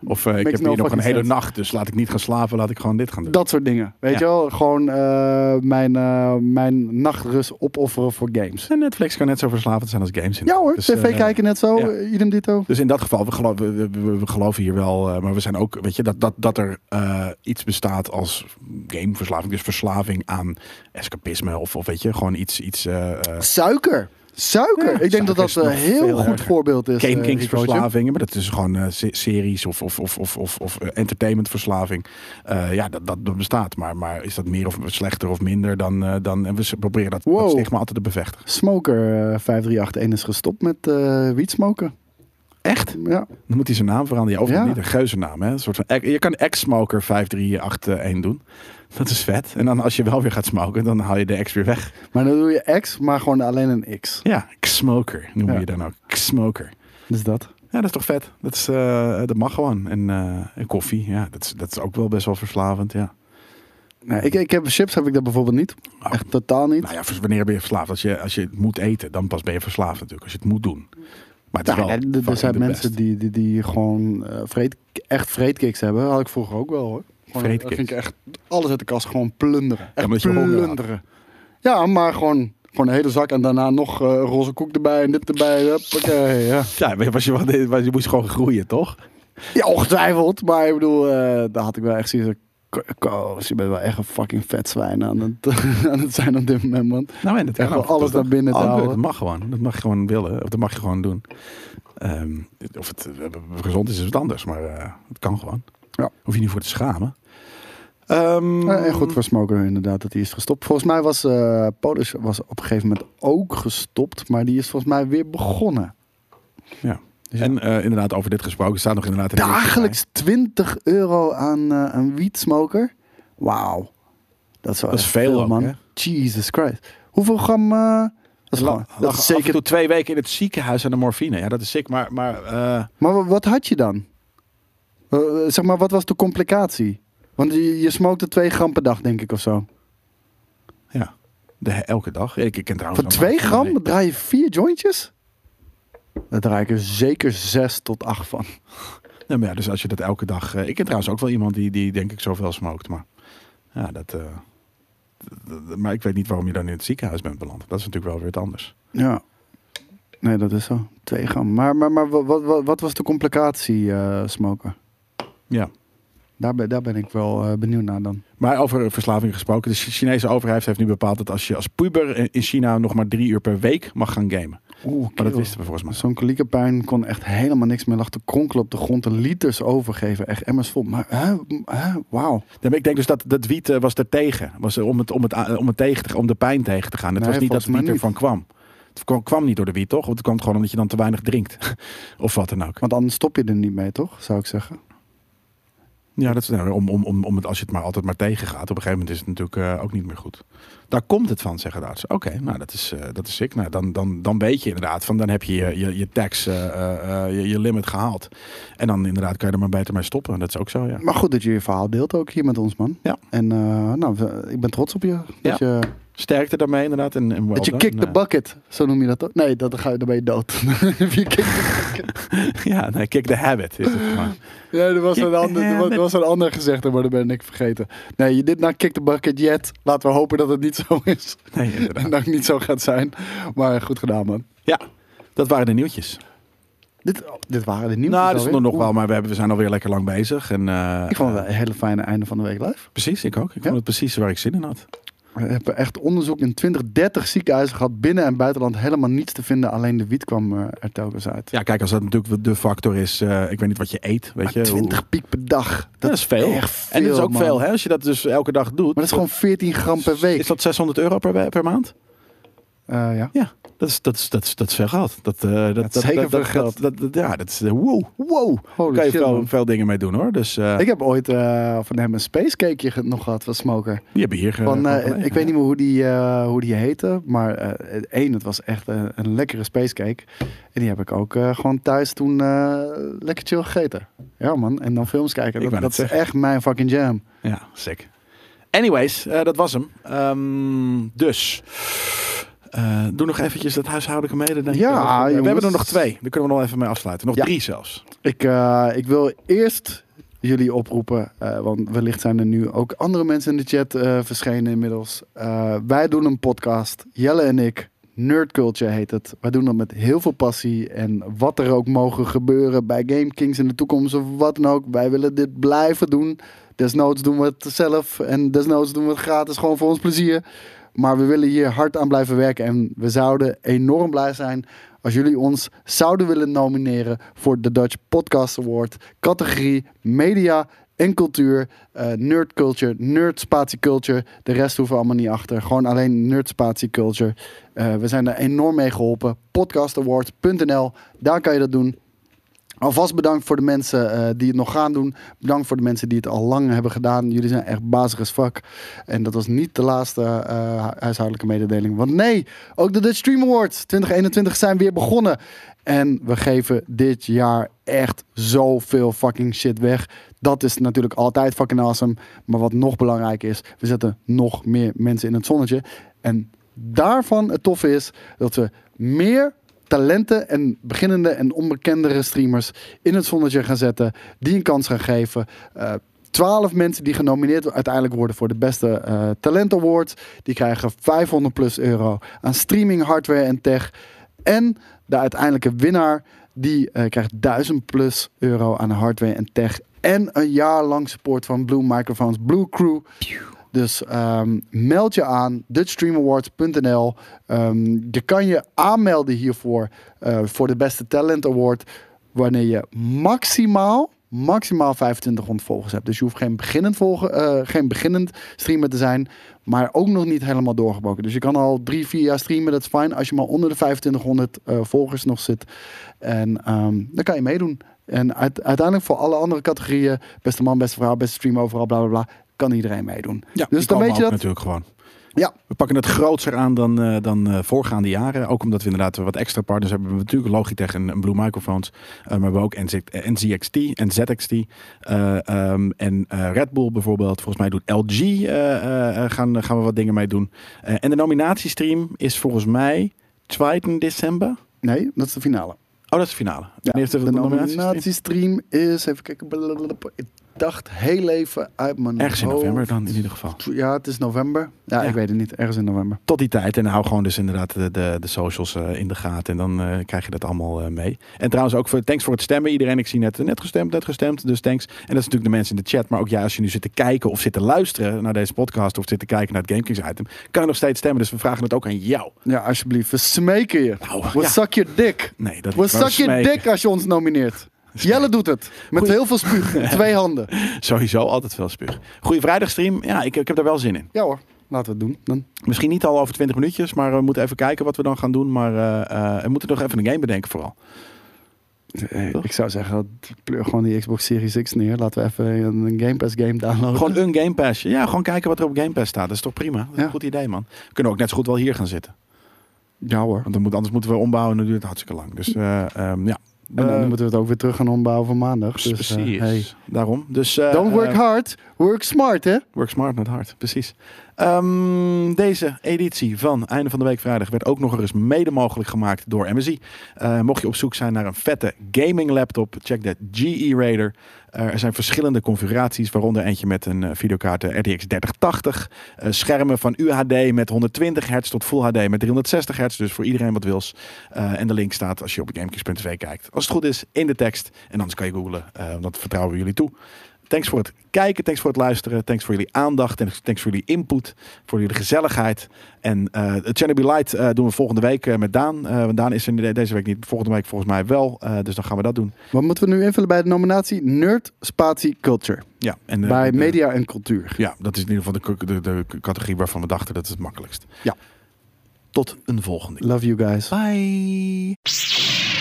Of eh, ik
Makes
heb
no
hier nog een
fucking
hele
sense.
nacht, dus laat ik niet gaan slapen, laat ik gewoon dit gaan doen.
Dat soort dingen. Weet
Ja.
je wel, gewoon eh, mijn, eh, mijn nachtrust opofferen voor games.
En Netflix kan net zo verslavend zijn als games.
Ja hoor,
Dus,
tv
eh,
kijken net zo,
ja.
eh, idem dito.
Dus in dat geval, we geloven, we, we- we geloven hier wel, eh, maar we zijn ook, weet je, dat, dat, dat er eh, iets bestaat als gameverslaving. Dus verslaving aan escapisme of, of weet je, gewoon iets. iets eh, eh,
Suiker. Suiker.
Ja,
ik denk
suiker
dat dat
is
een
nog
heel
veel
goed
erger.
voorbeeld is.
Game
eh,
Kings
Ricootje.
verslavingen, maar dat is gewoon eh, se- series of, of, of, of, of, of eh, entertainmentverslaving. Eh, ja, dat, dat, dat bestaat, maar, maar is dat meer of slechter of minder dan... eh, dan en we s- proberen dat,
Wow.
dat stigma altijd te bevestigen.
Smoker eh 5381 is gestopt met eh wiet smoken.
Echt?
Ja.
Dan moet hij zijn naam veranderen. Ja, of
Ja.
niet, een geuzennaam. Hè? Een soort van, ex- je kan ex-smoker 5381 doen. Dat is vet. En dan als je wel weer gaat smoken, dan haal je de ex weer weg.
Maar dan doe je X, maar gewoon alleen een X.
Ja, smoker noem
Ja.
je dan ook. Smoker.
Dus dat.
Ja, dat is toch vet. Dat, is, eh, dat mag gewoon. En, eh, en koffie, ja, dat is, dat is ook wel best wel verslavend, ja.
Nee, ik, ik heb chips, heb ik dat bijvoorbeeld niet.
Oh.
Echt totaal niet.
Nou ja, vers- wanneer ben je verslaafd? Als je, als je het moet eten, dan pas ben je verslaafd natuurlijk. Als je het moet doen. Maar het is
Ja,
wel
nee, Nou, er- er
fucking
zijn
de
mensen
best.
die, die, die gewoon eh, vreed, echt vreedkicks hebben. Had ik vroeger ook wel hoor. Gewoon,
Vreedkicks.
dan ging ik echt alles uit de kast gewoon plunderen. Echt
omdat je honger had.
plunderen. Ja, maar gewoon, gewoon een hele zak en daarna nog eh, roze koek erbij en dit erbij. Huppakee, ja.
Ja, maar was je, wel- was je moest gewoon groeien, toch?
Ja, ongetwijfeld. Maar ik bedoel, eh, daar had ik wel echt zoiets van... "Ko- Koos, je bent wel echt een fucking vet zwijn aan het, aan het zijn op dit moment, man.
Nou, en dat
Echt
kan
wel
ook.
alles
Dat-
naar binnen te
Oh, leuk,
houden.
Dat mag gewoon. Dat mag je gewoon willen. Of dat mag je gewoon doen. Ehm, of het eh, gezond is, is wat anders. Maar eh, het kan gewoon.
Ja.
Hoef je niet voor te schamen. Ehm,
Eh, en goed voor Smoker inderdaad, dat die is gestopt. Volgens mij was eh Polish was op een gegeven moment ook gestopt. Maar die is volgens mij weer begonnen.
Ja. En eh, inderdaad, over dit gesproken staat nog inderdaad... een linkje bij.
Dagelijks 20 euro aan, eh aan wietsmoker. Wauw. Dat is wel
Dat is
echt
veel ook, hè?
Jesus Christ. Hoeveel gram... eh, dat is,
La-
gewoon- dat
lag
is
Af en toe
zeker...
twee weken in het ziekenhuis aan de morfine. Ja, dat is sick. Maar, maar eh,
Maar wa- wat had je dan? Eh, eh, zeg maar, wat was de complicatie? Want je, je smokte 2 gram per dag, denk ik, of zo.
ja, de, elke dag. Ik, ik ken trouwens...
Voor
nog
2
maar-
gram draai je 4 jointjes? Daar draai ik er zeker 6 tot 8 van.
Ja, maar ja, dus als je dat elke dag... eh, ik ken trouwens ook wel iemand die, die denk ik zoveel smookt. Maar ja, dat... eh, d- d- maar ik weet niet waarom je dan in het ziekenhuis bent beland. Dat is natuurlijk wel weer wat anders.
Ja. Nee, dat is zo. 2 gram. Maar, maar, maar wa- wat, wat, wat was de complicatie, eh smoken?
Ja.
Daar ben, daar ben ik wel eh, benieuwd naar dan.
Maar over verslaving gesproken. De Chi- Chinese overheid heeft nu bepaald dat als je als puber in- in China nog maar drie uur per week mag gaan gamen.
Oeh,
Maar dat wisten we volgens mij.
Zo'n koliekenpijn kon echt helemaal niks meer. Lag te kronkelen op de grond. De liters overgeven. Echt emmers vol. Maar hè, hè, wauw.
Nee, maar ik denk dus dat, dat wiet eh, was er tegen. Was er om, het, om, het, a- om, het tegen te, om de pijn tegen te gaan. Het
Nee,
was niet dat
volgens
het wiet
mij
ervan kwam. Het kwam, kwam niet door de wiet, toch? Want het kwam gewoon omdat je dan te weinig drinkt. of wat dan ook.
Want anders stop je er niet mee, toch? Zou ik zeggen.
Ja, dat is nou, om, om, om, om het, als je het maar altijd maar tegengaat. Op een gegeven moment is het natuurlijk eh, ook niet meer goed. Daar komt het van, zeggen de artsen. Oké, nou dat is, eh, dat is sick. Nou, dan, dan, dan weet je inderdaad van dan heb je je, je, je tax, eh, eh, eh, je, je limit gehaald. En dan inderdaad kan je er maar beter mee stoppen. Dat is ook zo, ja.
Maar goed dat je je verhaal deelt ook hier met ons, man.
Ja.
En eh, nou, we- ik ben trots op je. Dat
Ja.
je,
Sterkte daarmee inderdaad. En, en well
dat je
done.
kick the
Eh,
bucket. Zo noem je dat toch? Nee, dat, dan ga je, dan ben je dood. je kick the-
ja, nee, kick the habit is het maar.
ja, er was,
Kick
een
the
ander, er was, er was een ander gezegd, maar dat ben ik vergeten. Nee, je dit na kick the bucket yet. Laten we hopen dat het niet zo is.
Nee,
En
inderdaad.
dat het niet zo gaat zijn. Maar goed gedaan, man.
Ja, dat waren de nieuwtjes.
Dit, oh, dit waren de nieuwe.
nou, er stonden nog wel, maar we, hebben, we zijn alweer lekker lang bezig. En, eh,
Ik vond het een hele fijne einde van de week live.
Precies, ik ook. Ik
Ja?
vond het precies waar ik zin in had.
We hebben echt onderzoek in 20, 30 ziekenhuizen gehad. Binnen en buitenland helemaal niets te vinden. Alleen de wiet kwam eh, er telkens uit.
Ja, kijk, als dat natuurlijk de factor is, eh, ik weet niet wat je eet, weet je.
Maar
hoe-
20 piek per dag. Dat,
dat is veel.
echt veel,
en dat is ook
man.
veel, hè, als je dat dus elke dag doet.
Maar dat is gewoon 14 gram per week.
Is dat 600 euro per, we- per maand?
Eh, ja.
Ja, dat is, dat is, dat is, dat is veel geld. Dat, eh, dat, dat,
is zeker
dat,
veel
dat-
geld.
dat- dat- ja, dat is eh, wow, wow.
Holy
kan je
shit,
veel,
man.
veel dingen mee doen hoor. Dus eh,
Ik heb ooit eh, van hem een spacecakeje ge- nog gehad van Smoker.
die hebben hier... eh,
Van, eh,
gewoon gelegen.
ik weet niet meer hoe die, eh, hoe die heette, maar eh, het één, het was echt een, een lekkere spacecake. En die heb ik ook eh, gewoon thuis toen eh, lekker chill gegeten. Ja man, en dan films kijken.
Ik
Dat,
wou net
dat is echt mijn fucking jam.
Ja, sick. Anyways, eh, dat was hem. Ehm, dus, eh, doe nog eventjes dat huishoudelijke mede. denk ik.
Ja,
we
jongens.
hebben er nog twee. Daar kunnen we nog even mee afsluiten. Nog
Ja.
drie zelfs.
Ik, eh, ik wil eerst jullie oproepen, eh, want wellicht zijn er nu ook andere mensen in de chat eh, verschenen inmiddels. Eh, wij doen een podcast, Jelle en ik. Nerd Culture heet het. Wij doen dat met heel veel passie. En wat er ook mogen gebeuren bij Game Kings in de toekomst of wat dan ook. Wij willen dit blijven doen. Desnoods doen we het zelf. En desnoods doen we het gratis, gewoon voor ons plezier. Maar we willen hier hard aan blijven werken. En we zouden enorm blij zijn als jullie ons zouden willen nomineren voor de Dutch Podcast Award. Categorie Media en Cultuur. eh, nerd Culture, Nerd Spatie Culture. De rest hoeven we allemaal niet achter. Gewoon alleen Nerd Spatie Culture. Eh, we zijn daar enorm mee geholpen. Podcastawards.nl, daar kan je dat doen. Alvast bedankt voor de mensen eh, die het nog gaan doen. Bedankt voor de mensen die het al lang hebben gedaan. Jullie zijn echt bazig as fuck. En dat was niet de laatste eh, hu- huishoudelijke mededeling. Want nee, ook de Dutch Stream Awards 2021 zijn weer begonnen. En we geven dit jaar echt zoveel fucking shit weg. Dat is natuurlijk altijd fucking awesome. Maar wat nog belangrijker is, we zetten nog meer mensen in het zonnetje. En daarvan het toffe is dat we meer talenten en beginnende en onbekendere streamers in het zonnetje gaan zetten. Die een kans gaan geven. Eh, Twaalf mensen die genomineerd uiteindelijk worden voor de beste eh, Talent Award. Die krijgen 500 plus euro aan streaming, hardware en tech. En de uiteindelijke winnaar die eh, krijgt 1000 plus euro aan hardware en tech. En een jaar lang support van Blue Microphones, Blue Crew. Dus ehm, meld je aan, dutchstreamawards.nl. Ehm, je kan je aanmelden hiervoor, eh, voor de beste talent award, wanneer je maximaal, maximaal 2500 volgers hebt. Dus je hoeft geen beginnend, volgen, eh, geen beginnend streamer te zijn, maar ook nog niet helemaal doorgebroken. Dus je kan al drie, vier jaar streamen, dat is fijn. Als je maar onder de 2500 eh, volgers nog zit, en ehm, dan kan je meedoen. En uit- uiteindelijk voor alle andere categorieën, beste man, beste vrouw, beste stream overal, bla bla bla, kan iedereen meedoen.
Ja,
dus dan weet je dat.
natuurlijk gewoon.
Ja,
We pakken het grootser aan dan, eh, dan eh, voorgaande jaren. Ook omdat we inderdaad wat extra partners hebben. We hebben natuurlijk Logitech en, en Blue Microphones. Eh, maar we hebben ook NZ, eh, NZXT en ZXT. eh, ehm, en eh, Red Bull bijvoorbeeld. Volgens mij doet LG. eh, eh, eh, gaan, gaan we wat dingen mee doen. Eh, en de nominatiestream is volgens mij 2 december.
nee, dat is de finale.
Oh, dat is de finale.
Ja,
Wanneer is de,
de
nominatiestream?
nominatiestream is, even kijken, blablabla. ik dacht heel even uit mijn
Ergens in
hoofd.
november dan in ieder geval.
Ja, het is november. Ja,
Ja.
ik weet het niet, ergens in november.
tot die tijd. En hou gewoon dus inderdaad de, de, de socials eh, in de gaten. En dan eh, krijg je dat allemaal eh, mee. En trouwens ook voor, thanks voor het stemmen. Iedereen, ik zie net, net gestemd, net gestemd. Dus thanks. En dat is natuurlijk de mensen in de chat. Maar ook jij, als je nu zit te kijken of zit te luisteren naar deze podcast. Of zit te kijken naar het GameKings item. Kan je nog steeds stemmen. Dus we vragen het ook aan jou.
Ja, alsjeblieft, we smeken je.
Nou,
we
ja.
suck je dik.
Nee, dat
we
is gewoon
suck je
smeken.
dik als je ons nomineert. Jelle doet het. Met
Goeie-
heel veel spuug. in Twee handen.
Sowieso altijd veel spuug. Goeie vrijdagstream. Ja, ik, ik heb daar wel zin in.
Ja hoor, laten we het doen. Dan.
Misschien niet al over 20 minuutjes. Maar we moeten even kijken wat we dan gaan doen. Maar eh, eh, we moeten nog even een game bedenken vooral. Eh, Toch?
Ik zou zeggen, pleur gewoon die Xbox Series X neer. Laten we even een Game Pass game downloaden.
Gewoon een Game Passje. Ja, gewoon kijken wat er op Game Pass staat. Dat is toch prima? Dat is
Ja.
een goed idee, man. We kunnen ook net zo goed wel hier gaan zitten.
Ja hoor.
Want dan moet, anders moeten we ombouwen en dan duurt het hartstikke lang. Dus eh, ehm, ja.
En dan
Eh,
moeten we het ook weer terug gaan ombouwen voor maandag. Dus, eh,
precies.
hey.
Daarom. Dus, eh,
Don't work
eh,
hard, work smart hè.
Work smart, not hard. Precies. Ehm, deze editie van Einde van de Week Vrijdag werd ook nog eens mede mogelijk gemaakt door MSI. Eh, mocht je op zoek zijn naar een vette gaming laptop, check de GE Raider. Eh, er zijn verschillende configuraties, waaronder eentje met een eh, videokaart eh, RTX 3080. eh, schermen van UHD met 120 hertz tot Full HD met 360 hertz. Dus voor iedereen wat wils. Eh, en de link staat als je op gamekings.tv kijkt. Als het goed is, in de tekst. En anders kan je googlen. eh, want dat vertrouwen we jullie toe. Thanks voor het kijken, thanks voor het luisteren, thanks voor jullie aandacht en thanks voor jullie input, voor jullie gezelligheid. En eh het Chernobyl Light eh, doen we volgende week eh, met Daan. Eh, want Daan is er de- deze week niet, volgende week volgens mij wel. Eh, dus dan gaan we dat doen.
Wat moeten we nu invullen bij de nominatie? Nerd, spatie, culture.
Ja, en, eh,
bij
de-
media en cultuur.
Ja, dat is in ieder geval de, k- de, de categorie waarvan we dachten dat is het makkelijkst.
Ja.
Tot een volgende keer.
Love you guys.
Bye.